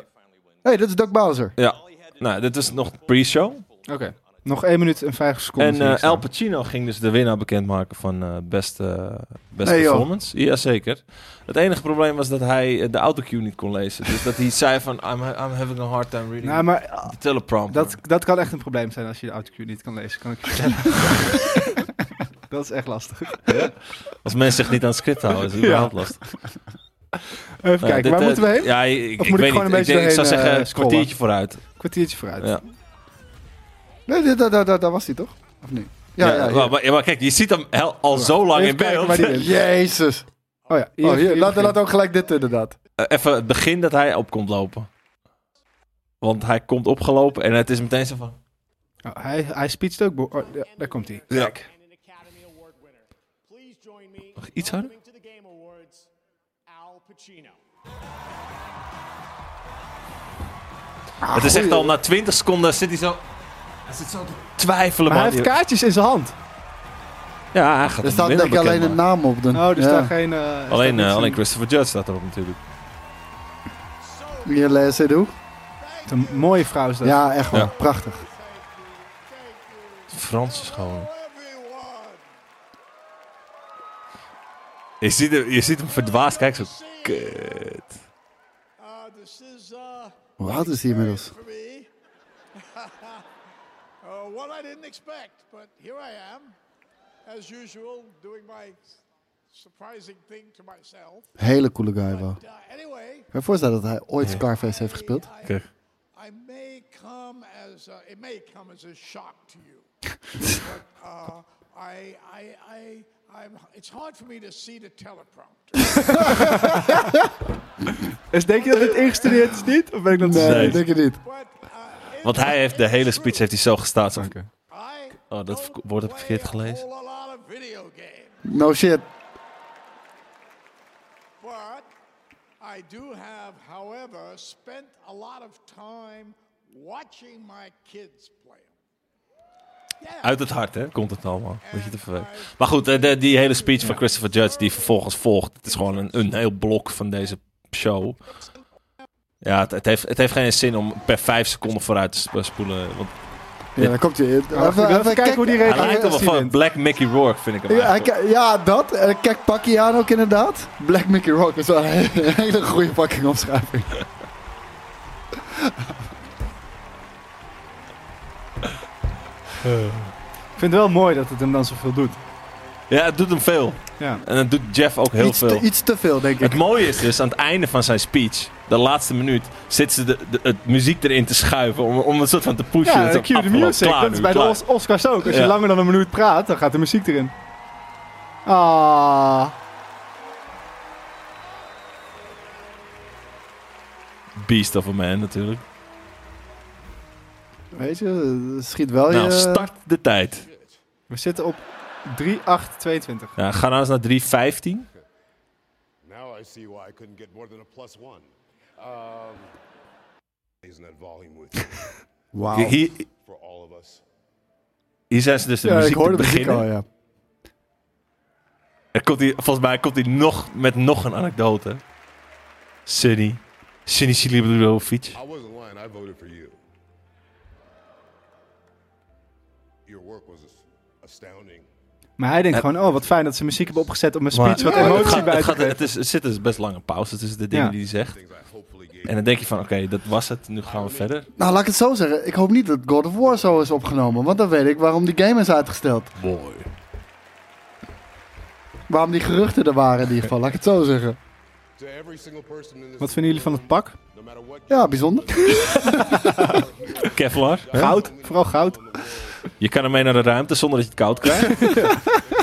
B: hey, dit is Doug Bowser.
C: ja, nou, dit is nog pre-show.
A: Oké. Nog 1 minuut en 5 seconden.
C: En
A: zie ik
C: eh
A: staan.
C: Al Pacino ging dus de winnaar bekendmaken van eh beste, beste
B: Nee, joh.
C: performance. Jazeker. Het enige probleem was dat hij eh, de autocue niet kon lezen. Dus dat hij zei van, I'm, I'm having a hard time reading
A: Nou, maar ah,
C: the teleprompter.
A: dat, dat kan echt een probleem zijn als je de autocue niet kan lezen, kan ik je vertellen. dat is echt lastig.
C: Als mensen zich niet aan het script houden, is het überhaupt lastig.
A: Even
C: Nou,
A: kijken,
C: dit,
A: waar
C: eh,
A: moeten we heen?
C: Ja, ik,
A: Of
C: ik
A: moet ik
C: weet
A: gewoon
C: niet.
A: een
C: ik,
A: beetje
C: denk- ik zou
A: doorheen,
C: zeggen,
A: eh,
C: een kwartiertje vooruit.
A: Kwartiertje vooruit.
C: Ja.
B: Nee, dit- daar, daar, daar, daar was hij toch? Of niet? Ja, ja. hier.
C: maar, maar- ja, maar kijk, je ziet hem hel- al zo lang
A: Even
C: in
A: kijken
C: beeld.
A: waar die is.
B: Jezus.
A: Oh ja,
B: Oh, hier, laat,
A: begint.
B: laat ook gelijk dit inderdaad.
C: Eh, even het begin dat hij op komt lopen. Want hij komt opgelopen en het is meteen zo van...
A: Oh, hij, hij speecht ook. bo- oh, ja, daar komt hij.
C: Ja.
H: and an Academy Award winner. Please join me
C: Mag
H: in
C: iets harder?
H: welcoming to the Game Awards, Al Pacino.
C: het is echt al na 20 seconden zit hij zo... Hij zit zo te twijfelen.
A: Maar hij
C: man.
A: heeft kaartjes in zijn hand.
C: Ja, hij gaat
B: Er
C: hem
B: staat
C: winnen
B: denk ik alleen een
C: bekendmaken.
B: naam op. Dan.
A: Oh, er
B: ja.
A: staat geen. eh, er staat
C: Alleen,
A: niks
C: eh,
A: in.
C: alleen Christopher Judge staat erop natuurlijk.
B: Hier, Les Seydoux.
A: Het is Een mooie vrouw is dat.
B: Ja, echt wel.
C: Ja.
B: Prachtig.
C: Frans is gewoon... Je ziet, hem, je ziet hem verdwaasd kijken zo... Kut.
H: Uh, this is uh,
B: Hoe oud is hij inmiddels?
H: for me uh, what I didn't expect, but here I am, as usual, doing my surprising thing to myself.
B: Hele coole guy wel.
H: Uh, anyway,
B: Ik kan me voorstellen dat hij ooit Scarface heeft gespeeld.
C: Kijk.
H: I may come as a, it may come as a shock to you. but uh, I, I, I, I'm, it's hard for me to see the teleprompter.
A: Dus denk je dat dit ingestudeerd is niet? Of ben ik dat
B: Nee,
C: Nee.
B: ik denk het niet.
H: But uh, it-
C: Want hij heeft de
H: it's
C: hele
H: true.
C: speech heeft hij zo gestaat. Zo,
H: I
C: Oh, dat
H: don't
C: woord heb ik verkeerd
H: play a
C: gelezen.
H: whole lot of video games,
B: No shit.
H: but I do have, however, spent a lot of time watching my kids play 'em. Yeah.
C: Uit het hart, hè? Komt het allemaal. Weet je te verweten. Maar goed, eh, de- die hele speech van Christopher Judge die vervolgens volgt. Het is gewoon een, een heel blok van deze show. Ja, het, het, heeft, het heeft geen zin om per vijf seconden vooruit te sp- eh, spoelen. Want
B: Ja, daar komt hij. Even,
A: even kijken hoe die
C: hij
A: reageert.
C: lijkt
A: als
C: wel
A: hij
C: van
A: wint.
C: Black Mickey Rourke, vind ik hem
B: Ja,
C: eigenlijk.
B: hij- ja, dat. En Kijk, pakje aan ook inderdaad. Black Mickey Rock is wel een hele- een hele goede pakking omschrijving.
A: Ik vind het wel mooi dat het hem dan zoveel doet.
C: Ja, het doet hem veel.
A: Ja.
C: En dat doet Jeff ook heel
B: Iets
C: veel.
B: te, iets te veel, denk ik.
C: Het mooie is dus, aan het einde van zijn speech, de laatste minuut, zit ze de, de- het muziek erin te schuiven om, om een soort van te pushen.
A: Ja,
C: Het
A: de
C: is
A: cue the
C: afgelopen.
A: music.
C: Klaar
A: dat is
C: nu,
A: bij de
C: klaar.
A: Os- Oscars ook. Als je
C: Ja.
A: langer dan een minuut praat, dan gaat de muziek erin. Ah.
C: Beast of a Man natuurlijk.
B: Weet je, het schiet
A: Oh,
B: wel
C: Nou,
B: je...
C: start de tijd.
A: We zitten op 3.8.22.
C: Ja, ga nou eens naar 315.
E: Now I see why I couldn't get more than a plus one. Um, isn't that volume with you
A: Oh.
B: Wauw.
C: Hier,
E: for all of us?
C: hier zijn ze dus de
B: Ja, ik
C: muziek
B: hoorde
C: te
B: de muziek
C: beginnen.
B: al, ja.
C: Er komt hier, volgens mij komt hij nog met nog een anekdote. Sunny. Sunny Silibulovic.
E: I wasn't lying. I voted for you. Your work was astounding.
A: Maar hij denkt
C: Het-
A: gewoon, oh, wat fijn dat ze muziek hebben opgezet om een
C: Maar-
A: speech wat
C: maar het
A: emotie
C: gaat-
A: bij te
C: het, gaat-
A: geven.
C: het, is, er zit dus best lange pauze tussen de dingen
A: Ja.
C: die hij zegt.
E: Things I hopefully gave
C: En dan denk je van, oké, dat was het. Nu gaan we verder.
B: Nou, laat ik het zo zeggen. Ik hoop niet dat God of War zo is opgenomen. Want dan weet ik waarom die game is uitgesteld.
C: Boy.
B: Waarom die geruchten er waren in ieder geval. Laat ik het zo zeggen.
E: to every single person in this
A: Wat vinden jullie van het pak?
E: no matter what
B: Ja, bijzonder.
C: Kevlar,
A: Goud, vooral goud.
C: je kan ermee naar de ruimte zonder dat je het koud krijgt.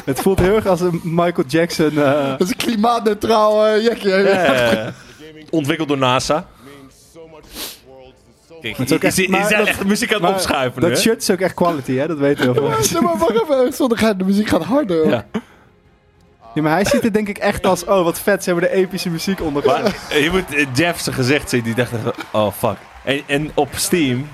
A: Het voelt heel erg als een Michael Jackson. eh,
B: Dat is een klimaatneutraal eh, jekje.
C: Eh, ontwikkeld door NASA.
E: means so much to this world to so
C: Kijk,
E: much
A: is ook
C: is,
A: echt-
C: is, is
A: maar
C: hij
A: dat-
C: echt muziek aan het
A: maar
C: opschuiven nu,
A: Dat
C: hè?
A: shirt is ook echt quality, hè? Dat weten heel veel mensen.
B: Nee, maar wacht even. echt, zonder gein, De muziek gaat harder. hoor.
C: Ja.
A: Ja, maar hij ziet het denk ik echt als, oh, wat vet, ze hebben de epische muziek onder.
C: Maar eh, je moet eh, Jeff zijn gezicht zien. Die dacht echt, oh fuck. En, en op Steam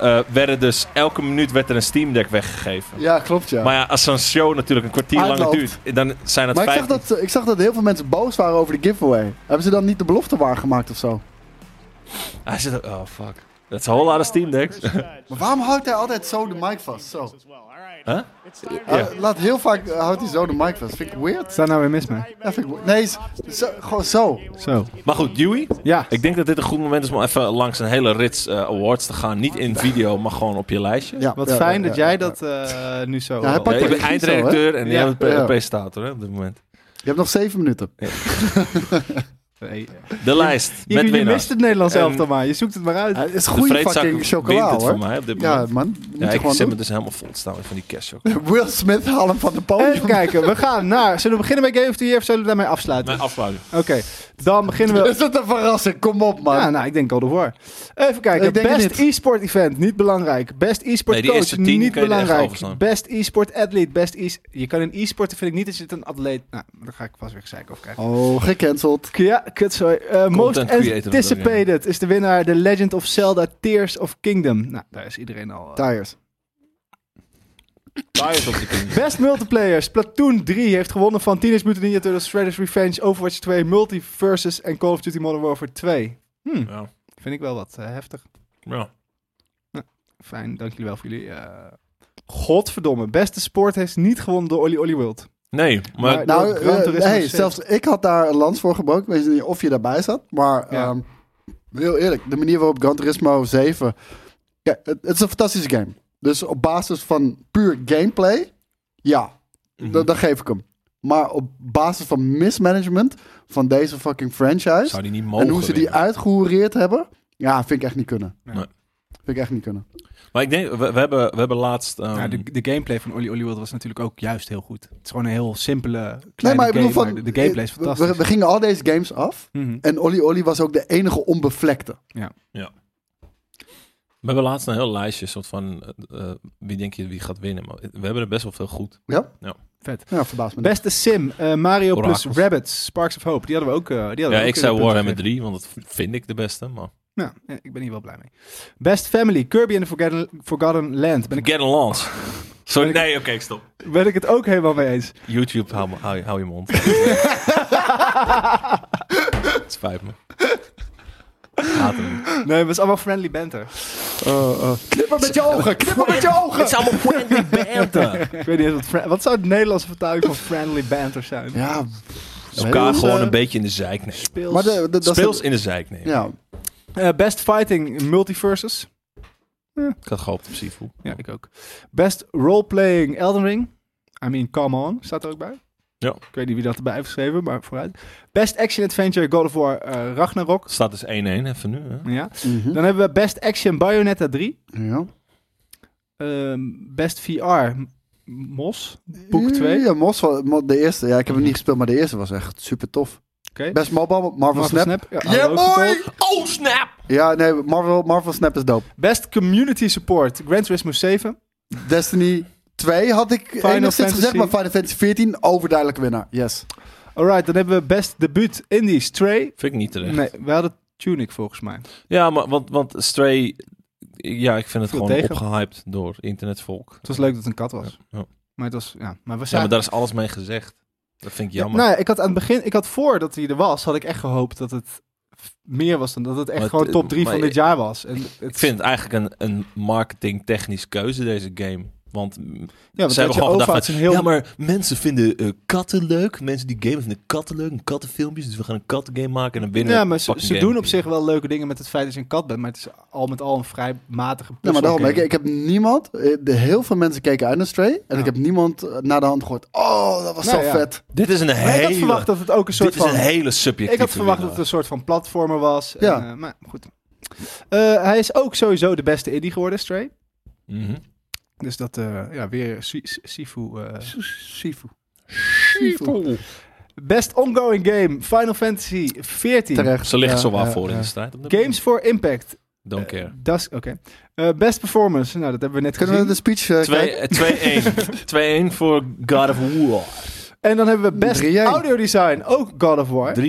C: eh, werden dus elke minuut werd er een Steam Deck weggegeven.
B: Ja, klopt ja.
C: Maar ja, als zo'n show natuurlijk een kwartier lang
B: Uitloopt.
C: duurt, dan zijn het
B: Maar ik
C: vijf.
B: zag, dat, eh, ik zag dat heel veel mensen boos waren over de giveaway. Hebben ze dan niet de belofte waargemaakt of zo?
C: Hij zit, oh fuck. Dat is een whole lot of Steam Decks.
B: Maar waarom houdt hij altijd zo de mic vast? Zo.
C: Huh?
B: Hij laat heel vaak eh, houdt hij zo de mic vast. Vind ik weird.
A: Staat nou weer mis mee?
B: Ja, vind ik we- nee, is- zo- gewoon zo.
A: Zo.
C: Maar goed, Dewey.
A: Ja.
C: Ik denk dat dit een goed moment is om even langs een hele rits eh, awards te gaan. Niet in video, maar gewoon op je lijstje.
B: Ja,
A: Wat
B: ja,
A: fijn
B: ja,
A: dat
B: ja.
A: jij dat eh, nu zo...
B: Ja, hij pakt
C: Ja, je
B: de
C: bent
B: regie zo, hè?
C: eindredacteur en jij
A: Ja.
C: bent pre-
B: Ja.
C: presentator hè, op dit moment.
B: Je hebt nog zeven minuten.
A: Nee.
C: De lijst
A: Je,
C: met
A: je
C: winnaars.
A: mist het Nederlands
C: En-
A: elftal maar, je zoekt het maar uit.
B: Ja, het is
C: De
B: goede
C: vreedzak
B: fucking
C: wint
B: chocola
C: het
B: hoor.
C: voor mij op dit
B: Ja
C: moment.
B: man, moet
C: Ja,
B: je
C: ik
B: gewoon
C: zit me
B: doen.
C: dus helemaal vol te staan met van die cash ook.
B: Will Smith haal hem van de podium.
A: Even kijken, we gaan naar... Zullen we beginnen bij Game of the Year of zullen we daarmee afsluiten?
C: Mijn afsluiting.
A: Oké, dan beginnen we...
B: Is dat een verrassing? Kom op man.
A: Ja, nou, ik denk God of War. Even kijken.
B: Ik denk het
A: Best
B: niet.
A: e-sport event, niet belangrijk. Best e-sport
C: Nee, die
A: coach,
C: eerste tien
A: niet
C: kun je er echt
A: belangrijk.
C: overslaan.
A: Best e-sport atleet, best e Je kan in e-sport, vind ik niet, dat je het een atleet... Nou, daar ga ik pas weer gezeik over krijgen.
B: Oh, gecanceld.
A: Ja, kut, sorry. Eh, most
C: creator bedoel
A: anticipated is de winnaar The Legend of Zelda Tears of Kingdom. Nou, daar is iedereen al... eh,
B: Tires.
C: Bias op de king.
A: Best multiplayer. Splatoon 3 heeft gewonnen van Teenage Mutant Ninja Turtles, Shredder's Revenge, Overwatch 2, Multiversus en Call of Duty Modern Warfare 2. Hm,
C: Ja.
A: vind ik wel wat eh, heftig.
C: Ja.
A: Fijn, dank jullie wel voor jullie. eh, Godverdomme, beste sport heeft niet gewonnen door Olly Olly World.
C: Nee, maar,
A: Maar-
B: Nou,
A: Gran
B: eh,
A: Turismo
B: hey,
A: zit.
B: zelfs ik had daar een lans voor gebroken. Ik weet niet of je daarbij zat. Maar
A: Ja.
B: ehm, heel eerlijk, de manier waarop Gran Turismo 7... Ja, het, het is een fantastische game. Dus op basis van puur gameplay, ja,
A: Mhm.
B: dat dat geef ik hem. Maar op basis van mismanagement van deze fucking franchise...
C: zou die niet mogen
B: en hoe ze die
C: winnen.
B: uitgehoereerd hebben... Ja, vind ik echt niet kunnen.
C: Nee.
B: Vind ik echt niet kunnen.
C: Maar ik denk, we, we hebben, we hebben laatst... ehm,
A: Ja, de, de gameplay van Olly Olly World was natuurlijk ook juist heel goed. Het is gewoon een heel simpele, kleine
B: Nee, maar ik bedoel
A: game,
B: van...
A: maar de, de gameplay is
B: we-
A: fantastisch.
B: We, we gingen al deze games af.
A: Mhm.
B: En Olly Olly was ook de enige onbevlekte.
C: We hebben laatst een heel lijstje, soort van eh, eh, wie denk je wie gaat winnen. Maar we hebben er best wel veel goed.
B: Ja?
C: Ja.
A: Vet.
B: Ja, verbaas me
A: Beste Sim, eh, Mario plus
C: Orakels.
A: Rabbits, Sparks of Hope. Die hadden we ook. eh, die hadden we
C: Ja,
A: ook
C: ik
A: in
C: zei
A: de punten
C: Warhammer
A: gegeven.
C: 3, want dat v- vind ik de beste. Maar...
A: Nou, eh, ik ben hier wel blij mee. Best Family, Kirby and the Forgotten, Forgotten Land. Ben ik,
C: Get a Lance. Sorry,
A: Ben ik-
C: nee, oké, ik stop.
A: ben ik het ook helemaal mee eens.
C: YouTube, hou, me- hou, je- hou je mond. Het spijt me. Ik haat hem.
A: Nee, het is allemaal friendly banter.
B: Knipper met je ogen, knipper met je ogen!
C: Oh, Het is allemaal friendly banter.
A: ik weet niet eens wat... fri- Wat zou de Nederlandse vertaling van friendly banter zijn?
B: Ja,
C: Elkaar
B: Speels,
C: gewoon
B: eh,
C: een beetje in de zeik nemen.
A: Speels.
B: maar de, de, dat is-
C: Speels in de zeik nemen.
B: Ja,
A: Eh, best Fighting, Multiversus.
C: Ik had gehoopt op Sifu.
A: Ja, ik ook. Best Roleplaying, Elden Ring. I mean, come on. Staat er ook bij.
C: Ja.
A: Ik weet niet wie dat erbij heeft geschreven, maar vooruit. Best Action Adventure, God of War, eh, Ragnarok.
C: Staat dus 1-1 even nu. Hè?
A: Ja.
B: mhm.
A: Dan hebben we Best Action Bayonetta 3.
B: ja.
A: Ehm, best VR M- Mos. Boek 2.
B: Ja, Mos, wa- Mo- de eerste. Ja, ik heb hem niet gespeeld, maar de eerste was echt super tof.
A: Oké.
B: Best Mobile, Marvel,
A: Marvel
B: Snap.
A: Snap. Ja,
B: Ja,
A: hadden we ook
B: mooi!
A: verteld.
C: Oh, snap!
B: Ja, nee, Marvel, Marvel Snap is dope.
A: Best Community Support. Gran Turismo 7.
B: Destiny 2 had ik
A: Final
B: enigszins
A: Fantasy.
B: gezegd, maar Final Fantasy 14 overduidelijke winnaar. Yes.
A: Alright, dan hebben we Best Debuut Indie Stray.
C: Vind ik niet terecht.
A: Nee, we hadden Tunic volgens mij.
C: Ja, maar, want, want Stray... Ja, ik vind het
A: Viel
C: gewoon
A: tegen.
C: opgehyped door internetvolk.
A: Het was leuk dat het een kat was.
C: Ja.
A: Maar het was, ja, maar we
C: Ja, maar
A: zagen...
C: daar is alles mee gezegd. Dat vind ik
A: Ja,
C: jammer.
A: nou ja, ik had aan het begin, ik had voordat hij er was, had ik echt gehoopt dat het f- meer was dan dat het echt
C: Maar
A: gewoon
C: het-
A: top 3
C: maar
A: van
C: je-
A: dit jaar was. En het,
C: ik vind het eigenlijk een, een marketingtechnisch keuze, deze game. Want mm,
A: want
C: ze hebben
A: Etje
C: gewoon
A: Ova
C: gedacht
A: is
C: van,
A: een heel-
C: ja, maar mensen vinden eh, katten leuk. Mensen die gamen vinden katten leuk en kattenfilmpjes. Dus we gaan een kattengame maken en dan winnen
A: Ja,
C: we
A: maar ze,
C: fucking
A: ze
C: game.
A: doen op zich wel leuke dingen met het feit dat je een kat bent. Maar het is al met al een vrij matige
B: Ja, maar
A: puzzel
B: daarom,
A: game.
B: ik, ik heb niemand, eh, de, heel veel mensen keken uit naar Stray. En
A: Ja.
B: ik heb niemand eh, naar de hand gehoord. Oh, dat was
A: Nou
B: zo
A: ja.
B: vet.
C: Dit is een
A: Maar ik
C: hele...
A: had verwacht dat het ook een soort
C: dit is
A: van...
C: een hele subjectieve
A: Ik had verwacht dat
C: winnaar.
A: het een soort van platformer was.
B: Ja.
A: En, eh, maar goed. Eh, hij is ook sowieso de beste indie geworden, Stray.
C: Mhm.
A: Dus dat, eh, ja, weer Si- Si- Sifu. eh,
B: Sifu.
A: best ongoing game, Final Fantasy 14.
B: Terecht.
C: Ze liggen
B: Ja,
C: zo waar
B: ja,
C: voor in
B: ja.
C: de strijd. op dit
A: Games for Impact.
C: moment. Don't care.
A: Das, oké. Eh, best performance, nou dat hebben we net
B: Kunnen we
A: gezien.
B: de speech eh,
C: Twee-
B: kijken?
C: eh, 2-1. 2-1 voor God of War.
B: dus
A: En dan hebben we best
B: 3-1.
A: audio design, ook God of War.
C: 3-1.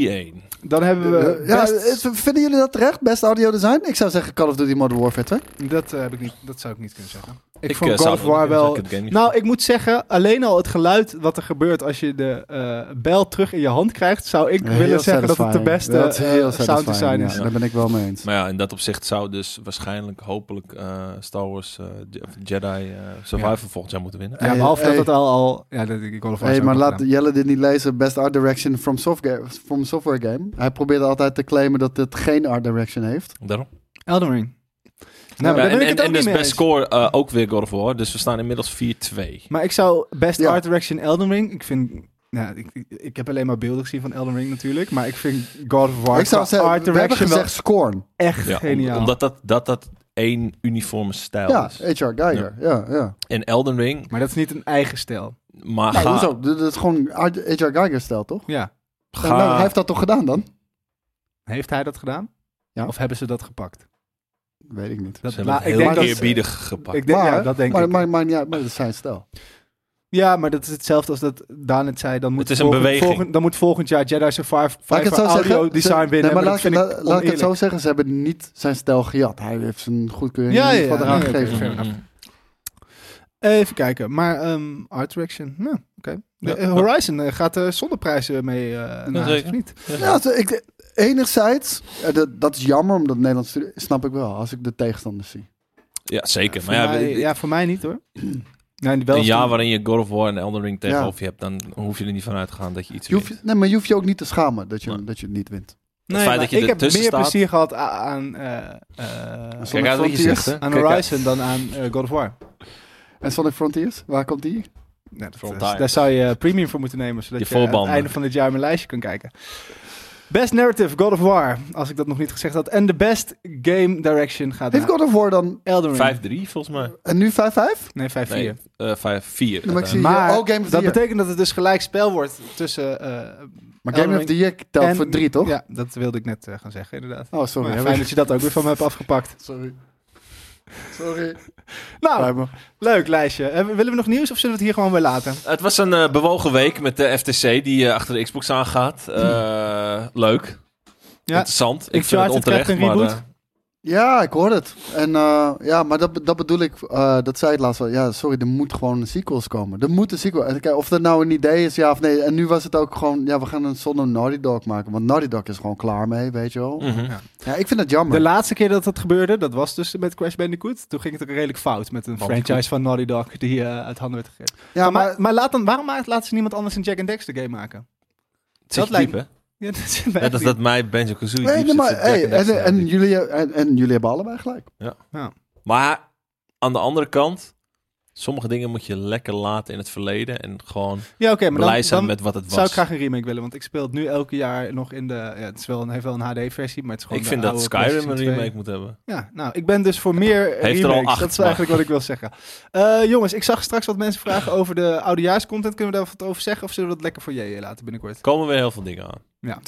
A: Dan hebben we
B: Eh, ja,
A: best-
B: eh, vinden jullie dat terecht? Best audio design? Ik zou zeggen Call of Duty Modern Warfare 2.
A: Dat, eh, heb ik niet, dat zou ik niet kunnen zeggen. Ik,
C: Ik, eh,
A: vond God
C: zou
A: of
C: het ook
A: War
C: niet kunnen
A: wel...
C: zeggen, ik heb het game niet
A: Nou, ik moet zeggen, alleen al het geluid wat er gebeurt als je de eh, bel terug in je hand krijgt, zou ik
B: Heel
A: willen zeggen dat het de
B: satisfying.
A: beste
B: Dat is heel
A: eh, sound
B: satisfying,
A: design
B: ja.
A: is.
B: Daar ben ik wel mee eens.
C: Maar ja, in dat opzicht zou dus waarschijnlijk, hopelijk, eh, Star Wars eh, Je- of Jedi eh, Survivor volgend jaar moeten winnen.
A: Ja,
B: Hey,
A: behalve
B: hey.
A: dat het al... al ja, dat, ik God of War
B: Hey,
A: zou
B: maar
A: ik
B: laat
A: ook gedaan.
B: Jelle dit niet lezen. Best Art Direction from, softga- from Software Game. Hij probeerde altijd te claimen dat het geen Art Direction heeft.
C: Daarom.
A: Elden Ring. Nou, maar
C: Ja,
A: daar ben
C: en
A: ik
C: en,
A: het ook
C: en
A: niet
C: dus
A: mee
C: best
A: eens.
C: score eh, ook weer God of War. Dus we staan inmiddels 4-2.
A: Maar ik zou best
B: Ja.
A: art direction Elden Ring... Ik vind... Nou, ik, ik- ik heb alleen maar beelden gezien van Elden Ring natuurlijk. Maar ik vind God of War
B: ik zou
A: qua art
B: zeggen, we hebben
A: direction wel
B: gezegd Scorn.
A: echt
C: Ja, om-
A: geniaal. eh-
C: omdat dat, dat, dat één uniforme stijl
B: Ja,
C: is.
B: H.R. Geiger. Ja, ja.
C: En Elden Ring,
A: Maar dat is niet een eigen stijl. Nou,
C: maar
B: Nee,
C: ga,
B: hoezo? Dat is gewoon Art- H.R. Geiger stijl, toch?
A: Ja.
C: ga-
B: Ja, nou, hij heeft dat toch gedaan dan?
A: Heeft hij dat gedaan?
B: Ja.
A: Of hebben ze dat gepakt?
B: Weet ik niet.
A: Dat,
C: ze hebben
A: la-
C: het
A: ik
C: heel
A: denk dat
C: eerbiedig gepakt.
A: Ik denk,
B: maar,
A: ja, dat denk
B: maar,
A: ik.
B: Maar, maar, ja, maar dat is zijn stijl.
A: ja, maar dat is hetzelfde als dat Daan het zei. Dan moet
C: Het is een
A: volgend,
C: beweging.
A: volgend- dan moet volgend jaar Jedi Survivor
B: Laat ik het zo
A: audio
B: zeggen.
A: design
B: ze-
A: winnen.
B: nee, maar
A: maar
B: laat,
A: dat vind
B: ik, la-
A: ik
B: laat ik het zo
A: oneerlijk.
B: zeggen. Ze hebben niet zijn stijl gejat. Hij heeft zijn goedkeuring
A: Ja,
B: ja,
A: ja, ja.
B: eraan
A: Nee, oké,
B: gegeven.
C: Mm.
A: fair enough. Even kijken. Maar ehm, Art Direction, nou, oké.
C: Ja.
A: Eh, Horizon eh, gaat er zonder prijzen mee eh naar huis, of
C: zeker.
A: niet?
B: Ja, zo, ik, enerzijds, eh, dat, dat is jammer, omdat Nederland studie, snap ik wel, als ik de tegenstanders zie.
C: Ja, zeker.
A: Voor
C: Maar ja,
A: mij,
C: we-
A: ja, voor mij niet hoor. Nee, wel
C: een jaar
A: stom.
C: waarin je God of War en Elden Ring tegenover je hebt, dan hoef je er niet van uit te gaan dat je iets
B: Je hoeft-
C: wint.
B: nee, maar je hoeft je ook niet te schamen dat je,
C: Nee.
B: dat je het niet wint.
A: Nee,
C: feit
A: maar
C: dat je
A: ik heb meer
C: ertussen staat-
A: plezier gehad a- aan, eh, eh,
B: Sonic
C: Kijk uit wat je
B: Frontiers.
C: zegt, hè.
A: aan
C: Kijk uit.
A: Horizon dan aan eh, God of War.
B: En Sonic Frontiers, waar komt die?
A: Ja, dat,
C: Frontier.
A: is- daar zou je eh, premium voor moeten nemen, zodat
C: Je
A: je, aan het
C: voorbanden.
A: einde van dit jaar mijn lijstje kan kijken. Best Narrative, God of War, als ik dat nog niet gezegd had. En de Best Game Direction gaat
B: Heeft
A: naar
B: God of War dan,
A: Elden Ring.
C: 5-3 volgens mij.
B: en nu 5-5?
A: Nee, 5-4.
C: Nee, eh, 5-4.
B: maar ik zie-
A: Maar
B: Oh, Game of the
A: dat
B: Year.
A: betekent dat het dus gelijk spel wordt tussen... eh, Elden
B: Maar Game of
A: Ring
B: the Year telt
A: en-
B: voor 3, toch?
A: Ja, dat wilde ik net eh, gaan zeggen, inderdaad.
B: Oh,
A: Maar
B: sorry.
A: ja,
B: hè,
A: fijn
B: weet
A: dat je dat ook weer van me hebt afgepakt.
B: je- Sorry. Sorry.
A: Nou,
B: Spijt me.
A: leuk lijstje. Eh, willen we nog nieuws of zullen we het hier gewoon bij laten?
C: Het was een eh, bewogen week met de FTC die eh, achter de Xbox aangaat. Eh, Leuk.
A: Ja.
C: Interessant. Ik vind het
A: Uncharted
C: onterecht,
A: krijgt een
C: maar...
A: reboot.
C: eh,
B: Ja, ik hoor het. En eh, ja, maar dat, dat bedoel ik, eh, dat zei ik laatst al. Ja, sorry, er moet gewoon sequels komen. Er moet een sequel. En kijk, of dat nou een idee is, ja of nee. En nu was het ook gewoon, ja, we gaan een zonder Naughty Dog maken. Want Naughty Dog is gewoon klaar mee, weet je wel.
C: mhm.
B: Ja, ik vind dat jammer.
A: De laatste keer dat dat gebeurde, dat was dus met Crash Bandicoot. Toen ging het ook redelijk fout met een
C: Bandicoot.
A: franchise van Naughty Dog die eh, uit handen werd gegeven.
B: ja,
A: maar,
B: maar,
A: maar, laat dan, waarom maakt- laat ze niemand anders een Jack and Dexter game maken?
C: Het zit
A: Dat lijkt-
C: diep, hè?
A: Ja, dat zit mij
C: Net
A: echt
C: als
A: niet.
C: dat mij Benjo Kazooie
B: nee, nee,
C: diep zit,
B: maar
C: zit Jack
B: hey,
C: and Dexter
B: en, en,
C: diep.
B: jullie, en, en jullie hebben allebei gelijk.
C: Maar aan de andere kant, sommige dingen moet je lekker laten in het verleden en gewoon
A: Ja, oké, maar
C: blij
A: dan,
C: zijn
A: dan
C: met wat het was.
A: zou ik graag een remake willen, want ik speel het nu elke jaar nog in de... Ja, het is wel een, heeft wel een HD-versie, maar het is gewoon
C: Ik
A: de
C: vind dat
A: oude
C: Skyrim
A: PlayStation
C: een
A: 2.
C: remake moet hebben.
A: Ja, nou, ik ben dus voor meer
C: er
A: remakes.
C: al acht,
A: dat is
C: maar-
A: eigenlijk wat ik wil zeggen. Eh, jongens, ik zag straks wat mensen vragen over de oudejaarscontent. Kunnen we daar wat over zeggen of zullen we dat lekker voor je laten binnenkort?
C: Er komen weer heel veel dingen aan.
A: Ja,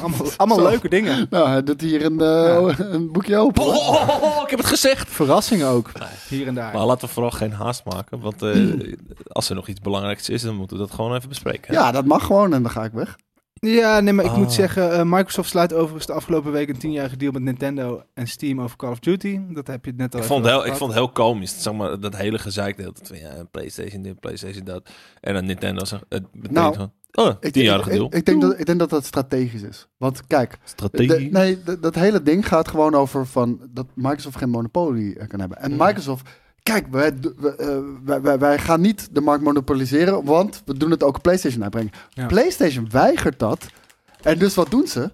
A: allemaal, allemaal
B: Zo.
A: leuke dingen.
B: Nou, hij doet hier een, eh, een boekje open.
C: Oh, oh, oh, oh, ik heb het gezegd!
A: Verrassingen ook, hier en daar.
C: Maar laten we vooral geen haast maken, want eh, als er nog iets belangrijks is, dan moeten we dat gewoon even bespreken.
B: Ja, dat mag gewoon en dan ga ik weg.
A: Ja, nee, maar ik
C: Ah.
A: moet zeggen, eh, Microsoft sluit overigens de afgelopen week een tienjarige deal met Nintendo en Steam over Call of Duty. Dat heb je net al
C: Ik
A: even
C: vond, het heel, ik
A: gehad.
C: vond het heel komisch, zeg maar, dat hele gezeik. De hele tijd van, ja, PlayStation dit, PlayStation dat. En dan Nintendo zegt, het meteen
B: Nou,
C: van, oh,
B: Ik,
C: tienjarige
B: ik-
C: deal.
B: ik- ik denk dat, ik denk dat dat strategisch is. Want kijk,
C: Strategie.
B: De- nee, de- dat hele ding gaat gewoon over van dat Microsoft geen monopolie eh, kan hebben. En Microsoft Kijk, wij, we- eh, wij, wij, wij gaan niet de markt monopoliseren, want we doen het ook op PlayStation uitbrengen.
A: Ja.
B: PlayStation weigert dat. En dus wat doen ze?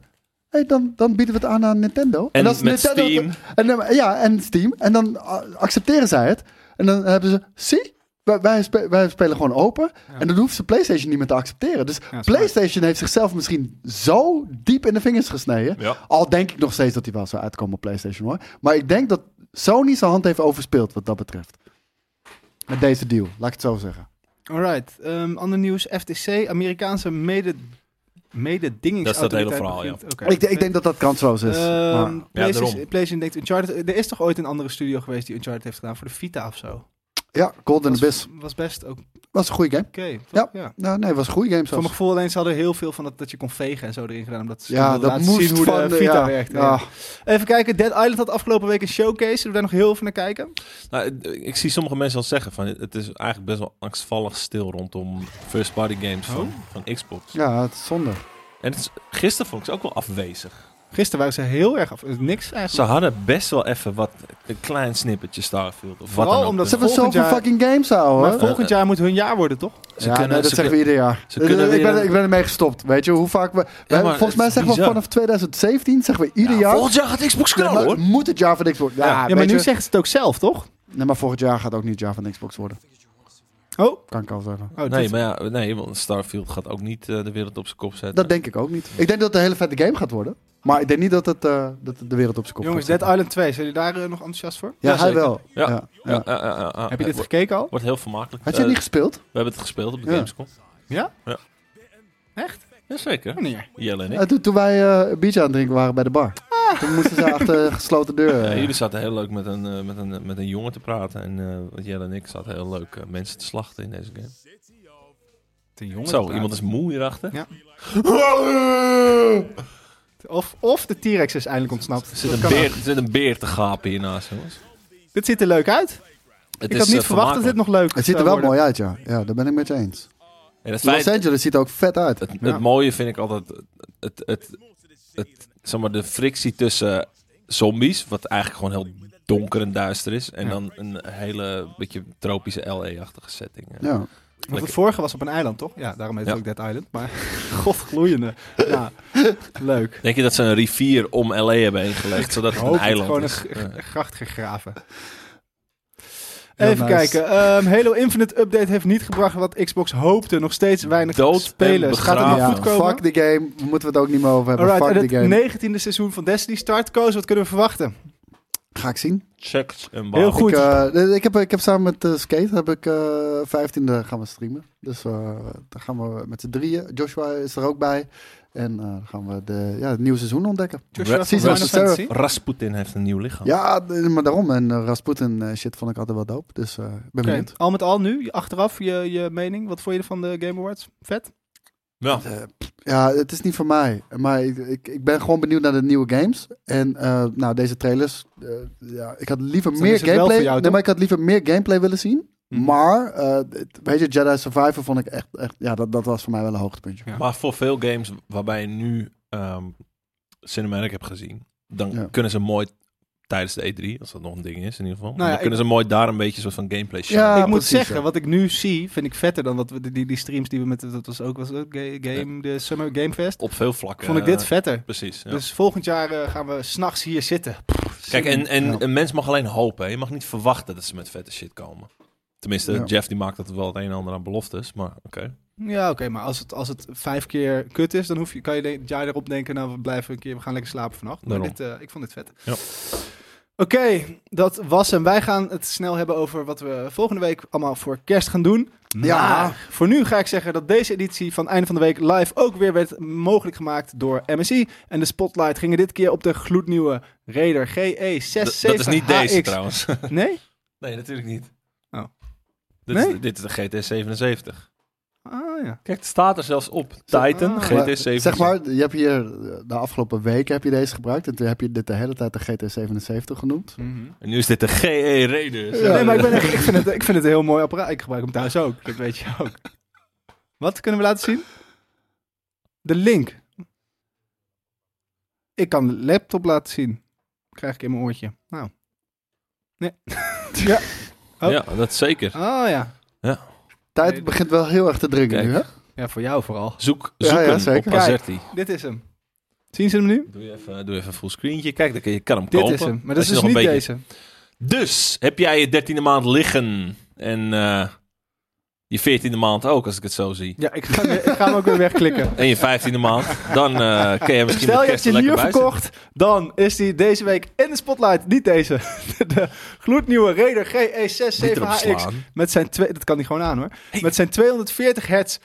B: Hey, dan, dan bieden we het aan aan Nintendo.
C: En
B: als
C: met
B: Nintendo-
C: Steam.
B: En, dan- ja, en Steam. En dan a- accepteren zij het. En dan hebben ze, zie, wij, wij, spe- wij spelen gewoon open. En dan hoeft ze PlayStation niet meer te accepteren. Dus
A: smart.
B: PlayStation heeft zichzelf misschien zo diep in de vingers gesneden.
C: Ja.
B: Al denk ik nog steeds dat hij wel zou uitkomen op PlayStation hoor. Maar ik denk dat Sony zijn hand heeft overspeeld wat dat betreft. Met deze deal, laat ik het zo zeggen.
A: Alright, ehm, ander nieuws. FTC, Amerikaanse mede, mededingingsautoriteit.
C: Dat is dat hele verhaal, ja.
A: begint- oké.
B: Oh, Ik, denk- ik denk dat dat kansloos is.
A: Ehm,
B: Maar-
A: PlayStation,
C: daarom.
A: PlayStation denkt Uncharted. Er is toch ooit een andere studio geweest die Uncharted heeft gedaan voor de Vita of zo?
B: ja, Golden Abyss.
A: was, was best oké.
B: Was een goede game.
A: toch?
B: Ja, Nou, nee, was een goede game
A: Voor
B: zelfs.
A: mijn gevoel alleen, ze hadden heel veel van dat, dat je kon vegen en zo erin gedaan. Omdat ze
B: Ja,
A: wilden
B: dat
A: laten
B: moest
A: zien hoe
B: van eh,
A: de Vita
B: ja, Ah,
A: werkte.
B: ja.
A: Even kijken, Dead Island had afgelopen week een showcase. Zullen we daar nog heel even naar kijken?
C: Nou, ik- ik zie sommige mensen al zeggen van het is eigenlijk best wel angstvallig stil rondom first party games van, van Xbox.
B: Ja, het is zonde.
C: En het is, gisteren vond ik ze ook wel afwezig.
A: Gisteren waren ze heel erg af. Niks eigenlijk.
C: Ze hadden best wel even wat een klein snippertje Starfield of
A: Vooral
C: wat dan ook.
A: omdat
B: Ze hebben
A: Volgend
B: zoveel
A: jaar-
B: fucking games, ouwe.
A: maar volgend jaar moet hun jaar worden,
B: Ah,
A: toch?
C: ze
B: ja, nee, dat
C: ze
B: zeggen we ieder jaar.
C: ze kunnen
B: ik, ben,
C: weer-
B: ik ben ermee gestopt. Weet je hoe vaak we. we-
C: maar het
B: volgens mij
C: is
B: zeggen we
C: bizar.
B: vanaf 2017 zeggen we ieder
C: Ja,
B: jaar.
C: Volgend jaar gaat Xbox knallen
B: Nee, maar
C: hoor.
B: Moet het jaar van Xbox worden. Ja,
A: Ja,
B: weet
A: maar
B: je,
A: nu zeggen ze het ook zelf, toch?
B: nee, maar volgend jaar gaat ook niet het jaar van Xbox worden.
A: Oh,
B: Kan ik al zeggen.
A: oh
C: Nee,
A: dit-
C: maar ja, nee, want Starfield gaat ook niet eh, de wereld op zijn kop zetten.
B: Dat denk ik ook niet. Ik denk dat het een hele vette game gaat worden. Maar ik denk niet dat het, eh, dat het de wereld op zijn kop
A: Jongens,
B: gaat
A: Dead
B: zetten.
A: Island 2, zijn jullie daar eh, nog enthousiast voor?
B: Ja, Oh, hij
C: Jazeker.
B: wel. Ja.
C: Ja. Ja, eh, ja, ja, ja, ja.
A: Heb je
C: Het
A: dit gekeken al?
C: Wordt heel vermakelijk.
B: Had jij
C: Eh,
B: niet gespeeld?
C: we hebben het gespeeld op de
B: Ja.
C: Gamescom.
A: Ja?
C: Ja.
A: Echt? Oh.
C: Jazeker.
A: Wanneer?
C: Jelle en ik.
B: Eh, toen, toen wij eh, een biertje aan het drinken waren bij de bar.
A: Ah.
B: Toen moesten ze achter gesloten deuren.
C: Ja,
B: eh.
C: jullie zaten heel leuk met een, eh, met een, met een jongen te praten. En eh, Jelle en ik zaten heel leuk eh, mensen te slachten in deze game.
A: Ten jongen
C: Zo, iemand is moe hierachter.
A: Ja. Of, of de T-Rex is eindelijk ontsnapt.
C: Er, zit
A: Dat
C: een
A: kan
C: beer, er
A: ook.
C: zit een beer te gapen hiernaast, jongens.
A: Dit ziet er leuk uit.
C: Het
A: ik had niet
C: eh,
A: verwacht dat dit
C: vermakelijk.
A: nog leuk
B: Het ziet er
A: zou
B: wel
A: worden.
B: mooi uit, ja. Ja, daar ben ik met je eens.
C: En het,
B: Los
C: feit,
B: Angeles ziet er ook vet uit.
C: het,
A: Ja.
C: het mooie vind ik altijd... Het, het, het, het- zeg maar, de frictie tussen zombies, wat eigenlijk gewoon heel donker en duister is. En
A: Ja.
C: dan een hele beetje tropische LA-achtige setting. eh.
B: Ja.
A: Want het vorige was op een eiland, toch? Ja, daarom heet het
C: Ja.
A: ook Dead Island. Maar godgloeiende. Ja, leuk.
C: Denk je dat ze een rivier om LA hebben heen gelegd, zodat het
A: Hoop
C: een
A: het gewoon
C: eiland
A: een
C: is?
A: g-
C: Ja.
A: g- gracht gegraven.
B: Heel
A: Even
B: nice.
A: kijken. Ehm, Halo Infinite Update heeft niet gebracht wat Xbox hoopte. Nog steeds weinig
C: Dood en
A: spelers. Gaat het nog
C: begraven.
B: Ja,
A: goed komen?
B: fuck the game. Moeten we het ook niet meer over hebben.
A: Alright,
B: fuck the game.
A: en het 19e seizoen van Destiny start. Koos, wat kunnen we verwachten?
B: Ga ik zien.
C: Checks en
A: Heel
C: wagens.
A: goed.
B: Ik, eh, ik, heb, ik heb samen met eh, Skate heb ik, eh 15e gaan we streamen. Dus eh dan gaan we met z'n drieën. Joshua is er ook bij. En eh, dan gaan we de, ja, het nieuwe seizoen ontdekken.
A: Joshua
C: Red-
A: van
B: Season
A: Final
B: of Sarah.
A: Fantasy?
C: Rasputin heeft een nieuw
A: Oh.
C: lichaam.
B: Ja, d- maar daarom. En eh, Rasputin eh, shit vond ik altijd wel dope. Dus eh, ik ben
A: Oké,
B: benieuwd.
A: Al met al nu, achteraf, je, je mening. Wat vond je van de Game Awards? Vet?
C: Ja.
B: Eh, pff, ja, het is niet voor mij. Maar ik, ik, ik ben gewoon benieuwd naar de nieuwe games. En eh, nou, deze trailers. eh, ja, ik had liever
A: Dus dan
B: meer
A: is het wel
B: gameplay.
A: voor jou,
B: nee,
A: toch?
B: maar ik had liever meer gameplay willen zien.
A: Mhm.
B: Maar, eh, het- weet je, Jedi Survivor vond ik echt, echt ja, dat, dat was voor mij wel een hoogtepuntje.
A: Ja.
C: Maar voor veel games waarbij je nu ehm, Cinematic hebt gezien, dan
B: Ja.
C: kunnen ze mooi tijdens de E3, als dat nog een ding is in ieder geval,
A: Nou ja,
C: dan
A: ik-
C: kunnen ze mooi daar een beetje soort van gameplay shine.
B: Ja,
A: ik moet
B: precies,
A: zeggen,
B: ja.
A: wat ik nu zie, vind ik vetter dan wat we, die, die streams die we met... Dat was ook was het ook ga- game, de Summer Game Fest.
C: Op veel vlakken.
A: Vond ik dit
C: eh,
A: vetter.
C: Precies. ja.
A: Dus volgend jaar eh, gaan we s'nachts hier zitten. Pff,
C: Kijk, en, en
B: Ja.
C: een mens mag alleen hopen. hè. Je mag niet verwachten dat ze met vette shit komen. Tenminste,
B: Ja.
C: Jeff die maakt dat wel het een en ander aan beloftes, maar oké.
A: Ja, oké, maar als het, als het vijf keer kut is, dan hoef je, kan je de- het jaar erop denken, nou, we blijven een keer, we gaan lekker slapen vannacht. Maar
C: Daarom.
A: dit, eh, ik vond dit vet.
C: Ja.
A: Oké, dat was hem. Wij gaan het snel hebben over wat we volgende week allemaal voor kerst gaan doen.
C: Nou.
B: Ja.
A: Maar voor nu ga ik zeggen dat deze editie van Einde van de Week live ook weer werd mogelijk gemaakt door MSI. En de spotlight gingen dit keer op de gloednieuwe Raider E
C: D- Dat is niet
A: GE67HX.
C: deze trouwens.
A: Nee?
C: nee, natuurlijk niet.
A: Oh.
C: Dit,
A: Nee?
C: is, dit is de GT 77.
A: Ah ja.
C: Kijk, het staat er zelfs op.
B: Zeg-
A: Ah.
C: Titan,
B: Maar,
C: GT 77.
B: Zeg maar, je hebt hier eh, de afgelopen weken heb je deze gebruikt. En toen heb je dit de hele tijd de GT77 genoemd.
A: Mhm.
C: En nu is dit de E GE Raider.
B: Ja.
A: Nee, maar ik, ben echt, ik, vind het, ik vind het een heel mooi apparaat. Ik gebruik hem thuis ook, dat weet je ook. Wat kunnen we laten zien? De link. Ik kan de laptop laten zien. Krijg ik in mijn oortje. Nou. Nee. ja. Oké. Oh.
C: Ja, dat zeker.
A: Oh ja.
B: Tijd begint wel heel erg te drinken
C: Kijk.
B: nu, hè?
A: Ja, voor jou vooral.
C: Zoek,
B: Ja,
C: zoek
B: ja,
C: hem
B: zeker.
C: op Azerti.
A: Dit is hem. Zien ze hem nu?
C: Doe je even, doe even een full screentje. Kijk, dan kan je kan hem
A: Dit
C: kopen.
A: is hem. Maar dat
C: Als
A: is
C: je
A: dus
C: nog
A: niet
C: een beetje-
A: deze.
C: Dus heb jij je dertiende maand liggen en eh, je veertiende maand ook, als ik het zo zie.
A: Ja, ik ga, hem- ik ga hem ook weer wegklikken.
C: En je vijftiende maand, dan eh kun je misschien
A: Stel
C: met
A: je hebt
C: kerst
A: je
C: er lekker
A: hier
C: bij zitten.
A: verkocht, dan is die deze week in de spotlight. Niet deze. De gloednieuwe Raider E
C: Niet erop
A: GE67HX
C: slaan.
A: Met zijn twee, dat kan hij gewoon aan hoor. Met zijn 240 hertz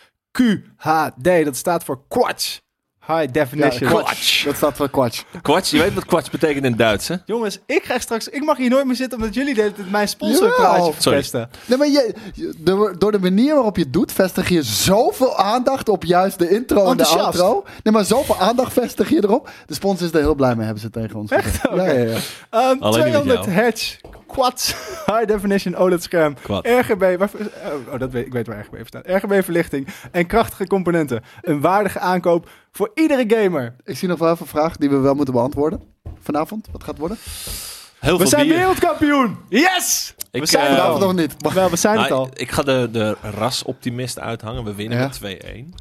A: QHD. Dat staat voor Quatsch. High Definition.
B: kwatsch. Dat staat voor kwatsch.
C: Kwats, je weet wat kwats betekent in het Duits, hè?
A: Jongens, ik krijg straks. Ik mag hier nooit meer zitten omdat jullie de hele tijd mijn sponsorpraatje
B: Jawel.
A: verpesten.
B: Nee, maar je, je- door, door de manier waarop je het doet, vestig je zoveel aandacht op juist de intro en de
A: Enthousiast.
B: outro. Nee, maar zoveel aandacht vestig je erop. De sponsors is er heel blij mee, hebben ze tegen ons gezegd. Ja, ja, ja.
A: Ehm,
C: Alleen niet met
A: 200
C: jou.
A: hertz Quatsch High Definition OLED scherm.
C: Quad.
A: RGB. waar- eh, oh, dat weet, ik weet waar RGB voor staat. RGB verlichting en krachtige componenten. Een waardige aankoop voor iedere gamer.
B: Ik zie nog wel even een vraag die we wel moeten beantwoorden. Vanavond, wat gaat het worden?
C: Heel
A: We
C: veel
A: zijn
C: bier.
A: wereldkampioen! Yes!
C: Ik,
A: we zijn
C: eh,
A: er
B: Vanavond
A: al.
B: nog niet. Maar-
A: Wel, we zijn het
C: Nou,
A: al.
C: ik, ik ga de, de rasoptimist uithangen. We winnen
B: Ja.
C: met 2-1.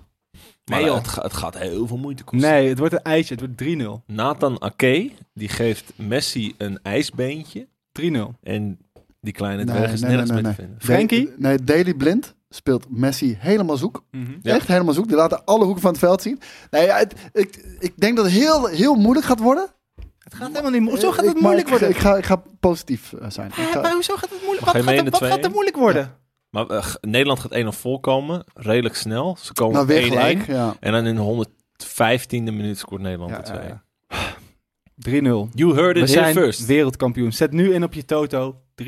C: Maar
A: joh.
C: het, ga- het gaat heel veel moeite kosten.
A: Nee, het wordt een ijsje. Het wordt 3-0.
C: Nathan Ake, die geeft Messi een ijsbeentje.
A: 3-0.
C: En die kleine
B: Nee,
C: dwerg is
B: nee,
C: nergens
B: nee,
C: mee
B: nee,
C: te vinden.
A: Frankie? Mhm.
B: Da- nee, Daily Blind speelt Messi helemaal zoek.
C: Ja.
B: Echt helemaal zoek. Die laten alle hoeken van het veld zien. Nee, ja, het- ik, ik denk dat het heel, heel moeilijk gaat worden. Eh,
A: Het gaat helemaal niet moeilijk. Zo gaat
B: Ik-
A: het
B: maar
A: moeilijk
B: ik-
A: worden.
B: Ik ga, ik ga positief eh, zijn. Ik
A: Hè,
B: ga-
A: maar hoezo gaat het moeilijk? Wat,
C: Mag hij
A: gaat
C: mee
A: er,
C: in
A: wat
C: de
A: gaat er
C: 2-1?
A: moeilijk worden?
C: Maar eh, g- Nederland gaat 1-0 volkomen. Redelijk snel. Ze komen
B: nou,
C: op
B: weer
C: 1-1.
B: gelijk. Ja.
C: En dan in de 115e minuut scoort Nederland
B: Ja,
C: de 2-1.
B: ja, ja.
A: 3-0.
C: You heard it
A: We
C: here
A: zijn
C: first.
A: wereldkampioen. Zet nu in op je toto. 3-0.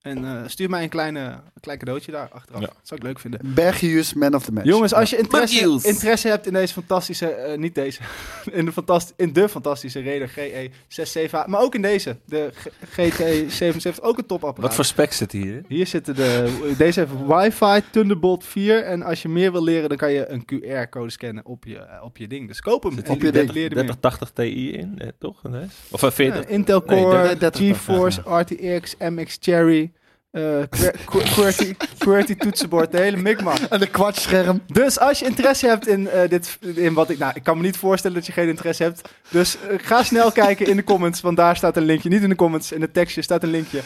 A: En eh, stuur mij een, kleine, een klein cadeautje daar achteraf.
C: Ja.
A: Dat zou ik leuk vinden.
B: Bergius, man of the match.
A: Jongens, als je interesse,
C: Matthews.
A: interesse hebt in deze fantastische, eh, niet deze, in de, fantast, in de fantastische Raider E GE67, maar ook in deze, de G- GT77, ook een topapparaat.
C: Wat voor spec zit hier? in?
A: Hier zitten de, deze heeft wifi, Thunderbolt 4 en als je meer wil leren, dan kan je een QR-code scannen op je, eh, op je ding. Dus koop hem.
C: Zit
A: en
B: op je ding.
A: leer er meer.
C: 3080 Ti in, eh, toch? Nee. Of eh,
A: Ja,
C: 40.
A: Intel
C: Nee,
A: Core,
B: dertig- dertig
A: GeForce, RTX, MX Cherry, eh, qwer- qwer- QWERTY, QWERTY toetsenbord, de hele mikmak.
B: En de kwartscherm.
A: Dus als je interesse hebt in, eh, dit, in wat ik... Nou, ik kan me niet voorstellen dat je geen interesse hebt. Dus eh, ga snel kijken in de comments, want daar staat een linkje. Niet in de comments, in het tekstje staat een linkje.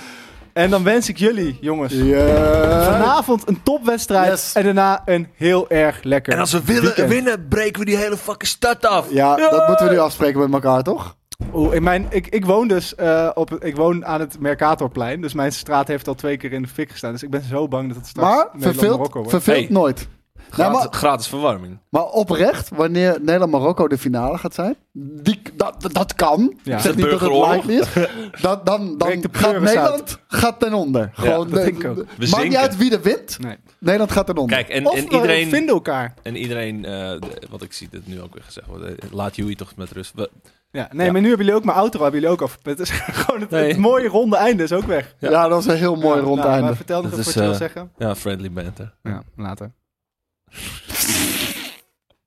A: En dan wens ik jullie, jongens,
B: Ja.
A: vanavond een topwedstrijd.
B: Yes.
A: En daarna een heel erg lekker
C: En als we willen
A: weekend.
C: winnen, breken we die hele fucking stad af.
B: Ja, dat moeten we nu afspreken met elkaar, toch?
A: Oeh, in mijn, ik, ik woon dus eh, op, ik woon aan het Mercatorplein. Dus mijn straat heeft al twee keer in de fik gestaan. Dus ik ben zo bang dat het straks
B: Maar verveelt,
A: Nederland-Marokko wordt.
B: verveelt
C: Hey.
B: nooit. Nou,
C: Gratis,
B: maar,
C: gratis verwarming.
B: maar oprecht, wanneer Nederland-Marokko de finale gaat zijn, die, dat, dat- dat kan.
A: Ja. De
B: Ik zeg niet dat het
C: burgeroorlog.
B: likely is. Dan, dan, dan
A: Breekt de
B: gaat
A: pleuris uit.
B: Nederland gaat ten onder. Gewoon,
A: dat
B: de-
A: denk ik ook. We
B: Maakt niet
C: zinken.
B: uit wie er wint,
A: Nee.
B: Nederland gaat ten onder.
C: Kijk, en,
A: Of
C: en iedereen,
A: we vinden elkaar.
C: en iedereen eh, de- wat ik zie, dat nu ook weer gezegd wordt. eh, Laat Joey toch met rust. We-
A: Ja, nee,
C: Ja.
A: maar nu hebben jullie ook mijn auto hebben jullie ook af. Het is gewoon het,
C: Nee.
A: het mooie ronde einde is ook weg.
B: ja. dat was een heel mooi
A: Ja,
B: rond
A: nou, maar
B: einde.
A: Vertel nog
C: Dat
A: wat
C: is,
A: je wil
C: eh,
A: zeggen.
C: ja, friendly banter.
A: Ja, later.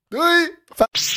B: Doei!